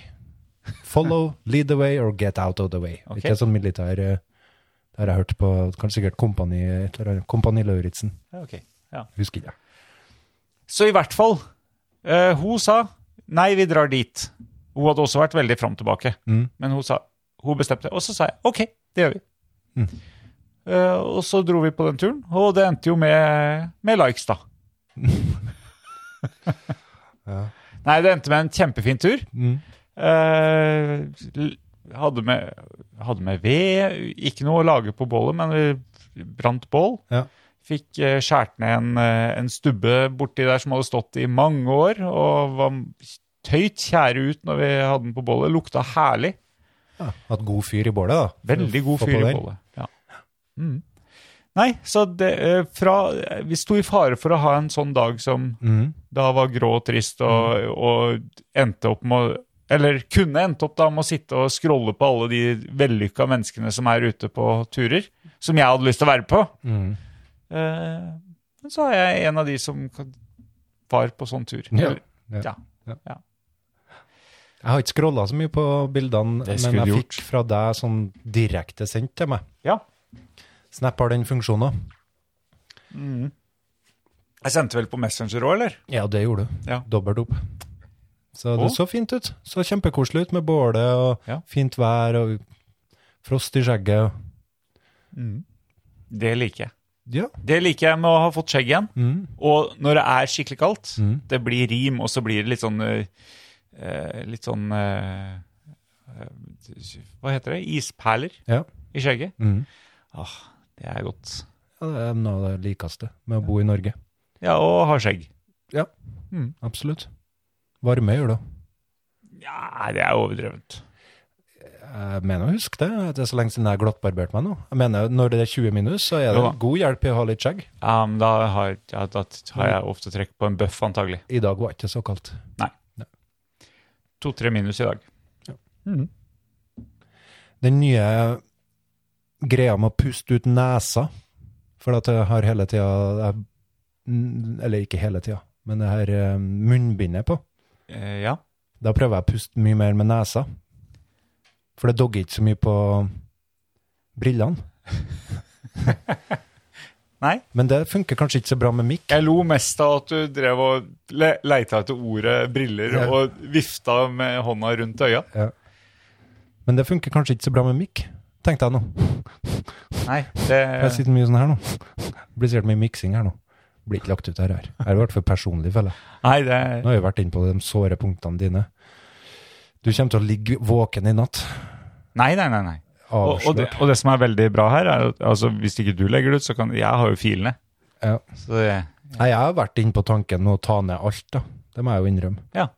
Follow, lead the way or get out of the way.
Ok.
Ikke sånn militær eh, Det har jeg hørt på kanskje sikkert Kompani, et eller annet- kompani Lauritzen.
Ja, ok.
Husker ikke.
Så i hvert fall, eh, hun sa nei, vi drar dit. Hun hadde også vært veldig fram tilbake,
Mm.
men hun, sa, hun bestemte. Og så sa jeg ok, det gjør vi. Eh, og så dro vi på den turen, og det endte jo med, med likes, *laughs* da. Nei, det endte med en kjempefin tur.
Mm.
Eh, l- hadde, med, hadde med ved, ikke noe å lage på bålet, men vi brant bål.
Ja.
Fikk eh, skjært ned en, eh, en stubbe borti der som hadde stått i mange år, og var tøyt tjære ut når vi hadde den på bålet. Lukta herlig.
Ja, hatt god fyr i bålet, da.
Veldig god
Få på
fyr i
den.
bålet. Ja. Mm. Nei, så det, eh, fra, vi sto i fare for å ha en sånn dag som
Mm.
da var grå og trist og, og endte opp med å Eller kunne endt opp da med å sitte og scrolle på alle de vellykka menneskene som er ute på turer, som jeg hadde lyst til å være på.
Mm.
Eh, Men så er jeg en av de som kan- var på sånn tur.
Ja.
Eller-
Ja.
ja.
Jeg har ikke scrolla så mye på bildene,
Det
men
skulle du
jeg
gjort.
fikk fra deg sånn direkte sendt til meg.
ja.
Snap har den funksjonen.
Jeg sendte vel på Messenger òg, eller?
Ja, det gjorde du.
Ja.
Dobbelt opp. Så det
Å.
så fint ut. Så kjempekoselig ut med bålet og
Ja.
fint vær og frost i skjegget.
Det liker jeg.
Ja.
Det liker jeg med å ha fått skjegg igjen.
Mm.
Og når det er skikkelig kaldt,
Mm.
det blir rim, og så blir det litt sånn eh, eh, Litt sånn eh, eh, Hva heter det? Isperler
Ja.
i skjegget.
Mm.
Ah, det er godt.
ja. Det er noe av det likeste med å bo i Norge.
Ja, og ha skjegg.
Absolutt. Varme gjør det.
Ja, det er overdrevent.
Jeg mener å huske det. at Det er så lenge siden jeg har glattbarbert meg nå. Jeg mener, Når det er 20 minus, så er det
Jo da.
god hjelp i å ha litt skjegg.
Ja, men da har, ja, da har jeg ofte trekk på en bøff, antagelig.
I dag var det ikke så kaldt.
To-tre minus i dag.
den nye greia med å puste ut nesa. For at jeg har hele tida jeg- n- Eller ikke hele tida, men det her eh, munnbindet på.
Eh, ja.
Da prøver jeg å puste mye mer med nesa. For det dogger ikke så mye på brillene.
*laughs* Nei.
Men det funker kanskje ikke så bra med mikk.
Jeg lo mest av at du drev og le leita etter ordet 'briller'
Ja.
og vifta med hånda rundt øya.
Men det funker kanskje ikke så bra med mikk, tenkte jeg nå.
Nei, det
Jeg sitter mye sånn her nå. *laughs* Det blir sikkert mye miksing her nå. Blir ikke lagt ut her. her. Her har vært for personlig, føler jeg.
Nei, det
Nå har vi vært inne på de såre punktene dine. Du kommer til å ligge våken i natt.
Nei, nei, nei. nei. Og, og, det,
Avslørt.
og det som er veldig bra her, er at altså, hvis ikke du legger det ut, så kan Jeg har jo filene.
Ja.
Så det,
Nei, jeg har vært inne på tanken med å ta ned alt, da. Det må jeg jo innrømme.
ja.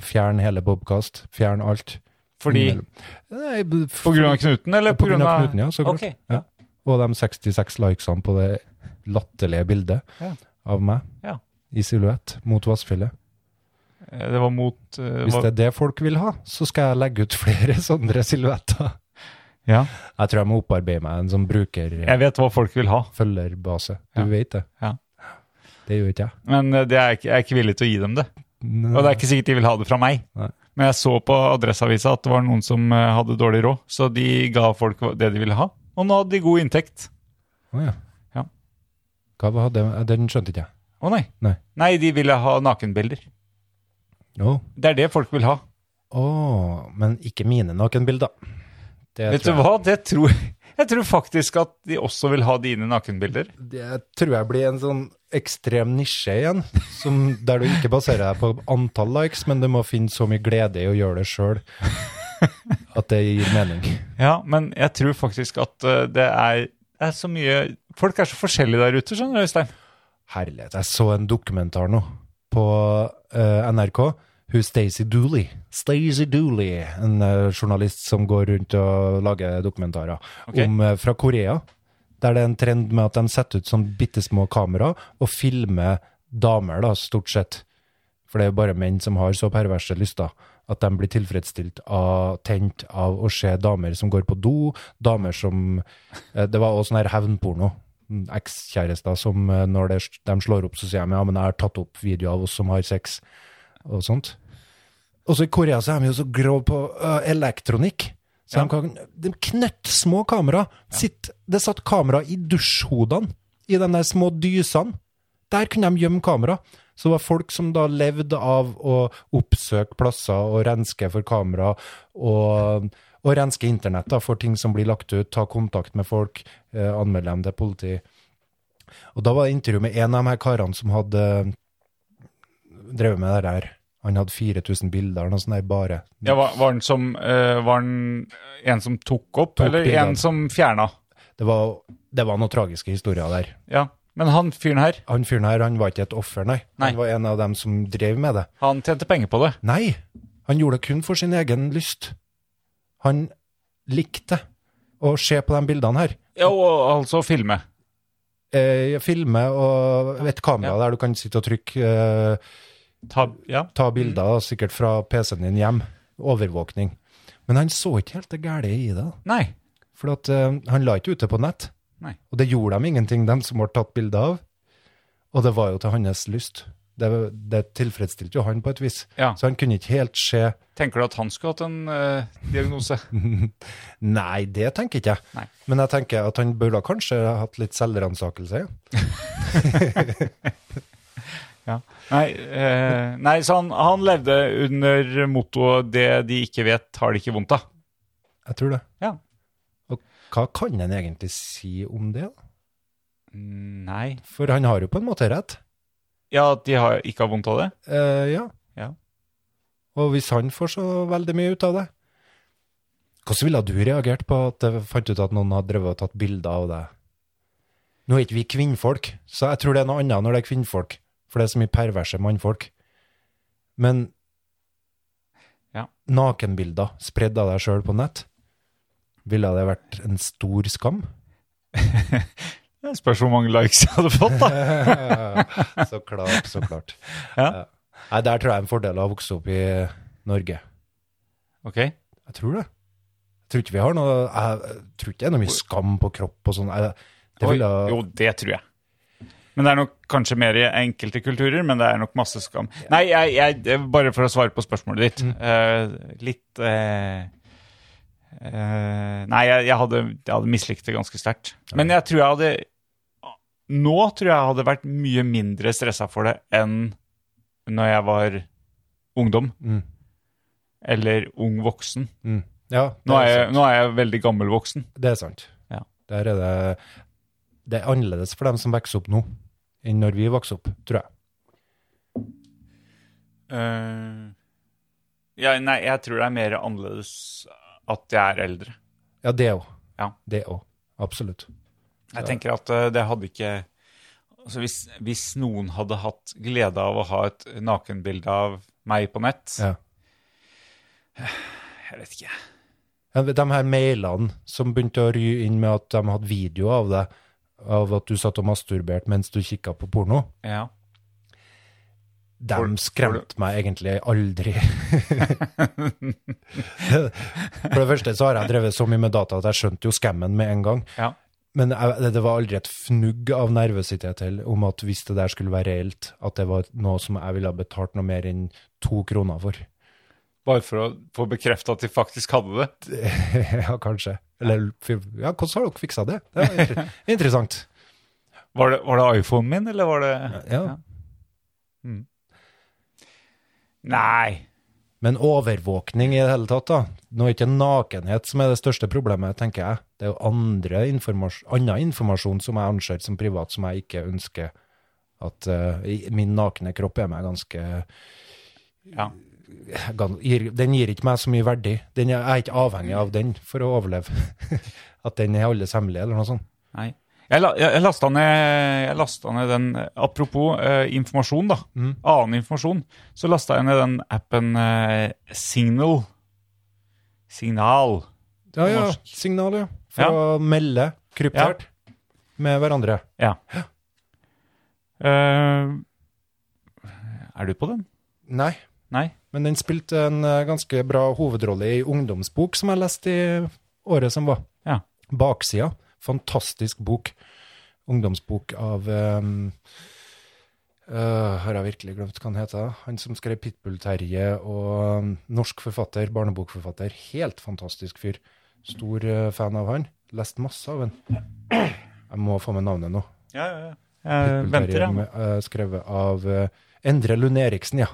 Fjern hele Bobcast. Fjern alt.
Fordi
Innimellom. Nei, b- f-
På grunn av knuten, eller
på grunn av knuten, ja. Så klart.
Ok.
Ja. Og de 66 likesene på det latterlige bildet
Ja.
av meg
Ja.
i silhuett mot Vassfjellet.
Eh, Det var mot eh,
Hvis
var-
det er det folk vil ha, så skal jeg legge ut *laughs* flere sånne silhuetter.
Ja.
Jeg tror jeg må opparbeide meg en sånn bruker...
Jeg vet hva folk vil ha,
følgerbase. Du
Ja.
vet det.
Ja.
Det gjør ikke jeg.
men eh, det er, ikke- jeg er ikke villig til å gi dem det. Og det er ikke sikkert de vil ha det fra meg.
Nei.
Men jeg så på Adresseavisa at det var noen som eh, hadde dårlig råd, så de ga folk hva- det de ville ha. Og nå hadde de god inntekt.
Å, ja.
Ja.
Hva var det? Den skjønte ikke jeg.
Å nei.
Nei.
Nei, de ville ha nakenbilder.
Å,
Det er det folk vil ha.
Å, men ikke mine nakenbilder. Det
Vet du
tror jeg,
hva, det tror jeg tror faktisk at de også vil ha dine nakenbilder.
Det tror jeg blir en sånn ekstrem nisje igjen, som, der du ikke baserer deg på antall likes, men du må finne så mye glede i å gjøre det sjøl at det gir mening.
Ja, men jeg tror faktisk at eh, det er det er så mye Folk er så forskjellige der ute, skjønner du, Øystein.
Herlighet, jeg så en dokumentar nå på eh, NRK. Hun Stacey Dooley. Stacey Dooley, en eh, journalist som går rundt og lager dokumentarer
Ok.
om, eh, fra Korea. Der det er en trend med at de setter ut sånn bitte små kamera og filmer damer, da, stort sett. For det er jo bare menn som har så perverse lyster at de blir tilfredsstilt av, tent av å se damer som går på do, damer som eh, Det var også sånn her hevnporno. Mm, Ekskjærester som eh, når det, de slår opp, så sier de ja, men jeg har tatt opp video av oss som har sex, og sånt. Også i Korea så er de jo så grå på ø, elektronikk. Så de kan de knøttsmå kamera. Sitt, det satt kamera i dusjhodene, i de der små dysene. Der kunne de gjemme kamera. Så det var folk som da levde av å oppsøke plasser og renske for kamera, og, og renske internett da, for ting som blir lagt ut, ta kontakt med folk, eh, anmelde dem til politi. Og da var det intervju med en av de her karene som hadde eh, drevet med det der. Han hadde 4000 bilder, noe sånt der bare.
Ja, var, var den som eh, Var den en som tok opp,
Tok
eller
bildet.
en som fjerna?
Det var, det var noen tragiske historier der.
Ja. Men han fyren her,
Han fyren her, han var ikke et offer, nei.
Nei.
Han var en av dem som drev med det.
han tjente penger på det.
Nei, han gjorde det kun for sin egen lyst. Han likte å se på de bildene her.
Ja, og altså filme.
Eh, filme og et kamera
Ja.
der du kan sitte og trykke, eh,
Ta, ja.
ta bilder,
Mm.
da, sikkert fra PC-en din hjem. Overvåkning. Men han så ikke helt det gærne i det.
Nei.
For at, eh, han la ikke ut det på nett.
Nei.
Og det gjorde de ingenting, de som ble tatt bilder av. Og det var jo til hans lyst. Det, det tilfredsstilte jo han på et vis.
Ja.
Så han kunne ikke helt se
Tenker du at han skulle hatt en eh, diagnose?
*laughs* Nei, det tenker ikke jeg.
Nei.
Men jeg tenker at han burde kanskje ha hatt litt selvransakelse. ja.
Ja. *laughs* Nei, eh, nei, så han, han levde under mottoet 'det de ikke vet, har de ikke vondt av'.
Jeg tror det.
Ja.
Og hva kan en egentlig si om det? da?
Nei.
For han har jo på en måte rett.
Ja, at de har, ikke har vondt av det?
Eh, ja.
Ja.
Og hvis han får så veldig mye ut av det Hvordan ville du reagert på at jeg fant ut at noen hadde drevet og tatt bilder av deg? Nå er ikke vi kvinnfolk, så jeg tror det er noe annet når det er kvinnfolk. For det er så mye perverse mannfolk. Men
Ja.
nakenbilder spredd av deg sjøl på nett, ville det vært en stor
*laughs*
skam?
Det spørs hvor mange likes jeg hadde fått, da.
så klart, så klart.
Ja.
Ja. Nei, der tror jeg er en fordel av å vokse opp i Norge.
*laughs* Ok.
Jeg tror det. Jeg tror ikke vi har noe Jeg tror ikke det er noe mye skam på kropp og sånn. Jeg- Det
Oi,
ville
Jo, det tror jeg. Men det er nok kanskje mer i enkelte kulturer, men det er nok masse skam. Nei, jeg, jeg, det er bare for å svare på spørsmålet ditt.
Mm.
eh, litt eh, eh, Nei, jeg, jeg, hadde, jeg hadde mislikt det ganske sterkt. Men jeg tror jeg hadde Nå tror jeg jeg hadde vært mye mindre stressa for det enn når jeg var ungdom.
Mm.
Eller ung voksen.
mm. Ja, det
Nå er
er,
jeg, nå er jeg veldig gammel voksen.
sant. det er sant.
Ja.
Der er det Det er annerledes for dem som vokser opp nå, enn når vi vokste opp, tror jeg.
Eh, ja, nei, jeg tror det er mer annerledes at jeg er eldre.
Ja, det òg.
Ja.
Det òg. Absolutt.
Jeg tenker at eh, det hadde ikke altså hvis, hvis noen hadde hatt glede av å ha et nakenbilde av meg på nett
Ja.
Jeg vet ikke.
De her mailene som begynte å ry inn med at de hadde video av deg, av at du satt og masturberte mens du kikka på porno,
Ja.
de
Får-
skremte meg egentlig aldri. *laughs* For det første så har jeg drevet så mye med data at jeg skjønte jo skammen med en gang.
Ja.
Men jeg, det- det var aldri et fnugg av nervøsitet til om at hvis det der skulle være reelt, at det var noe som jeg ville ha betalt noe mer enn to kroner for. *laughs*
Bare for å få bekrefta at de faktisk hadde det.
ja, kanskje. Eller ja, hvordan har dere fiksa det? Det var inter- interessant.
Var det, var det iPhonen min, eller var det
Ja.
Nei.
Men overvåkning i det hele tatt, da. Nå er ikke nakenhet som er det største problemet, tenker jeg. Det er jo andre informas annen informasjon som jeg anser som privat, som jeg ikke ønsker at eh, i- Min nakne kropp er meg ganske
Ja.
gan- gir, Den gir ikke meg så mye *laughs* verdi. Den er, jeg er ikke avhengig av den for å overleve. at den er alles hemmelig, eller noe sånt.
Nei. Jeg, la, jeg, jeg lasta ned, jeg lasta ned den Apropos eh, informasjon, da. Annen informasjon. Så lasta jeg ned den appen eh, Signal. Signal.
Ja, ja.
Norsk.
Signal, ja. For å melde kryptert med hverandre.
Ja. Eh, er du på den?
Nei.
Nei?
Men den spilte en eh, ganske bra hovedrolle i ungdomsbok som jeg leste i året som var.
Ja.
Baksida. Fantastisk bok. Ungdomsbok av um, øh, Har jeg virkelig glemt hva han heter? Han som skrev Pitbull-Terje og um, norsk forfatter, barnebokforfatter. Helt fantastisk fyr. Stor eh, fan av han. Lest masse av han. Jeg må få med navnet nå.
Ja, ja, ja. Jeg venter,
Pitbull-Terje,
jeg.
med- eh, skrevet av eh, Endre Lund Eriksen, ja.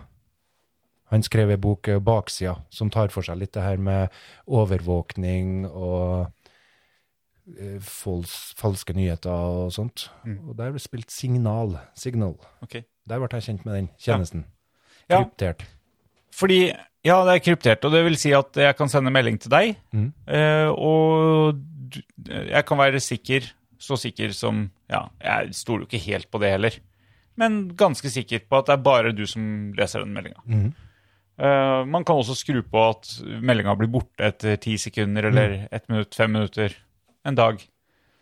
Han skrev en bok, eh, 'Baksida', som tar for seg litt det her med overvåkning og eh, fals, falske nyheter og sånt.
Mm.
Og der ble spilt 'Signal'. Signal.
Ok.
Der ble jeg kjent med den tjenesten.
Ja.
Kryptert.
Fordi ja, det er kryptert, og det vil si at jeg kan sende melding til deg,
Mm.
eh, og du, jeg kan være sikker, så sikker som Ja, jeg stoler jo ikke helt på det heller, men ganske sikker på at det er bare du som leser den meldinga.
Mhm.
Eh, man kan også skru på at meldinga blir borte etter ti sekunder eller ett minutt, fem minutter, en dag.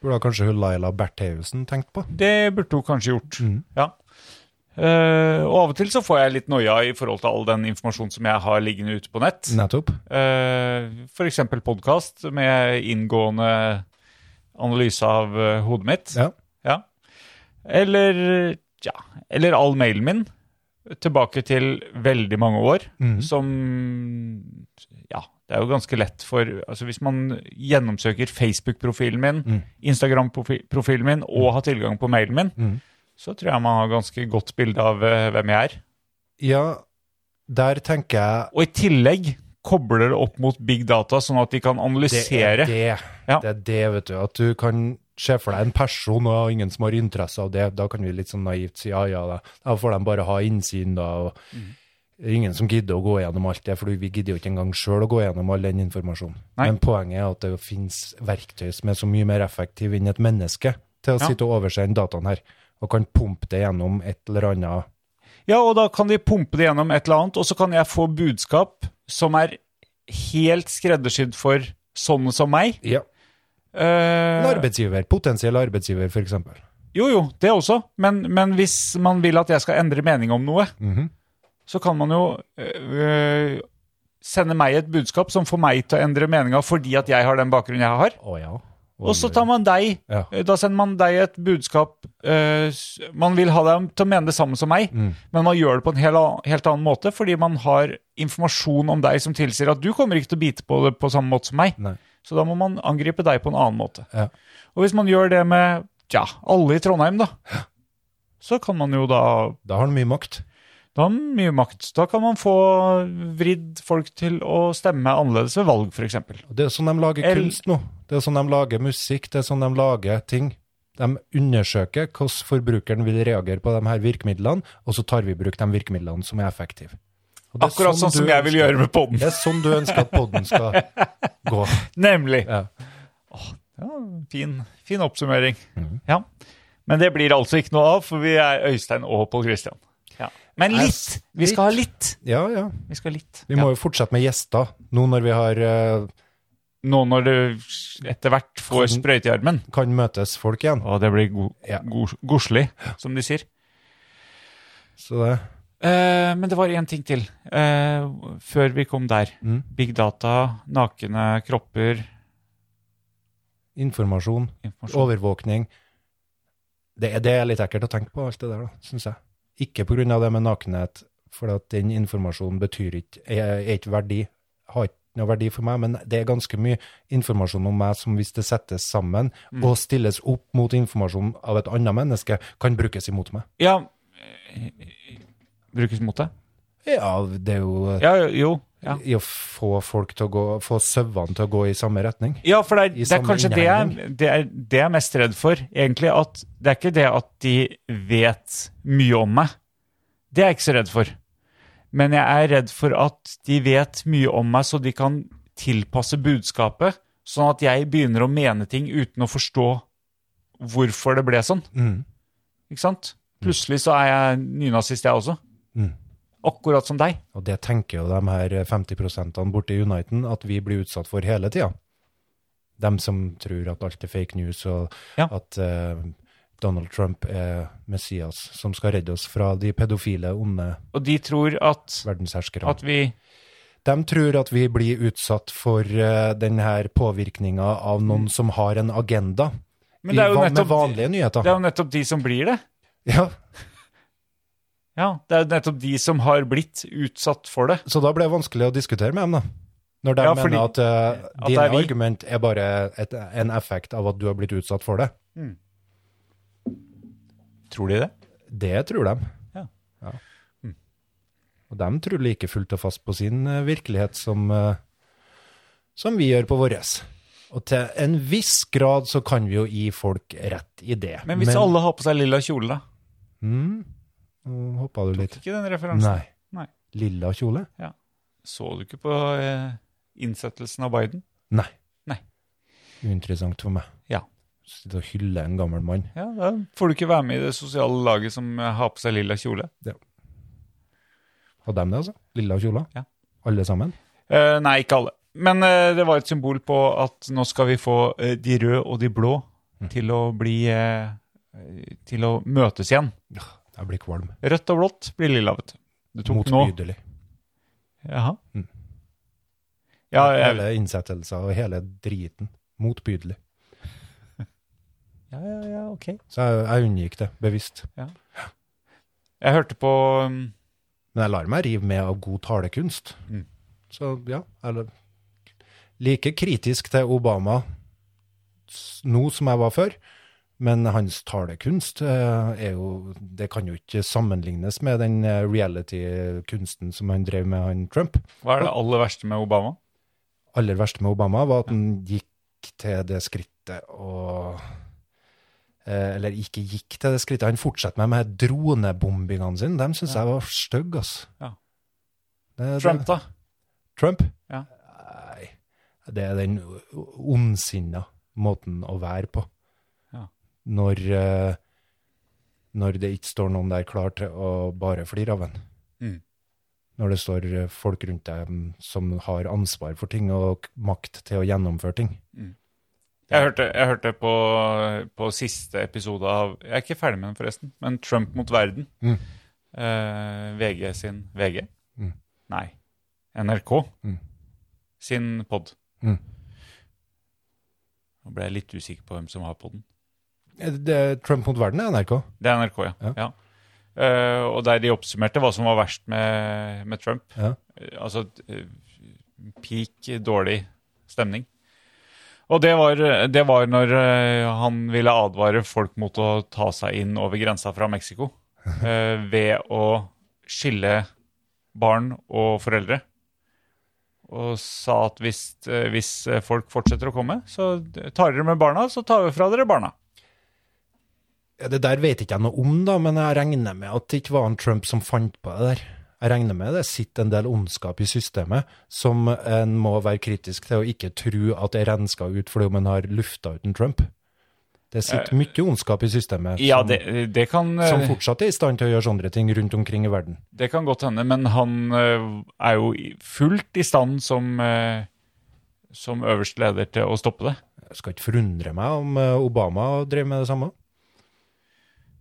Burde ha kanskje hun Laila Bertheussen tenkt på.
Det burde hun kanskje gjort, ja. Eh, og av og til så får jeg litt noia i forhold til all den informasjonen som jeg har liggende ute på nett.
Nettopp.
Eh, For eksempel podkast med inngående analyse av eh, hodet mitt.
Ja.
Ja. Eller, ja, eller all mailen min tilbake til veldig mange år,
Mhm.
som Ja, det er jo ganske lett for altså Hvis man gjennomsøker Facebook-profilen min,
Mhm.
Instagram-profilen min og har tilgang på mailen min,
Mhm.
så tror jeg man har ganske godt bilde av eh, hvem jeg er.
Ja, der tenker jeg
Og i tillegg kobler det opp mot big data, sånn at de kan analysere.
Det er det.
Ja.
Det er det, vet du. At du kan se for deg en person og ingen som har interesse av det. Da kan vi litt sånn naivt si ja, ja, da, da får de bare ha innsyn, da. Og
Mm.
det er ingen som gidder å gå gjennom alt det, for vi gidder jo ikke engang sjøl å gå gjennom all den informasjonen.
Nei.
Men poenget er at det finnes verktøy som er så mye mer effektive enn et menneske til å
Ja.
sitte og overse den dataen her, og kan pumpe det gjennom et eller annet
Ja, og da kan de pumpe det gjennom et eller annet, og så kan jeg få budskap som er helt skreddersydd for sånne som meg.
ja. En
Eh,
arbeidsgiver, potensiell arbeidsgiver, f.eks.
jo, jo, det også. Men, men hvis man vil at jeg skal endre mening om noe, så kan man jo eh, sende meg et budskap som får meg til å endre meninga fordi at jeg har den bakgrunnen jeg har.
Å ja.
Og så tar man deg Eh,
ja.
Da sender man deg et budskap eh, s- Man vil ha deg til å mene det samme som meg,
Mm.
men man gjør det på en hel, an- helt annen måte fordi man har informasjon om deg som tilsier at du kommer ikke til å bite på det på samme måte som meg.
Nei.
Så da må man angripe deg på en annen måte.
Ja.
Og hvis man gjør det med ja, alle i Trondheim, da, så kan man jo da
Da har han mye makt.
Da har man mye makt. Da kan man få vridd folk til å stemme annerledes ved valg, f.eks.
Og Det er sånn de lager
El-
kunst nå. Det er sånn de lager musikk, det er sånn de lager ting. De undersøker hvordan forbrukeren vil reagere på de her virkemidlene, og så tar vi i bruk de virkemidlene som er effektive. Og det er
Akkurat sånn
du
som jeg vil
ønsker-
gjøre med podden.
Det er sånn du ønsker at podden skal gå.
Nemlig.
Ja.
Ja, fin, fin oppsummering. Ja. Men det blir altså ikke noe av, for vi er Øystein og Pål Christian. Ja. Men
Nei,
litt! Vi skal ha litt.
Ja, ja.
Vi skal ha litt.
Vi må jo fortsette med gjester, nå når vi har, eh,
Nå når du etter hvert får
Kan-
sprøyte i armen.
kan møtes folk igjen.
Å, det blir go
Ja.
go- godslig, som de sier.
Så det,
Eh, men det var én ting til eh, før vi kom der.
Mm.
Big data, nakne kropper,
informasjon,
informasjon.
overvåkning. Det, er- det er litt ekkelt å tenke på, alt det der, da, syns jeg. Ikke pga. det med nakenhet, for at den informasjonen betyr ikke er, er ikke verdi. Har ikke noe verdi for meg, men det er ganske mye informasjon om meg som hvis det settes sammen og stilles opp mot informasjon av et annet menneske, kan brukes imot meg.
Ja eh, Brukes mot deg?
Ja, det er jo eh,
Ja, jo. Ja.
i å få folk til å gå, få sauene til å gå i samme retning.
Ja, for det er,
I
det er
samme
kanskje det jeg,
innhegning.
det, er, det jeg er mest redd for, egentlig. At det er ikke det at de vet mye om meg. Det er jeg ikke så redd for. Men jeg er redd for at de vet mye om meg, så de kan tilpasse budskapet, sånn at jeg begynner å mene ting uten å forstå hvorfor det ble sånn.
Mm.
Ikke sant? Plutselig så er jeg nynazist, jeg også.
Mm.
Akkurat som deg.
Og det tenker jo de her 50 borte i Uniten at vi blir utsatt for hele tida. De som tror at alt er fake news, og
Ja.
at eh, Donald Trump er Messias som skal redde oss fra de pedofile, onde
Og de tror at,
verdensherskerne.
at vi
De tror at vi blir utsatt for eh, den her påvirkninga av noen som har en agenda.
Mm. Men det er jo
I va-
nettopp,
med vanlige
det er
nyheter.
jo nettopp de som blir det.
Ja,
Ja, Det er jo nettopp de som har blitt utsatt for det.
så da ble det vanskelig å diskutere med dem, da. Når de
Ja, fordi-
mener at uh,
at det
dine
er vi.
argument er bare et, en effekt av at du har blitt utsatt for det.
Tror de det?
Det tror de.
Ja. Hmm.
Ja. Og de tror like fullt og fast på sin eh, virkelighet som, eh, som vi gjør på våres. Og til en viss grad så kan vi jo gi folk rett i det.
Men hvis alle har på seg lilla kjole, da?
Mm, Nå hoppa du litt.
Ikke den referansen.
Nei.
Nei.
Lilla kjole?
Så du ikke på eh, innsettelsen av Biden?
Nei.
Nei.
Uinteressant for meg.
Ja.
Sitte og hylle en gammel mann.
Ja, Da får du ikke være med i det sosiale laget som eh, har på seg lilla kjole.
Hadde de det, altså? Lilla kjola?
Ja.
Alle sammen?
Eh, nei, ikke alle. Men eh, det var et symbol på at nå skal vi få eh, de røde og de blå til å bli eh, Til å møtes igjen.
Jeg blir kvalm.
Rødt og blått blir lilla, vet du. Du tok nå.
Motbydelig.
Jaha.
Mm.
Ja, jeg,
hele innsettelser og hele driten. Motbydelig.
ja, ja, ja, ok.
Så jeg, jeg unngikk det, bevisst.
Jeg hørte på um,
Men jeg lar meg rive med av god talekunst.
Mm.
Så ja, eller Like kritisk til Obama s- nå som jeg var før, men hans talekunst eh, er jo Det kan jo ikke sammenlignes med den eh, reality-kunsten som han drev med, han Trump.
Hva er det aller verste med Obama?
aller verste med Obama var at han gikk til det skrittet og eh, Eller ikke gikk til det skrittet. Han fortsetter med de her dronebombingene sine. Dem syns jeg var stygge, ass.
Ja.
Det, det,
Trump, da?
Trump?
Ja.
Nei, det er den ondsinna måten å være på.
Ja.
Når, eh, når det ikke står noen der klar til å bare flire av en.
Mm.
Når det står eh, folk rundt deg mm, som har ansvar for ting og k- makt til å gjennomføre ting.
Mm. Jeg hørte, jeg hørte på, på siste episode av Jeg er ikke ferdig med den, forresten. Men 'Trump mot verden'.
Mm.
Eh, VG sin VG?
Mm.
Nei. NRK
Mm.
sin pod.
Mm.
Nå ble jeg litt usikker på hvem som har podden.
Eh, Det er Trump mot verden er NRK.
Det er NRK, ja.
Ja.
ja. Eh, og der de oppsummerte hva som var verst med, med Trump.
Ja.
Eh, altså eh, peak dårlig stemning. Og det var, det var når eh, han ville advare folk mot å ta seg inn over grensa fra
*laughs*
Mexico eh, ved å skille barn og foreldre. Og sa at hvis, eh, hvis folk fortsetter å komme, så tar dere med barna, så tar vi fra dere barna.
Ja, Det der vet ikke jeg noe om, da, men jeg regner med at det ikke var en Trump som fant på det der. Jeg regner med det sitter en del ondskap i systemet som en må være kritisk til og ikke tro at er renska ut fordi om en har lufta ut en Trump. Det sitter mye ondskap i systemet
Eh, Ja,
som,
det, det kan eh,
som fortsatt er i stand til å gjøre sånne ting rundt omkring i verden.
Det kan godt hende, men han eh, er jo i- fullt i stand som, eh, som øverste leder til å stoppe det.
Jeg skal ikke forundre meg om eh, Obama drev med det samme.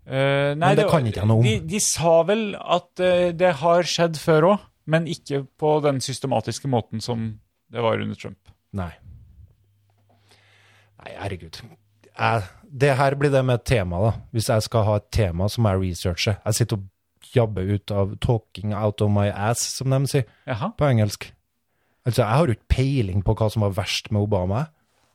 Eh,
Men det kan ikke jeg noe om.
De, de sa vel at eh, det har skjedd før òg, men ikke på den systematiske måten som det var under Trump.
Nei. Nei, herregud. Jeg, det her blir det med et tema, da. Hvis jeg skal ha et tema som jeg researcher. Jeg sitter og jabber ut av 'talking out of my ass', som de sier
Jaha.
på engelsk. Altså, jeg har jo ikke peiling på hva som var verst med Obama. jeg.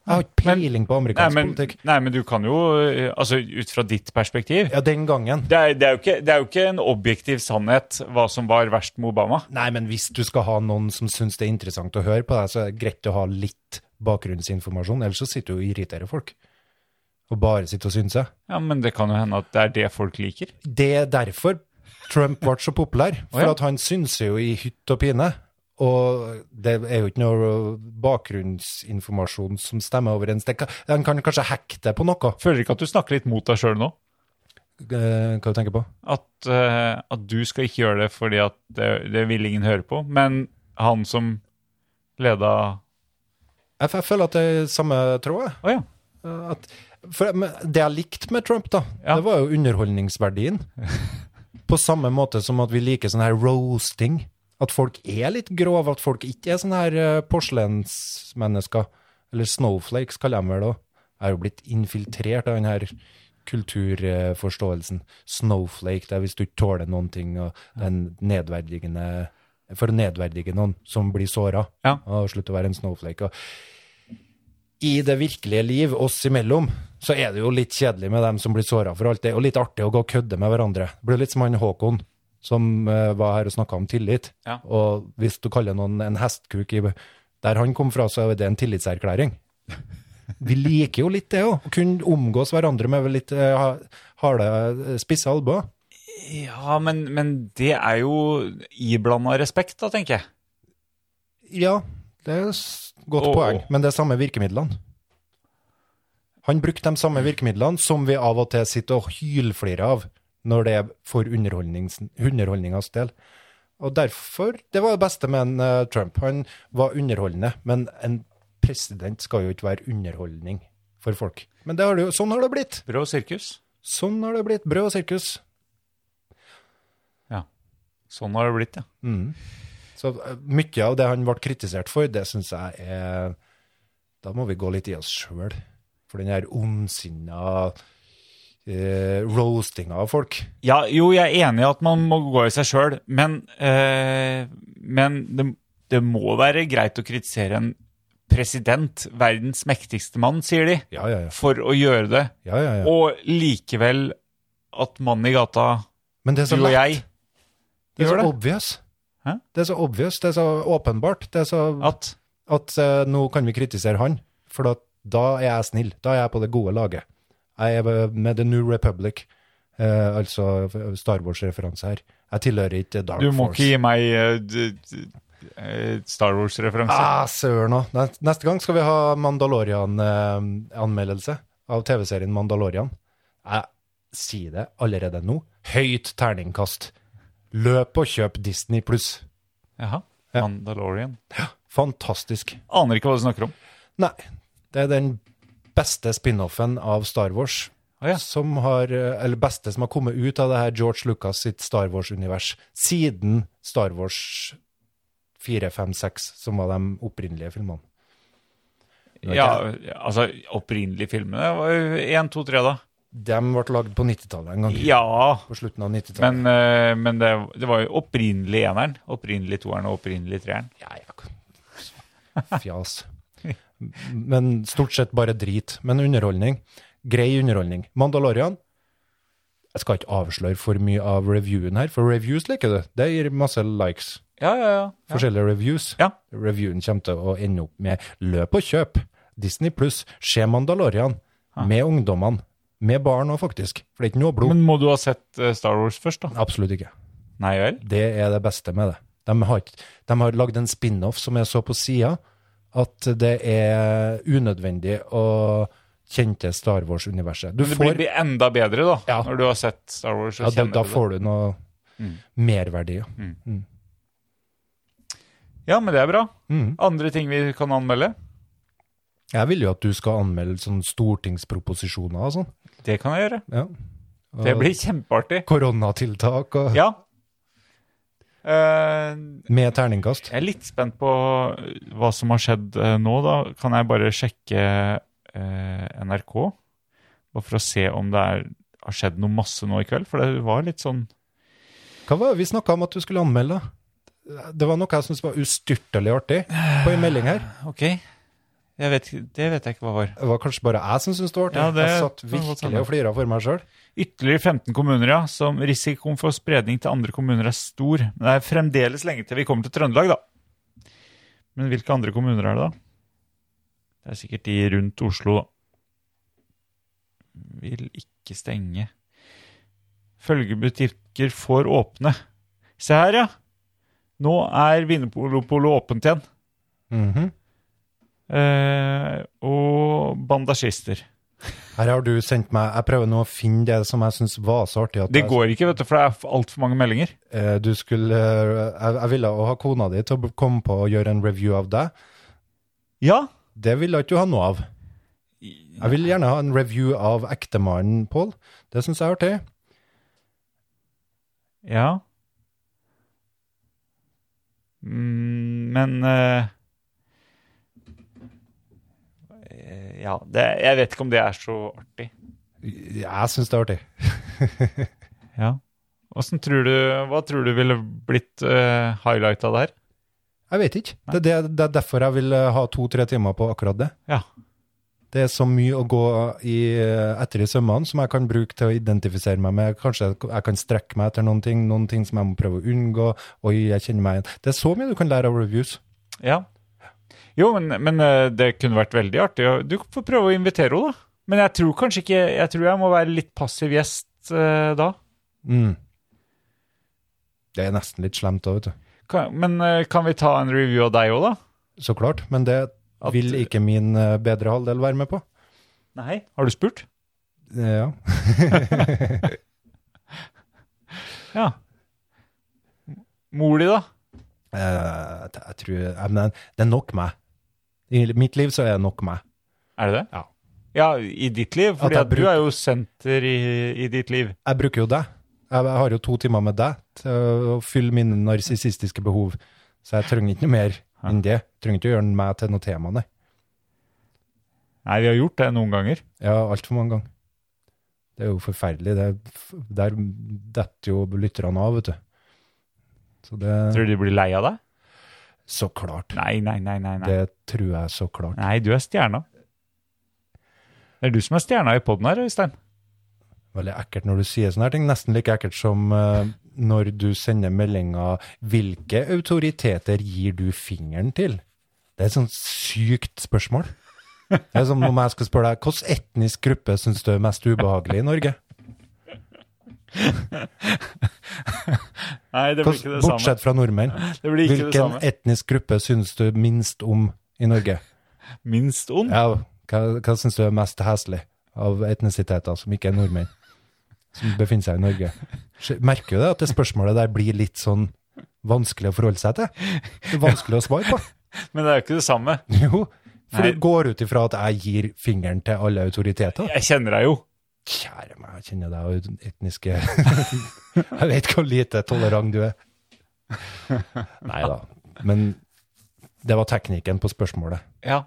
Jeg har ikke
Men-
peiling på
Nei
amerikansk
men,
politikk.
nei, men du kan jo eh, Altså, ut fra ditt perspektiv
Ja, den gangen.
det er, det, er jo ikke, det er jo ikke en objektiv sannhet hva som var verst med Obama.
Nei, men hvis du skal ha noen som syns det er interessant å høre på deg, så er det greit å ha litt bakgrunnsinformasjon, ellers så sitter du og irriterer folk. Og bare sitter og synser.
Ja, Men det kan jo hende at det er det folk liker.
det er derfor Trump ble så populær. For
Å, ja.
at han synser jo i hytt og pine. Og det er jo ikke noe bakgrunnsinformasjon som stemmer overens. Det kan, den kan kanskje hacke det på noe.
Føler du ikke at du snakker litt mot deg sjøl nå?
Eh, Hva du tenker på?
At, eh, at du skal ikke gjøre det fordi at det, det vil ingen høre på. Men han som leda
Jeg, f- jeg føler at det er samme tråd. jeg.
Å ja.
Eh, At, for, men det jeg likte med Trump, da,
Ja.
det var jo
*laughs*
underholdningsverdien. På samme måte som at vi liker sånn her roasting. At folk er litt grove, at folk ikke er sånne her eh, porselensmennesker. Eller snowflakes, kaller jeg dem vel òg. Jeg er jo blitt infiltrert av den her kulturforståelsen. Snowflake, det er hvis du ikke tåler noen ting, og den nedverdigende For å nedverdige noen som blir såra.
Ja.
Og slutte å være en snowflake. Og i det virkelige liv oss imellom, så er det jo litt kjedelig med dem som blir såra for alt det, og litt artig å gå og kødde med hverandre. Det blir litt som han Håkon, som eh, var her og snakka om tillit.
Ja.
Og hvis du kaller noen en hestkuk i der han kom fra, så er det en tillitserklæring. Vi liker jo litt det òg, å kunne omgås hverandre med litt eh, ha- harde, eh, spisse albuer.
Ja, men, men det er jo iblanda respekt, da, tenker jeg.
Ja, det er s- godt
Åh.
poeng, men det er samme virkemidlene. Han brukte de samme virkemidlene som vi av og til sitter og hylflirer av når det er for underholdnings, underholdningas del. Og derfor, det var det beste med en, eh, Trump. Han var underholdende, men en president skal jo ikke være underholdning for folk. Men det har det jo, sånn har det blitt.
Brød og sirkus.
Sånn har det blitt. Brød og sirkus.
Sånn har det blitt, ja.
Mm. Så eh, mye av det han ble kritisert for, det syns jeg er Da må vi gå litt i oss sjøl. For den her ondsinna eh, roastinga av folk.
Ja, jo, jeg er enig i at man må gå i seg sjøl, men, eh, men det, det må være greit å kritisere en president, verdens mektigste mann, sier de,
Ja, ja, ja.
for å gjøre det.
ja, ja, ja.
Og likevel at mannen i gata,
Men det er
du
så
og
lett.
jeg,
det er
gjør
så
det.
obvious.
Hæ?
Det er så obvious, det er så åpenbart. Det er så
at
at eh, nå kan vi kritisere han, for da, da er jeg snill. Da er jeg på det gode laget. Jeg er med The New Republic, eh, altså Star Wars-referanse her. Jeg tilhører ikke Dark
du må ikke
Force.
gi meg eh, d- d- eh, Star Wars-referanse.
Ah, søren òg. Neste gang skal vi ha Mandalorian-anmeldelse av TV-serien Mandalorian. Jeg sier det allerede nå. Høyt terningkast. Løp og kjøp Disney pluss.
Jaha. Mandalorian.
Fantastisk.
Aner ikke hva du snakker om.
Nei, det er den beste spin-offen av Star Wars.
Å Ah, ja.
Som har, eh, eller beste som har kommet ut av det her George Lucas sitt Star Wars-univers siden Star Wars 4, 5, 6, som var de opprinnelige filmene. er
Ja, altså, opprinnelige filmene var jo 1, 2, 3, da.
De ble lagd på 90-tallet en gang.
Ja,
På slutten av 90-tallet.
men, eh, men det, det var jo opprinnelig eneren, opprinnelig toeren og opprinnelig treeren.
Ja, ja. Fjas. Men stort sett bare drit. Men underholdning. Grei underholdning. Mandalorian. Jeg skal ikke avsløre for mye av reviewen her, for reviews liker du. Det gir masse likes.
Ja, ja, ja.
Forskjellige reviews.
Ja.
Reviewen kommer til å ende opp med løp og kjøp. Disney pluss. Se Mandalorian. Med ungdommene. Med barn òg, faktisk. For det er ikke noe blod.
Men må du ha sett eh, Star Wars først, da?
Absolutt ikke.
Nei vel?
Det er det beste med det. De har, ikke- de har lagd en spin-off som jeg så på sida, at det er unødvendig å kjenne til Star Wars-universet. Du
Det blir
får,
enda bedre, da,
Ja.
når du har sett Star Wars. og
ja, da,
kjenner
da
til det. Mm.
får du noe merverdi. ja.
Ja, men det er bra.
Mm.
Andre ting vi kan anmelde?
Jeg vil jo at du skal anmelde sånne stortingsproposisjoner og sånn.
Det kan jeg gjøre.
Ja. Og
Det blir kjempeartig.
Koronatiltak og
Ja. Eh,
med terningkast.
Jeg er litt spent på hva som har skjedd eh, nå, da. Kan jeg bare sjekke eh, NRK? Bare for å se om det er, har skjedd noe masse nå i kveld? For det var litt sånn
Hva var det vi snakka om at du skulle anmelde? Det var noe jeg syntes var ustyrtelig artig på en melding her.
Ok, jeg vet, ikke- det vet jeg ikke hva var.
Det var kanskje bare jeg som syntes det var artig.
Ja, det
jeg satt
kan godt
virkelig
hende.
og flira for meg sjøl.
Ytterligere 15 kommuner, ja. Som risikoen for spredning til andre kommuner er stor. Men det er fremdeles lenge til vi kommer til Trøndelag, da. Men hvilke andre kommuner er det, da? Det er sikkert de rundt Oslo, da. Vil ikke stenge. Følgebutikker får åpne. Se her, ja. Nå er Vinmonopolet åpent igjen.
Mhm.
Eh, og bandasjister.
Her har du sendt meg Jeg prøver nå å finne det som jeg syns var så artig. At
Det
jeg-
går ikke, vet du, for det er altfor mange meldinger.
Eh, du skulle eh, jeg, jeg ville å ha kona di til å komme på og gjøre en review av deg.
Ja,
Det ville ikke du ha noe av. Jeg vil gjerne ha en review av ektemannen, Pål. Det syns jeg er artig.
Ja. Mm, men eh, eh, Ja, det, jeg vet ikke om det er så artig.
Jeg syns det er artig.
Ja. Hvordan tror du, hva tror du ville blitt uh, highlighta der?
Jeg vet ikke. Det, er det, det er derfor jeg vil eh, ha to-tre timer på akkurat det.
Ja.
Det er så mye å gå i, eh, etter i sømmene som jeg kan bruke til å identifisere meg med. Kanskje jeg- jeg kan strekke meg etter noen ting, noen ting som jeg må prøve å unngå. Oi, jeg kjenner meg igjen. Det er så mye du kan lære av reviews.
ja. Jo, men, men eh, det kunne vært veldig artig. og Du får prøve å invitere henne, da. Men jeg tror kanskje ikke Jeg tror jeg må være litt passiv gjest eh, da.
Mm. Det er nesten litt slemt òg, vet du.
Kan, men eh, kan vi ta en review av deg òg, da?
Så klart. Men det
At-
vil ikke min eh, bedre halvdel være med på.
Nei. Har du spurt?
Eh, Ja.
Ja. Mor di, da?
Eh, Jeg, jeg tror jeg, men Det er nok meg. I mitt liv så er det nok meg.
Er det det?
Ja.
Ja, i ditt liv, fordi
jeg
at du
bruker-
er jo senter i, i ditt liv.
Jeg bruker jo deg. Jeg jeg har jo to timer med deg til å fylle mine narsissistiske behov. Så jeg trenger ikke noe mer enn det. Trenger ikke å gjøre meg til noe tema, nei.
Nei, vi har gjort det noen ganger.
Ja, altfor mange ganger. Det er jo forferdelig. Det, er f- der detter jo lytterne av, vet du. Så det
Tror du de blir lei av deg?
Så klart.
Nei, nei, nei, nei. Nei,
Det tror jeg så klart.
nei du er stjerna. Det er du som er stjerna i poden her, Øystein.
Veldig ekkelt når du sier sånne her ting. Nesten like ekkelt som eh, når du sender meldinger Hvilke autoriteter gir du fingeren til? Det er et sånt sykt spørsmål. Det er som om jeg skal spørre deg hvilken etnisk gruppe syns du er mest ubehagelig i Norge?
Nei, det blir ikke
Hvordan-
det samme.
Bortsett fra nordmenn.
Det blir ikke det
Hvilken
samme.
etnisk gruppe syns du minst om i Norge?
Minst ond?
Ja, hva, hva syns du er mest heslig av etnisiteter som ikke er nordmenn, som befinner seg i Norge? Skj- Merker du det at det spørsmålet der blir litt sånn vanskelig å forholde seg til? Det er vanskelig å svare på. *laughs*
Men det er jo ikke det samme.
Jo, for
Nei.
du går ut ifra at jeg gir fingeren til alle autoriteter.
Jeg kjenner deg jo.
Kjære meg, jeg kjenner deg og den etniske *laughs* Jeg vet hvor lite tolerant du er. Nei da. Men det var teknikken på spørsmålet.
Ja.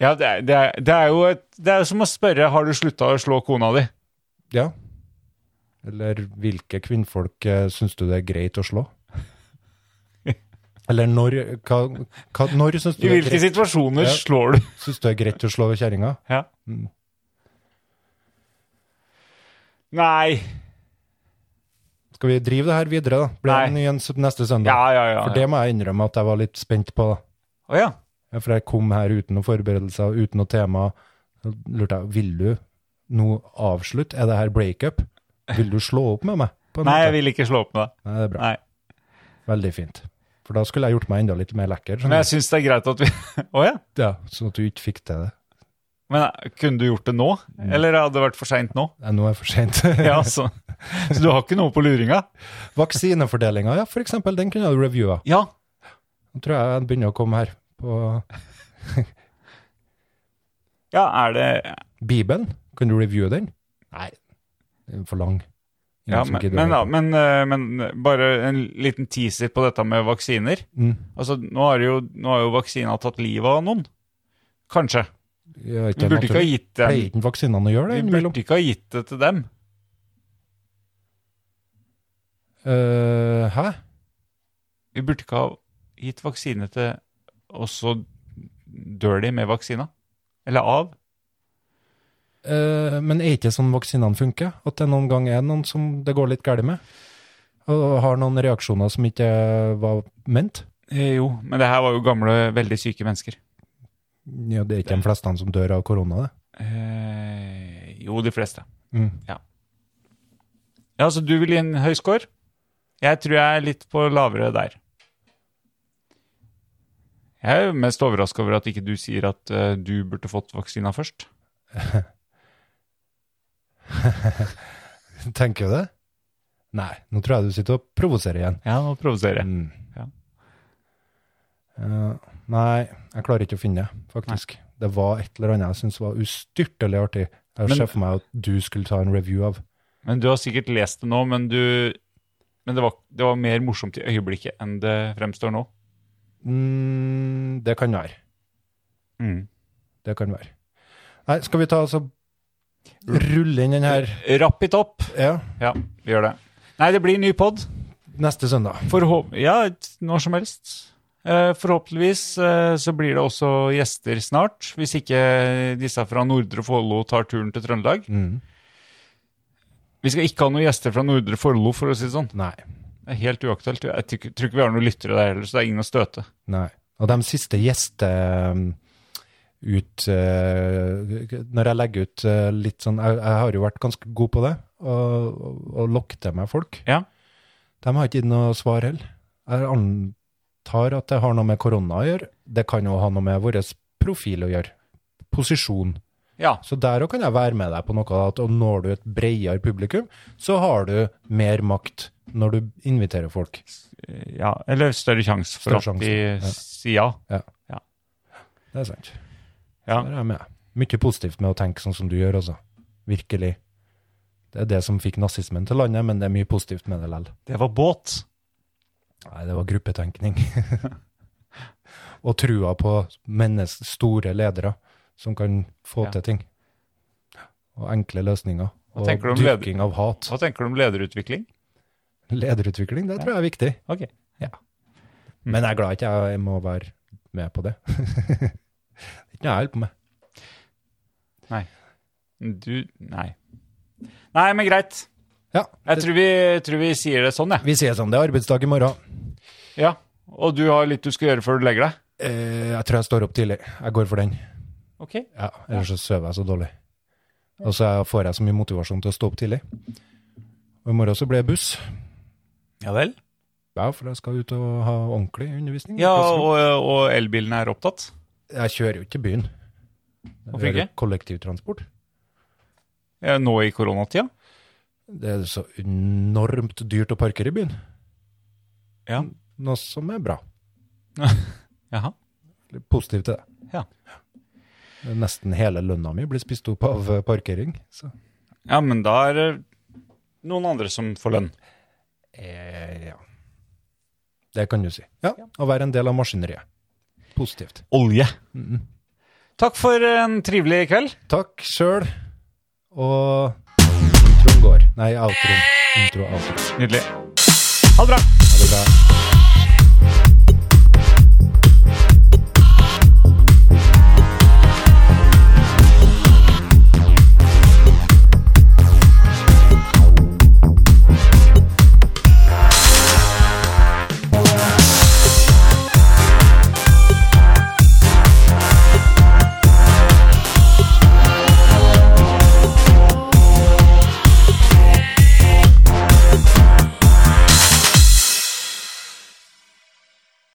Ja, det er, det er, det er jo et, det er jo som å spørre har du slutta å slå kona di.
Ja. Eller hvilke kvinnfolk uh, syns du det er greit å
*laughs*
slå? Eller når, hva, hva, når syns
I
du, det er
hvilke
greit-
situasjoner
Ja.
slår du?
syns du det er greit å slå kjerringa?
Ja.
Mm.
Nei.
Skal vi drive det her videre, da? Blir
Nei.
det en ny en s- neste søndag?
Ja, ja, ja.
For
ja.
det må jeg innrømme at jeg var litt spent på. da.
Å ja.
Ja, For jeg kom her uten noen forberedelser, uten noe tema. Så lurte jeg vil du nå avslutte. Er det her breakup? Vil du slå opp med meg? på en
Nei, jeg
måte?
vil ikke slå opp med deg.
Nei, det er bra.
Nei.
Veldig fint. For da skulle jeg gjort meg enda litt mer lekker. skjønner
Men jeg syns det er greit at vi *laughs* Å ja.
Ja, sånn at du ikke fikk til det.
Men eh, kunne du gjort det nå?
Mm.
Eller hadde det vært for seint nå?
Nei, nå er det for sent.
*laughs* Ja, så. så du har ikke noe på luringa?
*laughs* Vaksinefordelinga, ja, for eksempel, den kunne du reviewa.
Ja.
Nå tror jeg den begynner å komme her. På
Ja, er det
Bibelen, kan du reviewe den? Nei, den er for lang. Ingen
ja,
som
men,
gidder å
men, da,
høre på.
men, eh, men bare en liten teaser på dette med vaksiner.
Mm.
Altså, Nå har jo, nå har jo vaksina tatt livet av noen. Kanskje.
Ja,
Vi burde ikke ha gitt dem.
Pleier ikke vaksinene å gjøre det
Vi
innimellom?
burde ikke ha gitt det til dem.
Eh, hæ?
Vi burde ikke ha gitt vaksine til Og så dør de med vaksina. Eller av.
Eh, men er ikke sånn vaksinene funker? At det noen gang er noen som det går litt galt med? Og har noen reaksjoner som ikke var ment?
Eh, jo, men det her var jo gamle, veldig syke mennesker.
Ja, det er ikke de fleste som dør av korona, det.
Eh, jo, de fleste.
Mm.
Ja, så du vil gi en høy score? Jeg tror jeg er litt på lavere der. Jeg er jo mest overraska over at ikke du sier at eh, du burde fått vaksina først.
Tenker du det? Nei, nå tror jeg du sitter og provoserer igjen.
Ja, nå provoserer jeg.
Mm.
Ja.
Eh, nei, jeg klarer ikke å finne det, faktisk. Det var et eller annet jeg syntes var ustyrtelig artig. Jeg
Men-
ser for meg at du skulle ta en review av.
Men du har sikkert lest det nå, men du Men det var, det var mer morsomt i øyeblikket enn det fremstår nå.
Mm, det kan være.
Mm.
Det kan være. Nei, skal vi ta oss og
Mm.
rulle inn den her
Rapp it opp.
ja,
Ja, vi gjør det. Nei, det blir ny pod.
neste søndag?
Forhåp ja, når som helst. Eh, forhåpentligvis eh, så blir det også gjester snart, hvis ikke disse fra Nordre Follo tar turen til Trøndelag.
Mm.
Vi skal ikke ha noen gjester fra Nordre Follo, for å si det sånn.
Nei.
Det er helt uaktuelt. Jeg tror ikke tror ikke vi har noen lyttere der heller, så det er ingen å støte.
Nei. Og de siste gjeste um, ut eh, Når jeg legger ut eh, litt sånn jeg, jeg har jo vært ganske god på det, og, og, og lokke til meg folk.
Ja.
De har ikke gitt noe svar heller. Jeg antar at det har noe med korona å gjøre. Det kan jo ha noe med vår profil å gjøre. Posisjon.
Ja.
Så der òg kan jeg være med deg på noe. At og når du et bredere publikum, så har du mer makt når du inviterer folk.
Eh, ja. Eller større sjanse for
Større
at
sjanse,
de
ja.
sier ja.
Det er sant.
Ja.
Der er jeg med. Mye positivt med å tenke sånn som du gjør, altså. Virkelig. Det er det som fikk nazismen til landet, men det er mye positivt med det lell.
Det var båt.
Nei, det var gruppetenkning. *laughs* og trua på mennes store ledere som kan få
Ja.
til ting. Og enkle løsninger. Og
tenker du om leder-
dyrking av hat.
Hva tenker du om lederutvikling?
Lederutvikling, det tror jeg er viktig.
Ok. Mm.
Men jeg er glad ikke jeg må være med på det. *laughs* det er ikke noe jeg holder på med.
Du Nei. Nei, men greit.
Ja,
Jeg tror vi, tror vi sier det sånn, jeg.
vi sier sånn, det er arbeidsdag i morgen.
Ja. Og du har litt du skal gjøre før du legger deg?
Eh, jeg tror jeg står opp tidlig. Jeg går for den.
Ok.
Ja, ellers så sover jeg så dårlig. Og så får jeg så mye motivasjon til å stå opp tidlig. Og i morgen så blir det buss.
Ja vel.
Ja, for jeg skal ut og ha ordentlig undervisning.
Ja, og, og elbilene er opptatt?
Jeg kjører jo ikke til byen. Jeg
Hvorfor
kjører
ikke?
Kollektivtransport.
Ja, Eh, Nå i koronatida?
Det er så enormt dyrt å parkere i byen.
Ja.
Noe som er bra.
Jaha.
Litt positivt til det.
Ja.
Det er Nesten hele lønna mi blir spist opp av eh, parkering. Så.
Ja, men da er det noen andre som får lønn.
Eh, ja. Det kan du si. Ja, å være en del av maskineriet. Positivt.
Olje. Takk for en trivelig kveld.
Takk sjøl, og introen går. Nei, outroen. Intro og outro.
Nydelig. Ha det bra.
Ha det bra.